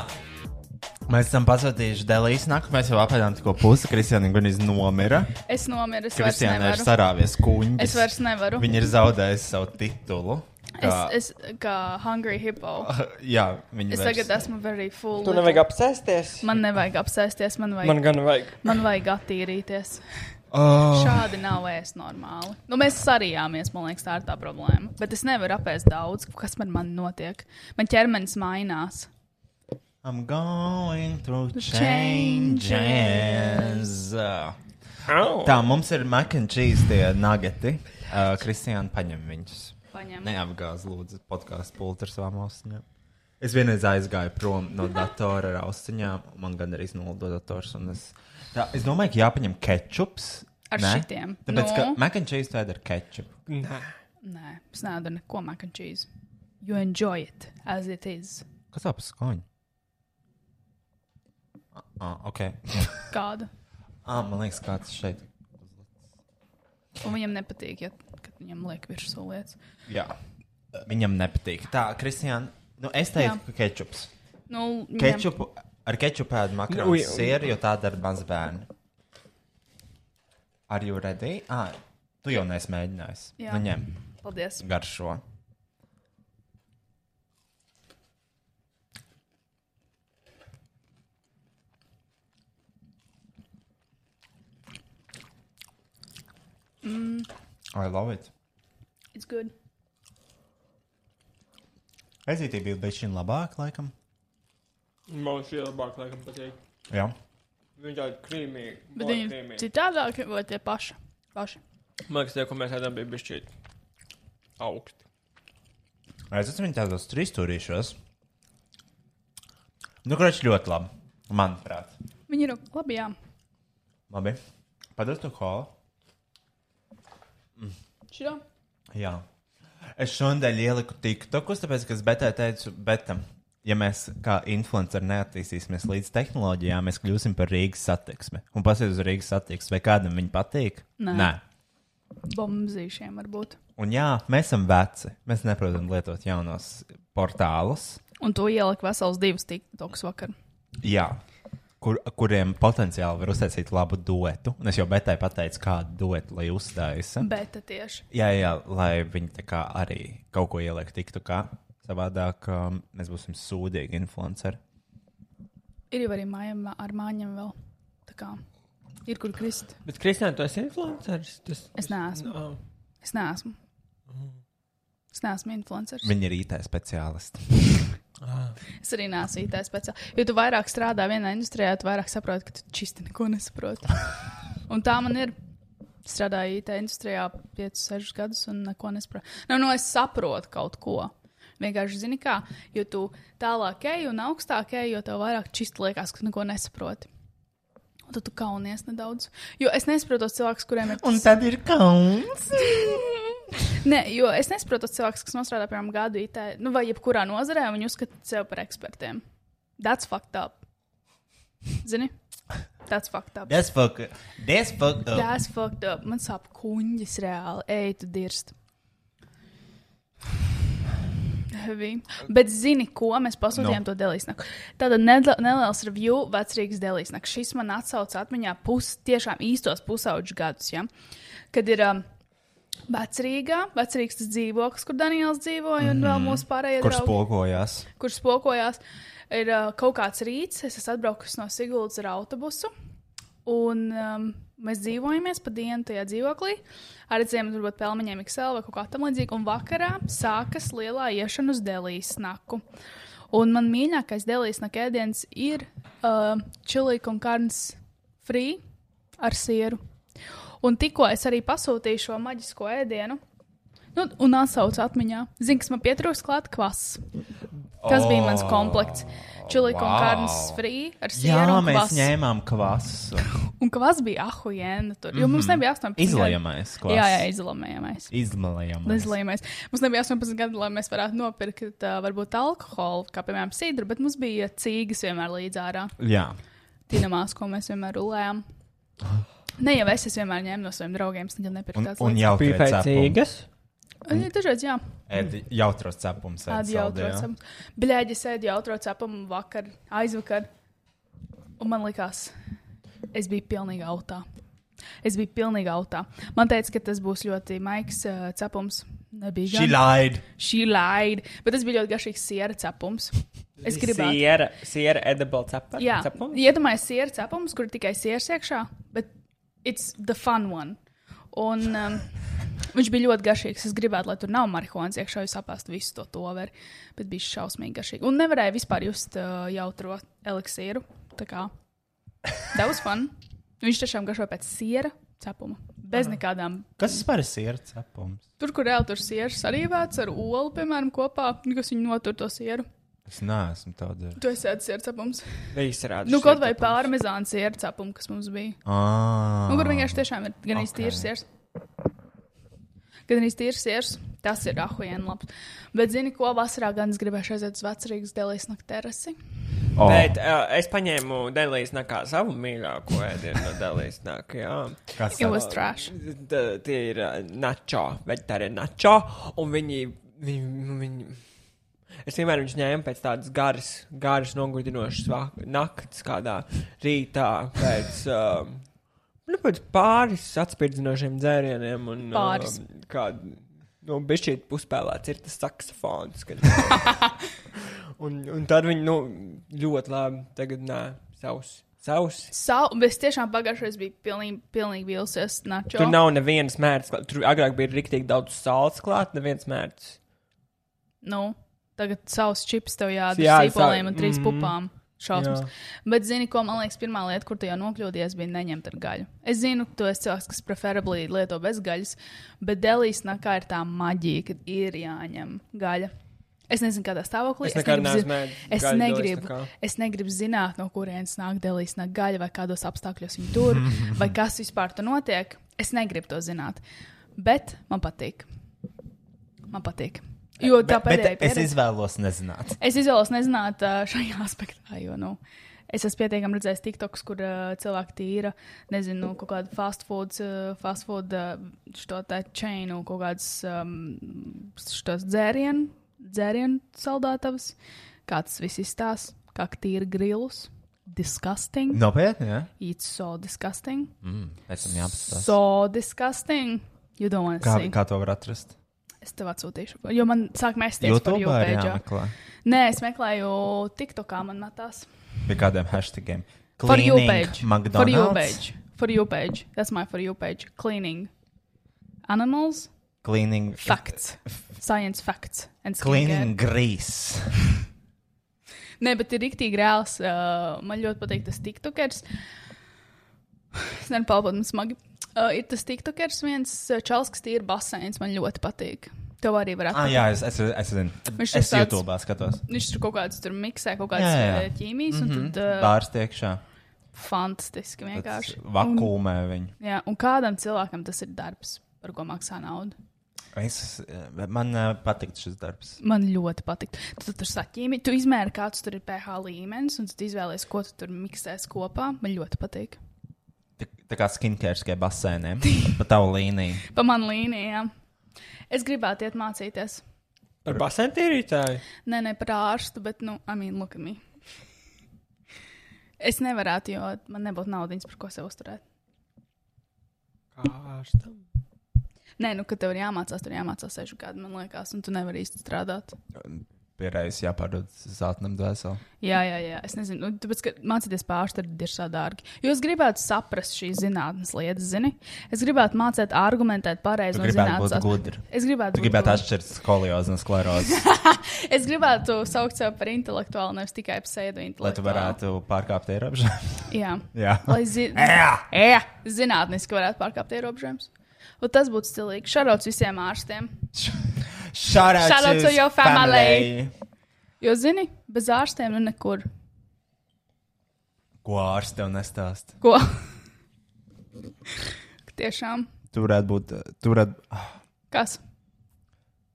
Speaker 2: Mēs esam pasūtījuši Delijas nakti. Mēs jau apēdām tikko pusi. Kristiāna gandrīz nomira.
Speaker 3: Es nomiru, es vairs
Speaker 2: Kristiāna ir
Speaker 3: nevaru.
Speaker 2: sarāvies kuņģis.
Speaker 3: Es vairs nevaru.
Speaker 2: Viņa ir zaudējusi savu titulu. kā-
Speaker 3: Es, es kā hungry hippo.
Speaker 2: Jā, viņa
Speaker 3: Es
Speaker 2: vairs-
Speaker 3: tagad esmu very full.
Speaker 4: Tu nevajag apsēsties.
Speaker 3: Man nevajag apsēsties, man vajag,
Speaker 4: Man
Speaker 3: man,
Speaker 4: gan vajag.
Speaker 3: man vajag attīrīties.
Speaker 2: Oh.
Speaker 3: Šādi nav ēst normāli. Nu, mēs sarījāmies, man liekas, tā ir tā problēma. Bet es nevaru apēst daudz, kas man, man notiek. Man ķermenis mainās.
Speaker 2: I'm going through
Speaker 3: changes.
Speaker 2: changes.
Speaker 4: Au.
Speaker 2: Tā, mums ir mac and cheese tie nageti. Uh, Kristiāna paņem viņus.
Speaker 3: Paņem.
Speaker 2: Neapgāz, lūdzu, podkāstu pultu ar savām austiņām. Es vienreiz aizgāju prom no datora ar austiņām. Man gan arī nulda dators. un Es, tā, es domāju, ka jāpaņem ketčups.
Speaker 3: Ar
Speaker 2: ne?
Speaker 3: šitiem.
Speaker 2: Tāpēc,
Speaker 3: Nu.
Speaker 2: ka mac and cheese tāda ir ketčup.
Speaker 3: Nē, es nedaru neko mac and cheese. You enjoy it as it is.
Speaker 2: Kas tā pa skoņu? Ah, Ah, ok.
Speaker 3: Kādu?
Speaker 2: Ah, man liekas, kāds šeit.
Speaker 3: Un viņam nepatīk, ja kad viņam liek virsū lietas.
Speaker 2: Jā.
Speaker 1: Viņam nepatīk. Tā, Kristiāna, nu es teicu,
Speaker 3: Jā.
Speaker 1: ka ketčups.
Speaker 3: Nu, viņam-
Speaker 1: Ketčupu, ar ketčupu pēdu
Speaker 4: Nu,
Speaker 1: makaronu
Speaker 4: jā.
Speaker 1: sieru, jo tā dara mans bērni. Are you ready? Ā, tu jau neesi mēģinājis.
Speaker 3: Jā.
Speaker 1: Nu ņem,
Speaker 3: Paldies.
Speaker 1: garšo. Mm. I love it.
Speaker 3: It's good.
Speaker 1: Aizītība bija bijusi šī labāka, laikam.
Speaker 4: Man šī labāk, laikam, patīk.
Speaker 1: Jā.
Speaker 4: Viņa tāda krīmīga.
Speaker 3: Bet viņi citādāk vai tie paši? Paši.
Speaker 4: Man liekas, tie, ko mēs ēdām, bija bišķīt augsti.
Speaker 1: Es esmu viņu tādos trīs stūrīšos. Nu, kurš ļoti labi, manuprāt.
Speaker 3: Viņi ir labi, jā.
Speaker 1: Labi. Padod to kolu.
Speaker 3: Šito?
Speaker 1: Jā. Es šodien ieliku TikTokus, tāpēc, ka es betē teicu, bet, ja mēs kā influenceri neattīstīsimies līdz tehnoloģijām, mēs kļūsim par Rīgas satiksmi. Un paskatieties uz Rīgas satiksmi, vai kādam viņa patīk?
Speaker 3: Nē.
Speaker 1: Nē.
Speaker 3: Bombzīšiem varbūt.
Speaker 1: Un jā, mēs esam veci. Mēs neprotam lietot jaunos portālus.
Speaker 3: Un to ielika vesels divas tiktoks vakar.
Speaker 1: Jā, kur, kuriem potenciāli var uztaisīt labu duetu. Un es jau betai pateicu, kādu duetu lai uztaisa.
Speaker 3: Bet tieši.
Speaker 1: Jā, jā, lai viņi tā kā arī kaut ko ieliek tiktu kā. Savādāk um, mēs būsim sūdīgi influenceri.
Speaker 3: Ir jau arī mājām ar māņiem vēl. Tā kā ir kur krist.
Speaker 4: Bet, Kristija, tu esi influenceris? Tas...
Speaker 3: Es neesmu.
Speaker 4: Oh.
Speaker 3: Es neesmu. Es neesmu influenceris.
Speaker 1: Viņi ir IT speciālisti.
Speaker 3: Es arī neesmu IT speciālists. Jo tu vairāk strādā vienā industrijā, tu vairāk saproti, ka tu čisti neko nesaproti. Un tā man ir. Strādāju IT industrijā 5, 6 gadus un neko nesaprotu. Nu, nu, es saprotu kaut ko. Vienkārši zini, kā, jo tu tālāk ej un augstāk ej, jo tev vairāk čisti liekas, ka tu neko nesaproti. Un tad tu kaunies nedaudz. Jo es nesaprotu tos cilvēkus, kuriem ir. Un
Speaker 1: tad ir kauns.
Speaker 3: Nē, jo es nesaprotu tos cilvēkus, kas strādā pie mums gadu IT, nu, vai jebkurā nozarē, un viņi uzskata sevi par ekspertiem. That's fucked up. Zini? That's fucked up.
Speaker 1: That's fuck. That's fuck. Up.
Speaker 3: That's fucked up. Man sāp kuņģis reāli. Ej, tu dirst. Heavy. Bet zini, ko mēs pasūtījām no. to delīsnaku? Tāda nedel- neliels review, vecrīgs delīsnaks. Šis man atsauca atmiņā pus, tiešām īstos pusauģu gadus, ja? kad ir um, vecrīgā, vecrīgs tas dzīvoklis, kur Daniels dzīvoja, un vēl mūsu pārējie
Speaker 1: Kurš
Speaker 3: draugi
Speaker 1: spokojās?
Speaker 3: kurš spokojās, ir uh, kaut kāds rīts. Es esmu atbraucis no Sigūdas ar autobusu. Un um, mēs dzīvojamies pa dienu tajā dzīvoklī. Ar redzējumu, varbūt pelmeņiem, XL vai kaut kā tam līdzīga. Un vakarā sākas lielā iešana uz Delijas naku. Un man mīļākais Delijas nakēdiens ir uh, čilīgi un kārns free ar sieru. Un tikko es arī pasūtīju šo maģisko ēdienu, nu, un atsaucu atmiņā, zinu, kas man pietrūkst klāt kvass. Tas oh, bija mans komplekts. Čilika wow. un kārnas frī ar
Speaker 1: Jā,
Speaker 3: sieru.
Speaker 1: mēs kvasu. ņēmām kvasu.
Speaker 3: Un kvass bija ahujēna tur, jo mums nebija 18 gadu.
Speaker 1: Izlējamais Mhm. kvass.
Speaker 3: Jā, jā, Nu, izlamējamais.
Speaker 1: Izlējamais.
Speaker 3: Izlējamais. Mums nebija 18 gadi, lai mēs varētu nopirkt uh, varbūt alkoholu, kā piemēram sīdru, bet mums bija cīgas vienmēr līdz ārā.
Speaker 1: Jā.
Speaker 3: Tinamās, ko mēs vienmēr rulējām. Ne jau es, es vienmēr ņēmu no saviem draugiem, es nekad nepirku
Speaker 1: Un,
Speaker 3: tādas
Speaker 1: un jau
Speaker 4: Bija pēcīgas.
Speaker 3: Un ir Dažreiz, jā,
Speaker 1: Edi, jautros cepums. ēd
Speaker 3: tāda
Speaker 1: saldajā.
Speaker 3: jautrocama. Bļēģi sēdi jautrocama vakar, aizvakar. Un man likās, es biju pilnīgi autā. Es biju pilnīgi autā. Man teica, ka tas būs ļoti maigs uh, cepums. Nebija
Speaker 1: She lied.
Speaker 3: Šī laida. Bet tas bija ļoti garšīgs siera cepums. Es gribēju.
Speaker 4: Siera, siera edible cepums.
Speaker 3: Jā,
Speaker 4: Cepums?
Speaker 3: iedomājieties, siera cepums, kur ir tikai siers iekšā, bet it's the fun one. Un um, viņš bija ļoti garšīgs. Es gribētu, lai tur nav marihuānas iekšā, jo saprast visu to toveri. Bet bija šausmīgi garšīgi. Un nevarēja vispār just uh, jautro eliksīru. Tā kā daudz fun. Viņš tiešām garšo pēc siera cepuma. Bez nekādām.
Speaker 1: Kas vispār ir sieru cepums?
Speaker 3: Tur, kur reāli tur sieras sarīvēts ar olu, piemēram, kopā, kas viņu notur to sieru.
Speaker 1: Es neesmu tādu.
Speaker 3: Tu esi ēdis sieru cepumus.
Speaker 4: Viss rāda.
Speaker 3: Nu, kaut vai pārmezāna sieru cepumu, kas mums bija.
Speaker 1: Ah.
Speaker 3: Nu, kur vienkārši tiešām ir gan īsti okay. tīrs siers. Gan arī tīrs sirs, tas ir ahujienu labs. Bet zini, ko vasarā gan es gribēju aiziet uz vecrīgas dēlīs nakts terasi?
Speaker 4: Oh. Bet uh, es paņēmu Dēlīs nakā savu mīļāko ēdienu no Dēlīs nakā, jā.
Speaker 1: Kas
Speaker 3: It
Speaker 4: Uh,
Speaker 3: was trash.
Speaker 4: Tā, tie ir ā, načo, veģetārie načo, un viņi, viņi, nu, viņi, es vienmēr viņus ņēmu pēc tādas garas, garas nogurdinošas vak- nakts, kādā rītā pēc, um, nu, pēc pāris atspirdzinošiem dzērieniem un
Speaker 3: Pāris.
Speaker 4: Um, kādu, nu, bišķīt puspēlēts ir tas saksofons, kad, un, un tad viņi, nu, ļoti labi, tagad nē, savs, savs.
Speaker 3: Savu, bet es tiešām pagājušajā gadā biju pilnīgi, pilnīgi vīlusies. Nacho.
Speaker 4: Tur nav nevienas mērķis. Tur agrāk bija rīktīgi daudz sāls klāt, neviens mērķis.
Speaker 3: Nu, tagad savus čips tev jādara
Speaker 4: Jā,
Speaker 3: ar
Speaker 4: es tā-
Speaker 3: sīpoliem un trīs pupām. Šausmas.
Speaker 4: Jā.
Speaker 3: Bet, zini, ko man liekas, pirmā lieta, kur tu jau nokļūdies, bija neņemt ar gaļu. Es zinu, ka tu esi cilvēks, kas preferabli lieto bez gaļas, bet Delijas nakā ir tā maģija, kad ir jāņem gaļa. Es nezinu, kādā stāvoklī
Speaker 4: Es nekad
Speaker 3: negribu
Speaker 4: neesmu
Speaker 3: zin-
Speaker 4: ēdis
Speaker 3: es
Speaker 4: gaļu Delijas
Speaker 3: negribu,
Speaker 4: nakā.
Speaker 3: es negribu zināt, no kurienes nāk Delijas nakā gaļa, vai kādos apstākļos viņa tur, vai kas vispār tur notiek. Es negribu to zināt. Bet man patīk. Man patīk. Jo tā
Speaker 8: Bet es
Speaker 3: pēdējā pieredze-
Speaker 8: izvēlos nezināt.
Speaker 3: Es izvēlos nezināt ā, šajā aspektā, jo nu, es esmu pietiekami redzējis TikToks, kur ā, cilvēki tīra, nezinu, kaut kādu fast food, ā, fast food ā, šo tā čēnu, kaut kādas um, šos dzērienu, dzērienu saldātavas, kāds viss izstāsta, kā tīra grilus. Disgusting.
Speaker 8: Nopietni, jā?
Speaker 3: It's so disgusting.
Speaker 1: Mm,
Speaker 8: Pēc tam jāapstāsta.
Speaker 3: So disgusting. You don't want to
Speaker 1: Kā,
Speaker 3: see.
Speaker 1: kā to var atrast?
Speaker 3: Es tev atsūtīšu, jo man sāk mēsties par
Speaker 1: YouTube arī
Speaker 3: jūpēģā.
Speaker 1: jāmeklē.
Speaker 3: Nē, es meklēju TikTokā, man matās.
Speaker 1: Pie kādiem hashtagiem.
Speaker 3: For you
Speaker 8: Cleaning
Speaker 3: page. For you
Speaker 8: McDonald's.
Speaker 3: page. For you page. That's my for you page. Cleaning. Animals.
Speaker 8: Cleaning.
Speaker 3: Facts. Science facts. And skincare.
Speaker 8: Cleaning grease.
Speaker 3: Nē, bet ir rīktīgi reāls. Uh, man ļoti patīk tas tiktokers. Es nezinu, palpot man smagi. Uh, ir tas tiktokers viens uh, čels, kas tīra baseins. Man ļoti patīk. Tev arī var
Speaker 1: Ah,
Speaker 3: atrast.
Speaker 1: jā, es, es, es zinu.
Speaker 3: Viņš ir
Speaker 1: Es
Speaker 3: tāds-
Speaker 1: YouTube skatos.
Speaker 3: Viņš tur kaut kādas tur miksē, kaut kādas
Speaker 1: Jā,
Speaker 3: jā,
Speaker 1: jā.
Speaker 3: jā. ķīmijas, mm
Speaker 1: Mhm.
Speaker 3: -hmm. un tad uh,
Speaker 1: Bārs tiekšā.
Speaker 3: fantastiski vienkārši.
Speaker 1: Vakumē viņu.
Speaker 3: Un, jā, un kādam cilvēkam tas ir darbs, par ko maksā naudu?
Speaker 1: Es, man uh, patīk šis darbs.
Speaker 3: Man ļoti patīk. Tu, tu tur saķīmi, tu izmēri, kāds tur ir pH līmenis, un tu izvēlējies, ko tu tur miksēs kopā. Man ļoti patīk.
Speaker 1: Tā, tā kā skinkers kā basēniem. Pa tavu līniju.
Speaker 3: Pa man līnijām. Es gribētu iet mācīties.
Speaker 4: Par basentīrītāju.
Speaker 3: Nē, ne par ārstu, bet, nu, amīna, look at me. Es nevarētu, jo man nebūtu naudas, par ko sev uzturēt.
Speaker 4: Kārstam.
Speaker 3: Nē, nu, kad tev ir jāmācās, tur jāmācās sešu gadu, man liekas, un tu nevari īsti strādāt.
Speaker 1: Pierādījis jāpārdod zeltnam dvēseli.
Speaker 3: Jā, jā, jā. Es nezinu, nu, tāpēc, ka mācīties pārsteigt, ir diezgan dārgi. Jo es gribētu saprast šīs zinātnes lietas, zini. Es gribētu mācīt, argumentēt pareizi.
Speaker 1: Tu
Speaker 3: no
Speaker 1: gribētu
Speaker 3: zinātnes
Speaker 1: būt
Speaker 3: as-
Speaker 1: gudra.
Speaker 3: Es gribētu,
Speaker 1: Tu
Speaker 3: būt
Speaker 1: gribētu
Speaker 3: gudra.
Speaker 1: atšķirt skoliozi no sklerozes,
Speaker 3: es gribētu saukt sevi par intelektuālu, nevis tikai par sēdu intelektuālu.
Speaker 1: lai tu varētu pārkāpt ierobežojumus.
Speaker 3: Jā,
Speaker 1: Jā.
Speaker 3: lai zi... jā. zinātniski varētu pārkāpt ierobežojumus. Un tas būtu stilīgi. Šarauts visiem ārstiem.
Speaker 1: Shout out,
Speaker 3: Shout out to
Speaker 1: his
Speaker 3: your family. Jo, zini, bez ārstiem nu nekur.
Speaker 1: Ko ārsts tev nestāst?
Speaker 3: Ko? Tiešām.
Speaker 1: Tu varētu būt, tu varētu,
Speaker 3: Kas?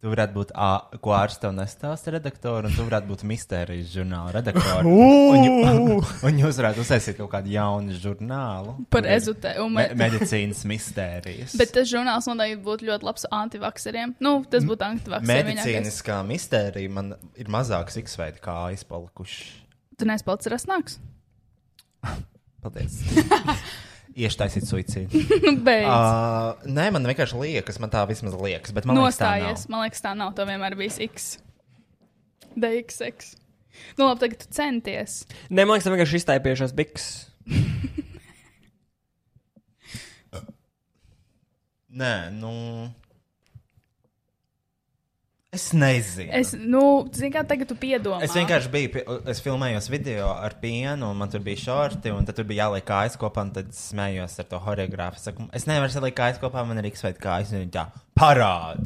Speaker 1: tu varētu būt ā, ko ārsts tev nestāst redaktori, un tu varētu būt mistērijas žurnāla redaktori. un, jū, un jūs varētu uzsākt kaut kādu jaunu žurnālu.
Speaker 3: Par
Speaker 1: kur ir
Speaker 3: ezotē- un
Speaker 1: Me
Speaker 3: me-
Speaker 1: medicīnas mistērijas.
Speaker 3: Bet tas žurnāls noteikti būtu ļoti labs antivakseriem. Nu, tas būtu antivakseriem. vienīgais.
Speaker 1: Medicīniskā mistērija man ir mazāks X-veids, kā aizpalikuši.
Speaker 3: Tu neesi palicis rasnāks.
Speaker 1: Paldies. Ieštaisīt suicīdu.
Speaker 3: Nu, Beidz.
Speaker 1: Uh, nē, man vienkārši liekas, man tā vismaz liekas. Bet man liekas, tā nav.
Speaker 3: Nostājies. Man liekas, tā nav. Tev vienmēr bijis X. DXX. Nu, labi, tagad tu centies.
Speaker 4: Nē, man liekas, tā vienkārši iztaipījušās biks.
Speaker 1: Nē, nu. Es nezinu.
Speaker 3: Es, nu, zini, kā tagad tu piedomā.
Speaker 1: Es vienkārši biju, pie- es filmējos video ar pienu, un man tur bija šorti, un tad tur bija jāliek kājas kopā, un tad smējos ar to horeogrāfu. Saku, es nevaru salikt kājas kopā, man ir X-veids kājas, un viņa tā parāda.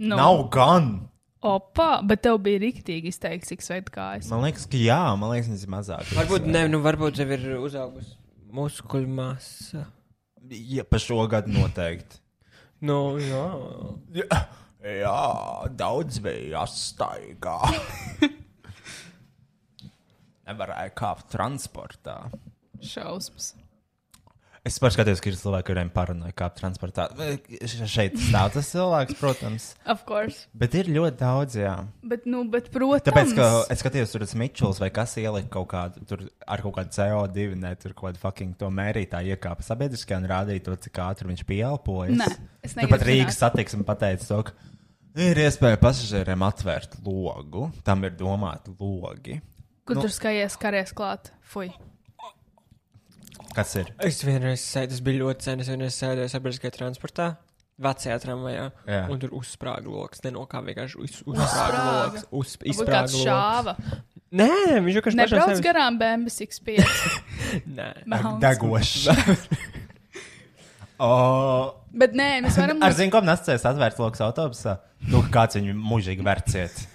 Speaker 3: Nu,
Speaker 1: No. Nav gan!
Speaker 3: Opa, bet tev bija rīktīgi izteikts, cik sveika kājas.
Speaker 1: Man liekas, ka jā, man liekas, viņas ir mazāk.
Speaker 4: Varbūt, ne, nu, varbūt tev ir uzaugusi muskuļu masa.
Speaker 1: Ja, pa šo gadu noteikti.
Speaker 4: Nu, jā.
Speaker 1: Jā, jā daudz bija jāstaigā. Nevarēja kāpt transportā.
Speaker 3: Šausmas.
Speaker 1: Es pašskatos, ka ir cilvēki, kuriem paranoja kāpt transportā. Šeit stāv tas cilvēks, protams.
Speaker 3: Of course.
Speaker 1: Bet ir ļoti daudz, jā.
Speaker 3: Bet, nu, bet protams.
Speaker 1: Tāpēc, ka es skatījos, tur tas Mičels vai kas ielika kaut kādu, tur ar kaut kādu CO2, ne, tur kaut kādu fucking to mērītāju iekāpa sabiedriskajā un rādīja to, cik ātri viņš pieelpojas.
Speaker 3: Nē, es
Speaker 1: Tāpat
Speaker 3: negribu zināt.
Speaker 1: Rīgas satiksme pateica to, ka ir iespēja pasažieriem atvērt logu, tam ir domāti logi.
Speaker 3: Kur nu. tur skaties, karies klāt? Fui.
Speaker 1: Kas ir?
Speaker 4: Es vienreiz sēdēju, tas bija ļoti sen. Es vienreiz sēdēju sabiedriskajā transportā, vecajā tramvajā.
Speaker 1: Jā.
Speaker 4: Un tur uzsprāga lokus. Ne no kā vienkārši uz, uzsprāga lokus. Uz,
Speaker 3: Varbūt kāds
Speaker 4: izsprāga lokus.
Speaker 3: šāva.
Speaker 4: Nē, viņš jau kažkas
Speaker 3: Nebrauc garām Bēnbis X5.
Speaker 4: Nē.
Speaker 3: Melns.
Speaker 1: Degošs. oh.
Speaker 3: Bet nē, mēs varam.
Speaker 1: Ar zinu, ko man asociēs atvērts lokus autobusā. Nu, ka kāds viņu mūžīgi verciet.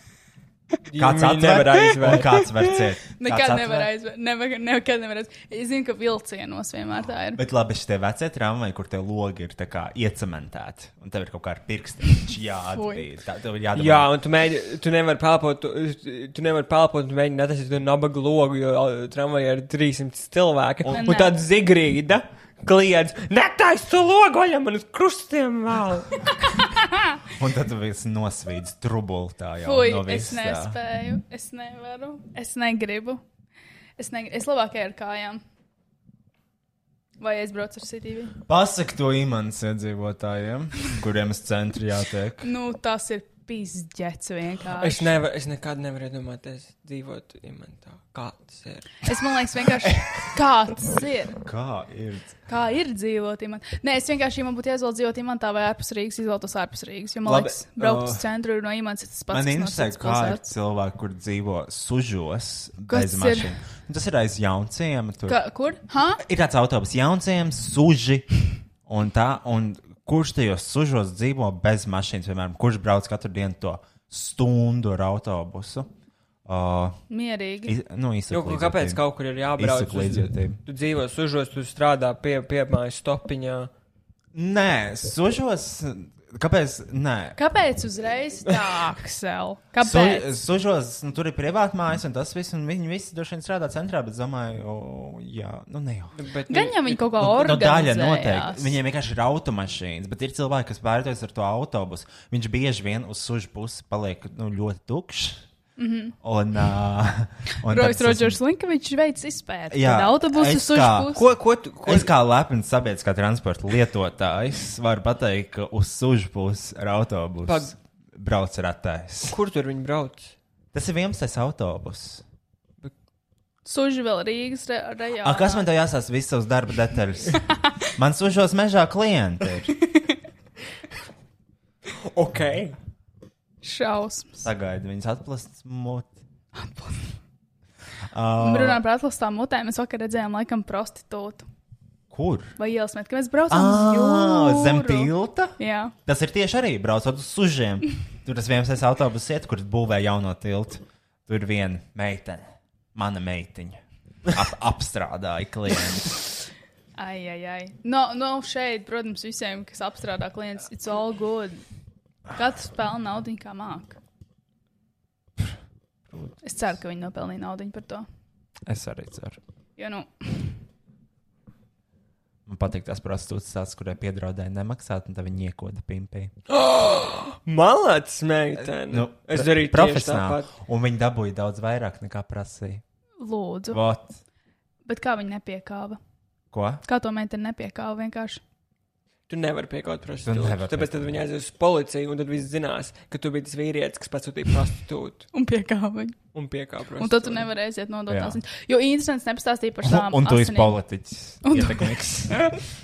Speaker 1: Kāds
Speaker 4: Viņi
Speaker 1: atver
Speaker 4: nevarēja
Speaker 1: un
Speaker 4: izvērt.
Speaker 1: kāds verciet.
Speaker 3: Nekad nevar aizvērt. Nekad nevar aizvērt. Es zinu, ka vilcienos vienmēr tā ir.
Speaker 1: Bet labi, šie vecie tramvaji, kur tie logi ir tā kā iecementēti, un tev ir kaut kā ar pirkstiem jāatbīd. Tā tev ir jādomā.
Speaker 4: Jā, un tu, mēģi, tu nevari pelpot, tu, tu nevari pelpot, tu mēģini atrast to nabaga logu, jo ā, tramvajā ir 300 cilvēki. Un,
Speaker 3: Nē.
Speaker 4: un tāda zigrīda kliedz, netais to logu, vaļam man uz krustiem vēl.
Speaker 1: Un tad tu viss nosvīdz trubultā jau.
Speaker 3: Fui,
Speaker 1: no
Speaker 3: es
Speaker 1: viss, jā.
Speaker 3: nespēju. Es nevaru. Es negribu. Es, negri... es labāk eju ar kājām. Vai es braucu ar CTV?
Speaker 1: Pasak to imants iedzīvotājiem, kuriem es centri jātiek.
Speaker 3: Nu, tas ir pizdzēts vienkārši.
Speaker 4: Es, nevar, es nekad nevaru iedomāties dzīvot imantā. Kā tas ir?
Speaker 3: Es man liekas, vienkārši kāds ir.
Speaker 1: Kā ir?
Speaker 3: Kā ir dzīvot imantā? Nē, es vienkārši, ja man būtu jāizvēlas dzīvot imantā vai ārpus Rīgas, izvēlētos ārpus Rīgas. Jo man
Speaker 1: Labi,
Speaker 3: Labi, liekas, braukt
Speaker 1: o,
Speaker 3: uz centru no imants ir tas pats.
Speaker 1: Man
Speaker 3: kas no
Speaker 1: interesē,
Speaker 3: citas
Speaker 1: kā ir
Speaker 3: pilsētas.
Speaker 1: cilvēki, kur dzīvo sužos
Speaker 3: Kas
Speaker 1: bez
Speaker 3: ir?
Speaker 1: mašīnām. Nu, Tas ir aiz jaunciem. Tur
Speaker 3: Ka, kur? Ha?
Speaker 1: ir tāds autobus jaunciem, suži un tā. Un kurš tajos sužos dzīvo bez mašīnas? Piemēram, kurš brauc katru dienu to stundu ar autobusu? Uh,
Speaker 3: Mierīgi.
Speaker 1: iz, nu,
Speaker 4: Jo,
Speaker 1: izsaklīdzotību.
Speaker 4: kāpēc kaut kur ir jābrauc? Uz,
Speaker 1: Izsaklīdzotību.
Speaker 4: tu dzīvo sužos, tu strādā pie, pie mājas stopiņā.
Speaker 1: Nē, sužos. Kāpēc? Nē.
Speaker 3: Kāpēc uzreiz tā, Aksel?
Speaker 1: Su,
Speaker 3: Kāpēc?
Speaker 1: sužos, nu, tur ir privāta mājas, un tas viss, un viņi visi droši vien strādā centrā, bet, domāju, o, jā, nu, ne jau.
Speaker 4: Bet,
Speaker 3: Gan jau viņi kaut kā
Speaker 1: Nu, nu, daļa
Speaker 3: organizē.
Speaker 1: noteikti. Viņiem vienkārši ir automašīnas, bet ir cilvēki, kas vērtējas ar to autobusu. Viņš bieži vien uz sužu pusi paliek nu, ļoti tukšs. Mm -hmm. Un, uh, un
Speaker 3: Rojas
Speaker 1: tāpēc
Speaker 3: Rodžers Linkovičs veids izpēti.
Speaker 1: Jā,
Speaker 3: Jā, autobusu
Speaker 1: es kā-
Speaker 3: sušpūs.
Speaker 4: Ko, ko, tu- ko,
Speaker 1: Es kā lepns sabiedriskā transporta lietotājs varu pateikt, ka uz sužu pusi ar autobusu
Speaker 4: Pag-
Speaker 1: brauc ratēs.
Speaker 4: kur tur viņi brauc?
Speaker 1: Tas ir 11. autobus.
Speaker 3: Suži vēl Rīgas re- rejonā.
Speaker 1: A, kas man te jāsāsās visas savas darba detaļas? Man sužos mežā klienti ir.
Speaker 4: Ok.
Speaker 3: Šausmas.
Speaker 1: Sagaidu viņus atplast mut.
Speaker 3: Un runājot par atlastām mutēm, mēs vakar redzējām laikam prostitūtu
Speaker 1: Kur?
Speaker 3: vai ielsmēt, ka mēs braucam uz
Speaker 1: Ah,
Speaker 3: jūru.
Speaker 1: zem tilta.
Speaker 3: Jā.
Speaker 1: Tas ir tieši arī braucot uz sužiem. Tur tas viens autobuss iet, kur būvē jauno tiltu. Tur ir viena meitene, mana meitiņa. Ap, apstrādāja klientu.
Speaker 3: Ai, ai, ai. No, no šeit, protams, visiem, kas apstrādā klients, it's all good. Katrs pelna naudu, kā māk. Es ceru, ka viņi nopelnīja naudu par to.
Speaker 1: Es arī ceru.
Speaker 3: Jo, nu,
Speaker 1: Man patīk tās prostitūtas, tās, kurai piedraudēja nemaksāt, un tad viņi iekoda pimpī.
Speaker 4: Malacis, meitene.
Speaker 1: Nu,
Speaker 4: es
Speaker 1: pre-
Speaker 4: darīju tieši
Speaker 1: profesionāli.
Speaker 4: tāpat.
Speaker 1: Un viņi dabūja daudz vairāk nekā prasīja.
Speaker 3: lūdzu.
Speaker 1: Vot,
Speaker 3: Bet kā viņi nepiekāva?
Speaker 1: ko?
Speaker 3: Kā to meiteni nepiekāva vienkārši?
Speaker 4: Tu nevari piekāpt
Speaker 1: Tu
Speaker 4: prostitūtu.
Speaker 1: nevari
Speaker 4: Tāpēc tad viņi aizies uz policiju, un tad viss zinās, ka tu biji tas vīrietis, kas pasūtīja prostitūtu
Speaker 3: Un piekāva viņu.
Speaker 4: un piekāpa prostitūtu.
Speaker 3: Un tad tu nevari aiziet nodot
Speaker 1: Jā.
Speaker 3: tās. viņas. Jo interesants nepastāstīja par savām.
Speaker 1: Un tu esi
Speaker 3: asinīm.
Speaker 1: politiķis.
Speaker 3: Un tu-
Speaker 1: Ietekmīgs.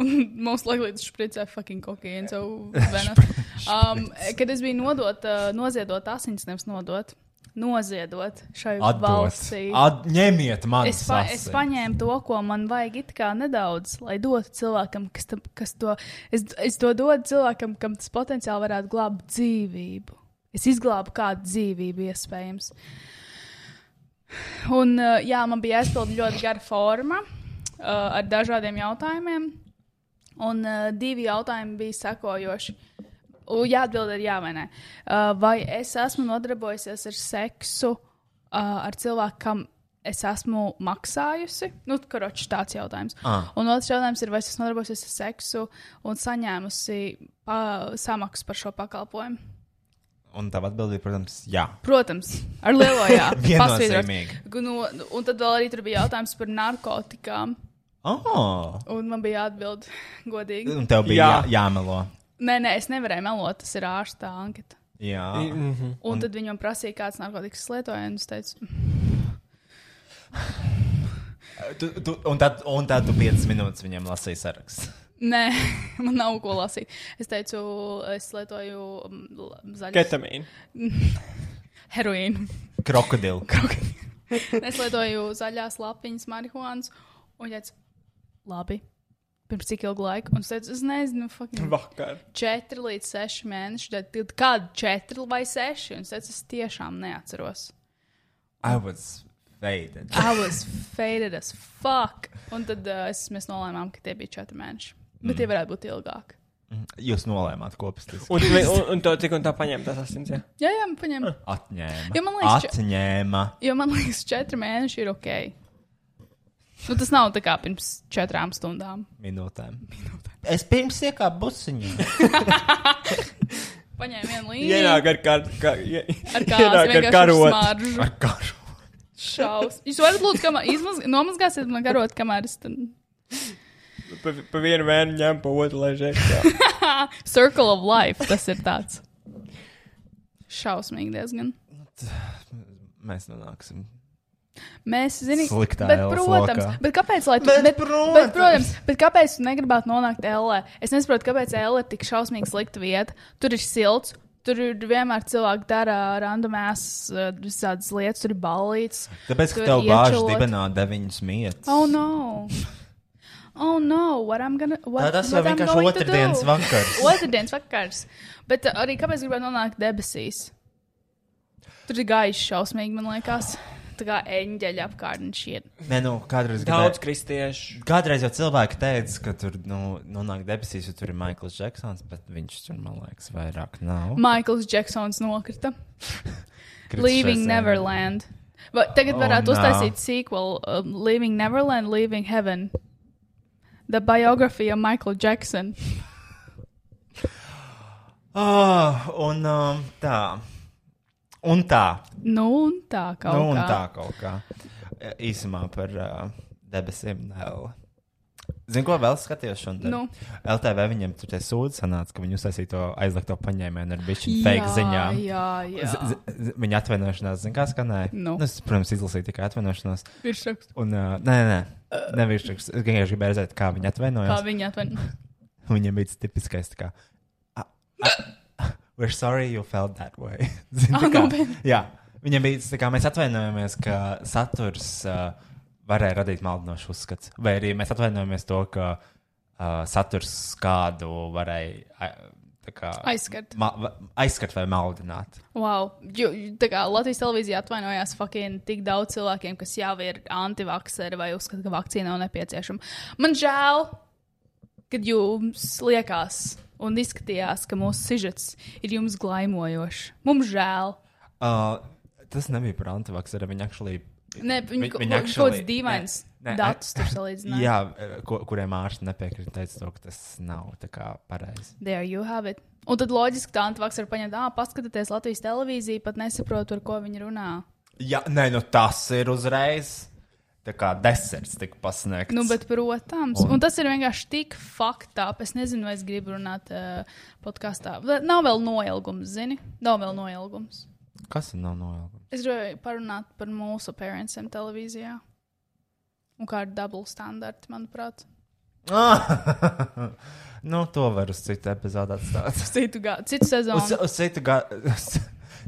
Speaker 3: Un mums liekas, tas špricē fucking kokaīnu. so venas. Um, kad es biju nodot, uh, noziedot asins, nevis nodot, noziedot šai Atdot. valstī.
Speaker 1: At, ņemiet man.
Speaker 3: Es, pa, es paņēmu to, ko man vajag, it kā nedaudz, lai dotu cilvēkam, kas, tam, kas to. Es, es to dodu cilvēkam, kam tas potenciāli varētu glābt dzīvību. Es izglābu kādu dzīvību, iespējams. Un, uh, jā, man bija aizpildīta ļoti gara forma uh, ar dažādiem eh, jautājumiem. Un uh, divi jautājumi bija sakojoši. U, Jāatbild ir jā vai nē. Uh, vai es esmu nodarbojusies ar seksu uh, ar cilvēku, kam es esmu maksājusi? Nu, karoči, tāds jautājums. Ah. Un otrs jautājums ir, vai es esmu nodarbojusies ar seksu un saņēmusi pa, samaksu par šo pakalpojumu?
Speaker 1: Un tā atbildīja, protams, jā.
Speaker 3: Protams, ar lielo jā.
Speaker 1: Viennozīmīgi.
Speaker 3: Pasvītrot. Nu, un tad vēl arī tur bija jautājums par narkotikām.
Speaker 1: Oh.
Speaker 3: Un man bija jāatbild godīgi.
Speaker 1: Un tev bija jā.
Speaker 4: Jā.
Speaker 1: Jā, jāmelo.
Speaker 3: Nē, nē, es nevarēju melot, tas ir ārsta anketa.
Speaker 1: Jā.
Speaker 3: Un tad viņam prasīja, kāds narkotikas lietoja, un es teicu,
Speaker 1: Tu, tu, un, tad, un tad tu 5 minūtes viņam lasīji sarakstu.
Speaker 3: nē, man nav ko lasīt. Es teicu, es lietoju mm, l- zaļu
Speaker 4: Ketamīna.
Speaker 3: heroīnu.
Speaker 1: Krokodilu.
Speaker 3: Es lietoju zaļās lapiņas, marihuānas, un viņš teica, labi, pirms cik ilga laika? Un es teicu, es nezinu, fucking.
Speaker 4: Vakar.
Speaker 3: 4 līdz 6 mēneši. Tad tad kādu 4 vai 6? Un es teicu, es tiešām neatceros.
Speaker 1: I was faded.
Speaker 3: I was faded as fuck. Un tad uh, es, mēs nolēmām, ka tie bija 4 mēneši. Bet mm. tie varētu būt ilgāki.
Speaker 1: Jūs nolēmāt kopistiski.
Speaker 4: Un, tu- un, un to tik un tā paņēma tas asins. Jā.
Speaker 3: Jā, jā, man paņem.
Speaker 1: Ah. Atņēma.
Speaker 3: Jo man liekas, če-
Speaker 1: Atņēma.
Speaker 3: Jo man liekas, 4 mēneši ir ok. Nu, tas nav tā kā pirms 4 stundām.
Speaker 1: Minūtēm. Es pirms iekāpu busiņā.
Speaker 3: Paņēmu vienu līniju.
Speaker 4: Ienāk ar kādu. Kā, ie-
Speaker 3: Ar
Speaker 4: ienāk
Speaker 3: kādu
Speaker 4: ar karoti.
Speaker 3: karotu.
Speaker 1: Ar karu.
Speaker 3: Šausmas. Jūs varat lūdzu, kamēr izmaz... nomazgāsiet man karotu, kamēr es tam
Speaker 4: Pa, pa vienu vēnu ņem, pa otru lai žēl.
Speaker 3: Circle of Life. Tas ir tāds šausmīgi diezgan.
Speaker 1: Mēs nonāksim.
Speaker 3: Mēs zinām,
Speaker 1: Sliktā
Speaker 3: bet,
Speaker 1: ēlas
Speaker 3: protams,
Speaker 1: lokā.
Speaker 3: bet kāpēc, lai tu,
Speaker 1: Bet
Speaker 3: bet,
Speaker 1: protams.
Speaker 3: bet, protams, bet kāpēc tu negribētu nonākt Latvijā? Es nesaprotu, kāpēc Latvija ir tik šausmīgi slikta vieta. Tur ir silts, tur ir vienmēr cilvēki dara randomās eh, visādas lietas, tur ir balīts.
Speaker 1: Tāpēc, ka
Speaker 3: Tur
Speaker 1: tev bāž
Speaker 3: iečelot.
Speaker 1: dibenā deviņas mietas.
Speaker 3: Oh, no! Oh, no! What I'm gonna, what,
Speaker 1: Tā tas jau
Speaker 3: what I'm
Speaker 1: vienkārši
Speaker 3: going to
Speaker 1: otrdienas
Speaker 3: do?
Speaker 1: vakars.
Speaker 3: Otrdienas vakars. Bet uh, arī kāpēc gribētu nonākt debesīs? Tur ir gaišs, šausmīgi, man liekas. Tā kā eņģeļa apkārtnē šie.
Speaker 1: Nē, nu, kādreiz
Speaker 4: Daudz
Speaker 1: gribēju-
Speaker 4: kristiešu.
Speaker 1: Kādreiz jau cilvēki teica, ka tur nu, nonāk debesīs, jo tur ir Maikls Džeksons, bet viņš tur, man liekas, vairāk nav.
Speaker 3: Maikls Džeksons nokrita.
Speaker 1: Kritis šai
Speaker 3: Leaving Neverland. Va, tagad
Speaker 1: Oh,
Speaker 3: varētu
Speaker 1: no.
Speaker 3: uztaisīt sequel. Um, Leaving Neverland, Leaving Heaven. The biography of Michael Jackson.
Speaker 1: sērijai. Ah, un um, tā. Un tā.
Speaker 3: Nu, un tā kā.
Speaker 1: Nu, un tā kaut kā. E, Īsumā par uh, debesīm. Nela. Zini, ko vēl skatījos šodien?
Speaker 3: Nu.
Speaker 1: LTV viņiem tur tie sūdzas, sanāca, ka viņi uztaisīja to aizliegto paņēmienu ar bišķiņu fake
Speaker 3: Jā,
Speaker 1: ziņām.
Speaker 3: jā, jā.
Speaker 1: Z- z- z- Viņa atvainošanās, zināmā mērā, skanēja.
Speaker 3: Nu.
Speaker 1: Nu, es, protams, izlasīju tikai atvainošanos.
Speaker 3: Virsrakstu.
Speaker 1: Un, uh, nē, nē, nevis viņš vienkārši gribēja redzēt, kā viņa
Speaker 3: Kā
Speaker 1: atvainojās.
Speaker 3: viņi atvaino.
Speaker 1: Viņam bija tas tipiskais, tā kā. "Ah, ah, We're sorry you felt that way. Zini, tā
Speaker 3: Ah,
Speaker 1: kā,
Speaker 3: nopietni.
Speaker 1: jā, viņam bija tas, tā kā mēs atvainojamies, ka saturs uh, varēja radīt maldinošu uzskatu. Vai arī mēs atvainojamies to, ka uh, saturs kādu varēja uh, tā kā,
Speaker 3: Aizskart.
Speaker 1: ma- va- aizskart vai maldināt.
Speaker 3: Wow. Jo, tā kā Latvijas televīzija atvainojās fucking tik daudz cilvēkiem, kas jau ir antivakseri vai uzskata, ka vakcīna nav nepieciešama. Man žēl, kad jums liekas un izskatījās, ka mūsu sižets ir jums glaimojošs. Mums žēl.
Speaker 1: Uh, tas nebija par antivakcīnu. Viņa actually.
Speaker 3: Nē, viņi
Speaker 1: Vi-
Speaker 3: kaut
Speaker 1: viņi
Speaker 3: kaut
Speaker 1: actually-
Speaker 3: kāds dīvains
Speaker 1: nē, nē,
Speaker 3: datus tur salīdzināja.
Speaker 1: Jā, eh, ko, kuriem ārsti nepiekrita, teica, to, ka tas nav tā kā pareizi.
Speaker 3: There you have it. Un tad loģiski tā antivaks var paņemt, ah, paskatieties Latvijas televīziju, pat nesaprotu, ar ko viņi runā.
Speaker 1: Jā, nē, nu tas ir uzreiz. Tā kā deserts tika pasniegts.
Speaker 3: Nu, bet, protams, un, un tas ir vienkārši tik faktā. Es nezinu, vai es gribu runāt uh, podkāstā. Nav vēl noilgums, zini? Nav vēl noilgums.
Speaker 1: Kas ir nav noilgums?
Speaker 3: Es gribēju parunāt par mūsu parentiem televīzijā. Un kāda ir dubultā standarta, manuprāt,
Speaker 1: Ah, nu, to var uz citu epizodu atstāt.
Speaker 3: citu, gā, citu sezonu.
Speaker 1: Uz,
Speaker 3: Uz...
Speaker 1: uz citu gadu.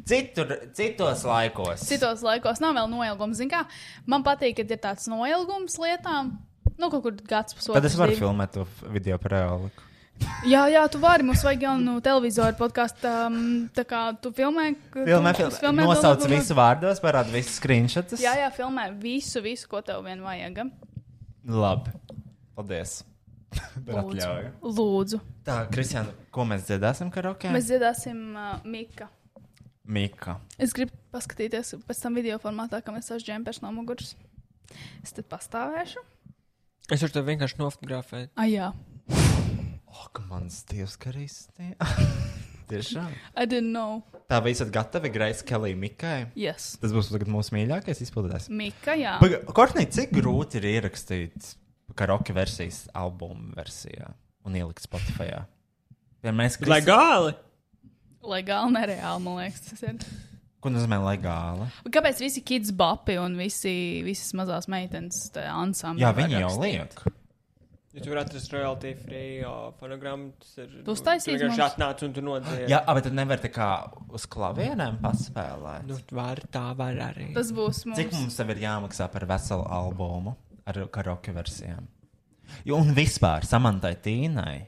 Speaker 1: Citur, citos laikos.
Speaker 3: Citos laikos nav vēl noilgums. Zini Kā, man patīk, kad ir tāds noilgums lietām. Nu, kaut kur gads pusotrs.
Speaker 1: Tad es varu
Speaker 3: divi.
Speaker 1: filmēt to f- video par reāli.
Speaker 3: Jā, jā, tu vari. Mums vajag jaunu televizoru podkāstu. Um, tā kā tu filmē, ka-
Speaker 1: Filmē,
Speaker 3: tu-
Speaker 1: filmē,
Speaker 3: filmē,
Speaker 1: filmē, nosauc
Speaker 3: filmē.
Speaker 1: visu vārdos, parāda visus screenshotus.
Speaker 3: Jā, jā, filmē visu, visu ko tev vien vajag.
Speaker 1: Labi. Paldies. Atļauju.
Speaker 3: Lūdzu.
Speaker 1: Tā, Kristiāna, ko mēs dziedāsim karaokē?
Speaker 3: Mēs dziedāsim uh, Mika.
Speaker 1: Mika.
Speaker 3: Es gribu paskatīties pēc tam video formātā, kā mēs savus džempešus no muguras. Es te pastāvēšu.
Speaker 9: Es varu to vienkārši nofotografēt.
Speaker 3: Ah, jā.
Speaker 1: Ak, mans dievs, Kristi. Tiešām.
Speaker 3: I didn't know.
Speaker 1: Tā vai esat gatavi Grace Kelly Mikai?
Speaker 3: Yes.
Speaker 1: Tas būs tagad mūsu mīļākais izpildītājs.
Speaker 3: Mika, jā.
Speaker 1: Kortnī, cik grūti ir ierakstīt karaoke versijas albumu versijā un ielikt Spotify? Ja mēs gribam,
Speaker 9: Legāli!
Speaker 3: Legāli, nereāli, man liekas, tas ir.
Speaker 1: ko nozīmē legāli?
Speaker 3: Un Kāpēc visi kids bapi un visi, visas mazās meitenes tajā ansambļā?
Speaker 1: Jā, viņi jau liek.
Speaker 9: Ja tu vari atrast royalty free uh, fonogrammu, tas ir. nu,
Speaker 3: Tu uztaisīsi
Speaker 9: Tu
Speaker 3: mums?
Speaker 9: vienkārši atnāc un tu nodzēri.
Speaker 1: Jā, bet tad nevar tā kā uz klavierēm paspēlēt.
Speaker 9: Nu, var, tā var arī.
Speaker 3: Tas būs mums.
Speaker 1: Cik mums tev ir jāmaksā par veselu albumu ar karaoke versijām? Jo un vispār samantai Tīnai.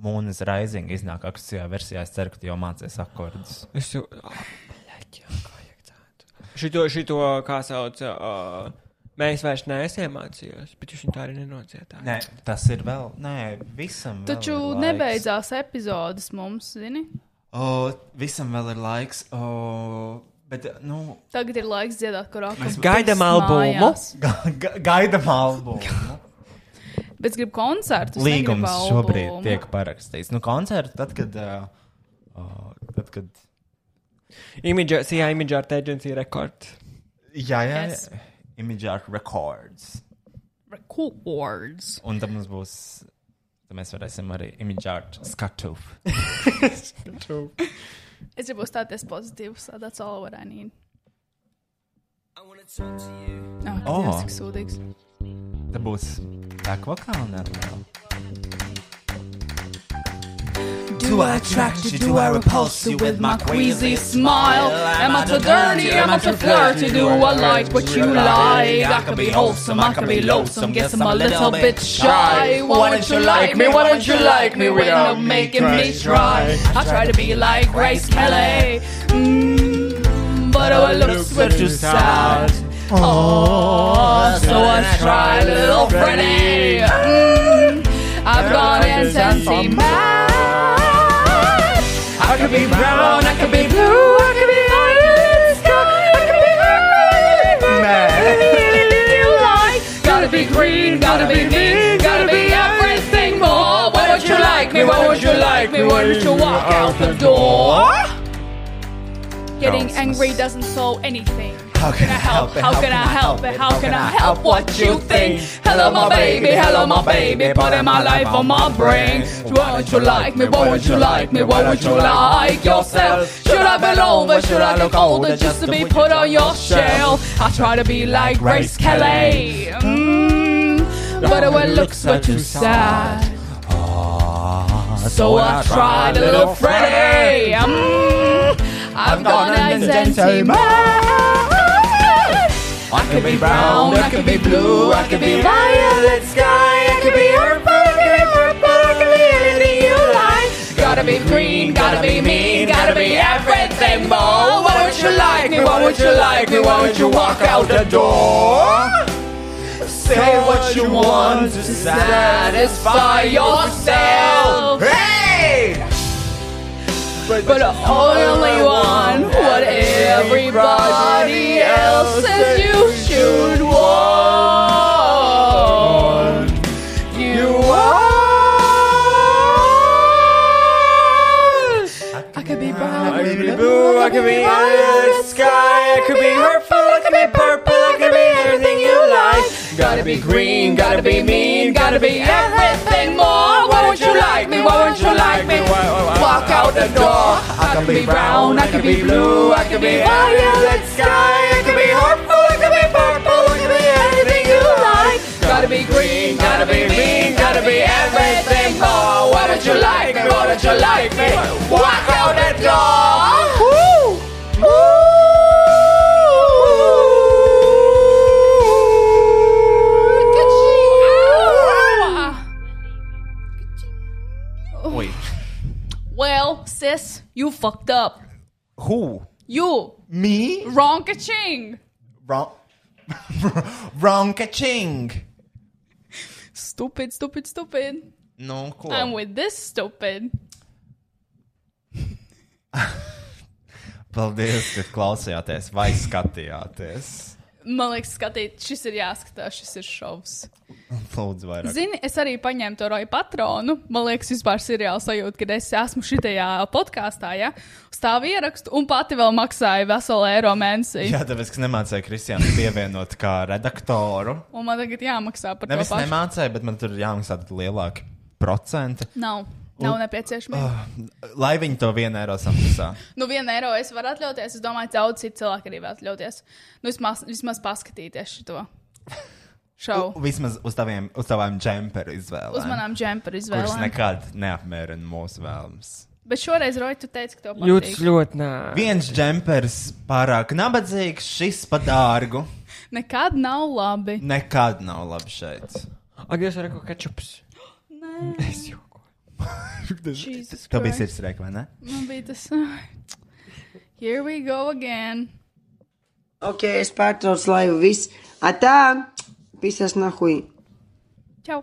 Speaker 1: Mūnes Rising iznāk akcijā versijā. Es ceru, ka tu jau mācies akordus.
Speaker 9: Es jau. Ah, bleķi, kā iekcētu. Šito, šito, kā sauc, uh, mēs vairs neiemācījāmies, bet viņš tā arī nenocietāja.
Speaker 1: Nē, tas ir vēl. Nē, visam. vēl
Speaker 3: Taču
Speaker 1: ir laiks.
Speaker 3: nebeidzās epizodes mums, zini?
Speaker 1: O, visam vēl ir laiks. O, bet, nu,
Speaker 3: Tagad ir laiks dziedāt karaoke.
Speaker 9: gaidām albumu.
Speaker 1: ga- ga- gaidām albumu.
Speaker 3: Bet es gribu koncertu.
Speaker 1: Līgums šobrīd tiek parakstīts. Nu, koncerts, tad, kad. Uh, uh, tad, kad
Speaker 9: Imidžā, CIA imidžā ar agency rekords.
Speaker 1: jā, jā,
Speaker 3: Yes.
Speaker 1: yes. Image Art Records.
Speaker 3: Records.
Speaker 1: Un tad mums būs. Tad mēs varēsim arī Image Art skatu.
Speaker 3: Es gribu stāties pozitīvs. so That's all what I need. Ah,
Speaker 1: Oh.
Speaker 3: oh. cik sūdīgs.
Speaker 1: Tad būs back vokāli. nedaudz.
Speaker 3: Do I attract you? Do I repulse you with my queasy smile? Am I too dirty? Am I too flirty? Do I like what you like? I could be wholesome, I could be loathsome. Guess I'm a little bit shy. Why don't you like me? Why don't you like me without making me try? I try to be like Grace Kelly, mm, but her looks were too sad. Oh, so I tried little Freddy. Mm, I've gone intensely mad. I could be brown, I could be blue, I could be orange, I could be mad. Gotta be green, gotta be me, gotta be everything more. Why don't you like me? Why don't you like me? Why don't you walk out the door? Getting angry doesn't solve anything. How can I help it? How can I help it? How can I help what you think? Hello, my baby, hello, my baby, putting my life on my brain. Why don't you like me? Why don't you like me? Why don't you like yourself? Should I bend over? Should I look older just to be put on your shelf? I try to be like Grace Kelly, mm, but it looks were too sad. Ah, So I tried a little Freddy. Mm, I'm gonna dancing mad. I could be brown, I could be blue, I could be violet sky, I could be purple, I could be purple, I could be anything you like. Gotta be green, gotta be mean, gotta be everything more. Why don't you like me? Why would you like me? Why would you walk out the door? Say what you want to satisfy yourself. Hey! But, but only one, what everybody else says you should want. You are. I could be brown, I could be blue, I could be violet sky, I could be hurtful, I could be purple, I could be everything you like. Gotta be green, gotta be mean, gotta be everything more. Why don't you like me? Why don't you like me? Walk out the door. I could be brown, I could be blue, I could be violet sky, I could be hurtful, I could be purple, I could be anything you like. Gotta be green, gotta be mean, gotta be everything more. Why don't you like me? Why don't you like me? Walk out the door. Woo!
Speaker 1: Ui,
Speaker 3: Well, sis, you fucked up.
Speaker 1: who?
Speaker 3: You
Speaker 1: Me?
Speaker 3: wrong ka-ching.
Speaker 1: Wrong. Wrong ka-ching!
Speaker 3: Stupid, stupid, stupid.
Speaker 1: Nu, ko?
Speaker 3: I'm with this stupid.
Speaker 1: Paldies, ka klausījāties vai skatījāties.
Speaker 3: Man liekas, skatīt, šis ir jāskatās, šis ir šovs.
Speaker 1: Lūdzu, vairāk.
Speaker 3: Zini, es arī paņēmu to roju patronu. Man liekas, vispār seriāls sajūta, ka es esmu šitajā podkāstā, ja stāvu ierakstu un pati vēl maksāju veselu eiro mēnesī.
Speaker 1: Jā, tāpēc, ka nemācīja Kristiānu pievienot kā redaktoru.
Speaker 3: Un man tagad jāmaksā par
Speaker 1: Nevis
Speaker 3: to pašu.
Speaker 1: nemācīja, bet man tur ir jāmaksā tad lielāki procenti.
Speaker 3: Nav, nav nepieciešams. Uh.
Speaker 1: Ah, Lai viņi to vienu eiro samaksā.
Speaker 3: Nu, vienu eiro es varu atļauties. Es domāju, daudz citu cilvēku arī var atļauties. Nu, vismaz, vismaz paskatīties šo šovu.
Speaker 1: Vismaz uz taviem, uz tavām džemperu izvēlēm.
Speaker 3: Uz manām džempera
Speaker 1: Kurš
Speaker 3: izvēlēm.
Speaker 1: nekad neapmierina mūsu vēlmes.
Speaker 3: Bet šoreiz, Roja, tu teici, ka tev
Speaker 4: Jūtas
Speaker 3: patīk.
Speaker 4: ļoti nē.
Speaker 1: Viens džempers pārāk nabadzīgs, šis pa dārgu.
Speaker 3: Nekad nav labi.
Speaker 1: Nekad nav labi šeit.
Speaker 4: Ak, Dievs, ar ko kečups?
Speaker 3: Nē,
Speaker 4: Es jokoju.
Speaker 3: Jesus
Speaker 1: Tev bija
Speaker 3: Christ.
Speaker 1: sirds rēk, vai ne?
Speaker 3: Man bija tas. Here we go again.
Speaker 10: Ok, es pārtraucu laivu, viss. Atā, pisas nahuj.
Speaker 3: Čau!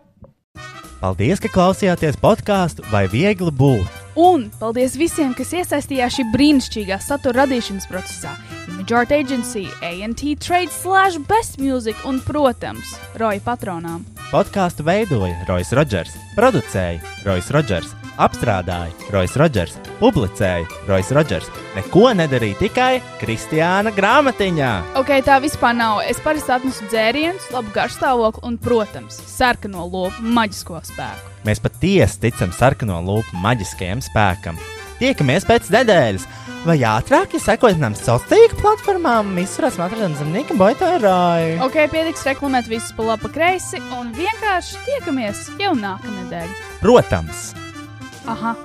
Speaker 7: Paldies, ka klausījāties podkāstu vai viegli būt.
Speaker 3: Un paldies visiem, kas iesaistījās šī brīnišķīgā satura radīšanas procesā. Majority Agency, ANT Trade, Slash, Best Music un, protams, Roja patronām.
Speaker 7: Podkāstu veidoja Rois Rodžers, producēja Rois Rodžers, apstrādāja Rois Rodžers, publicēja Rois Rodžers. Neko nedarīja tikai Kristiāna grāmatiņā.
Speaker 3: Ok, tā vispār nav. Es parasti atnesu dzērienus, labu garšstāvokli un, protams, sarkano lopu maģisko spēku.
Speaker 7: Mēs patiesi ticam sarkano lupu maģiskajam spēkam. Tiekamies pēc nedēļas, vai ātrāk, ja sekojat mums sociālajām tīkla platformām, visurās matradienas zemnieka boitārājai.
Speaker 3: Ok, pietiks reklamēt visus pa labi, pa kreisi un vienkārši tiekamies jau nākamnedēļ.
Speaker 7: Protams!
Speaker 3: Aha!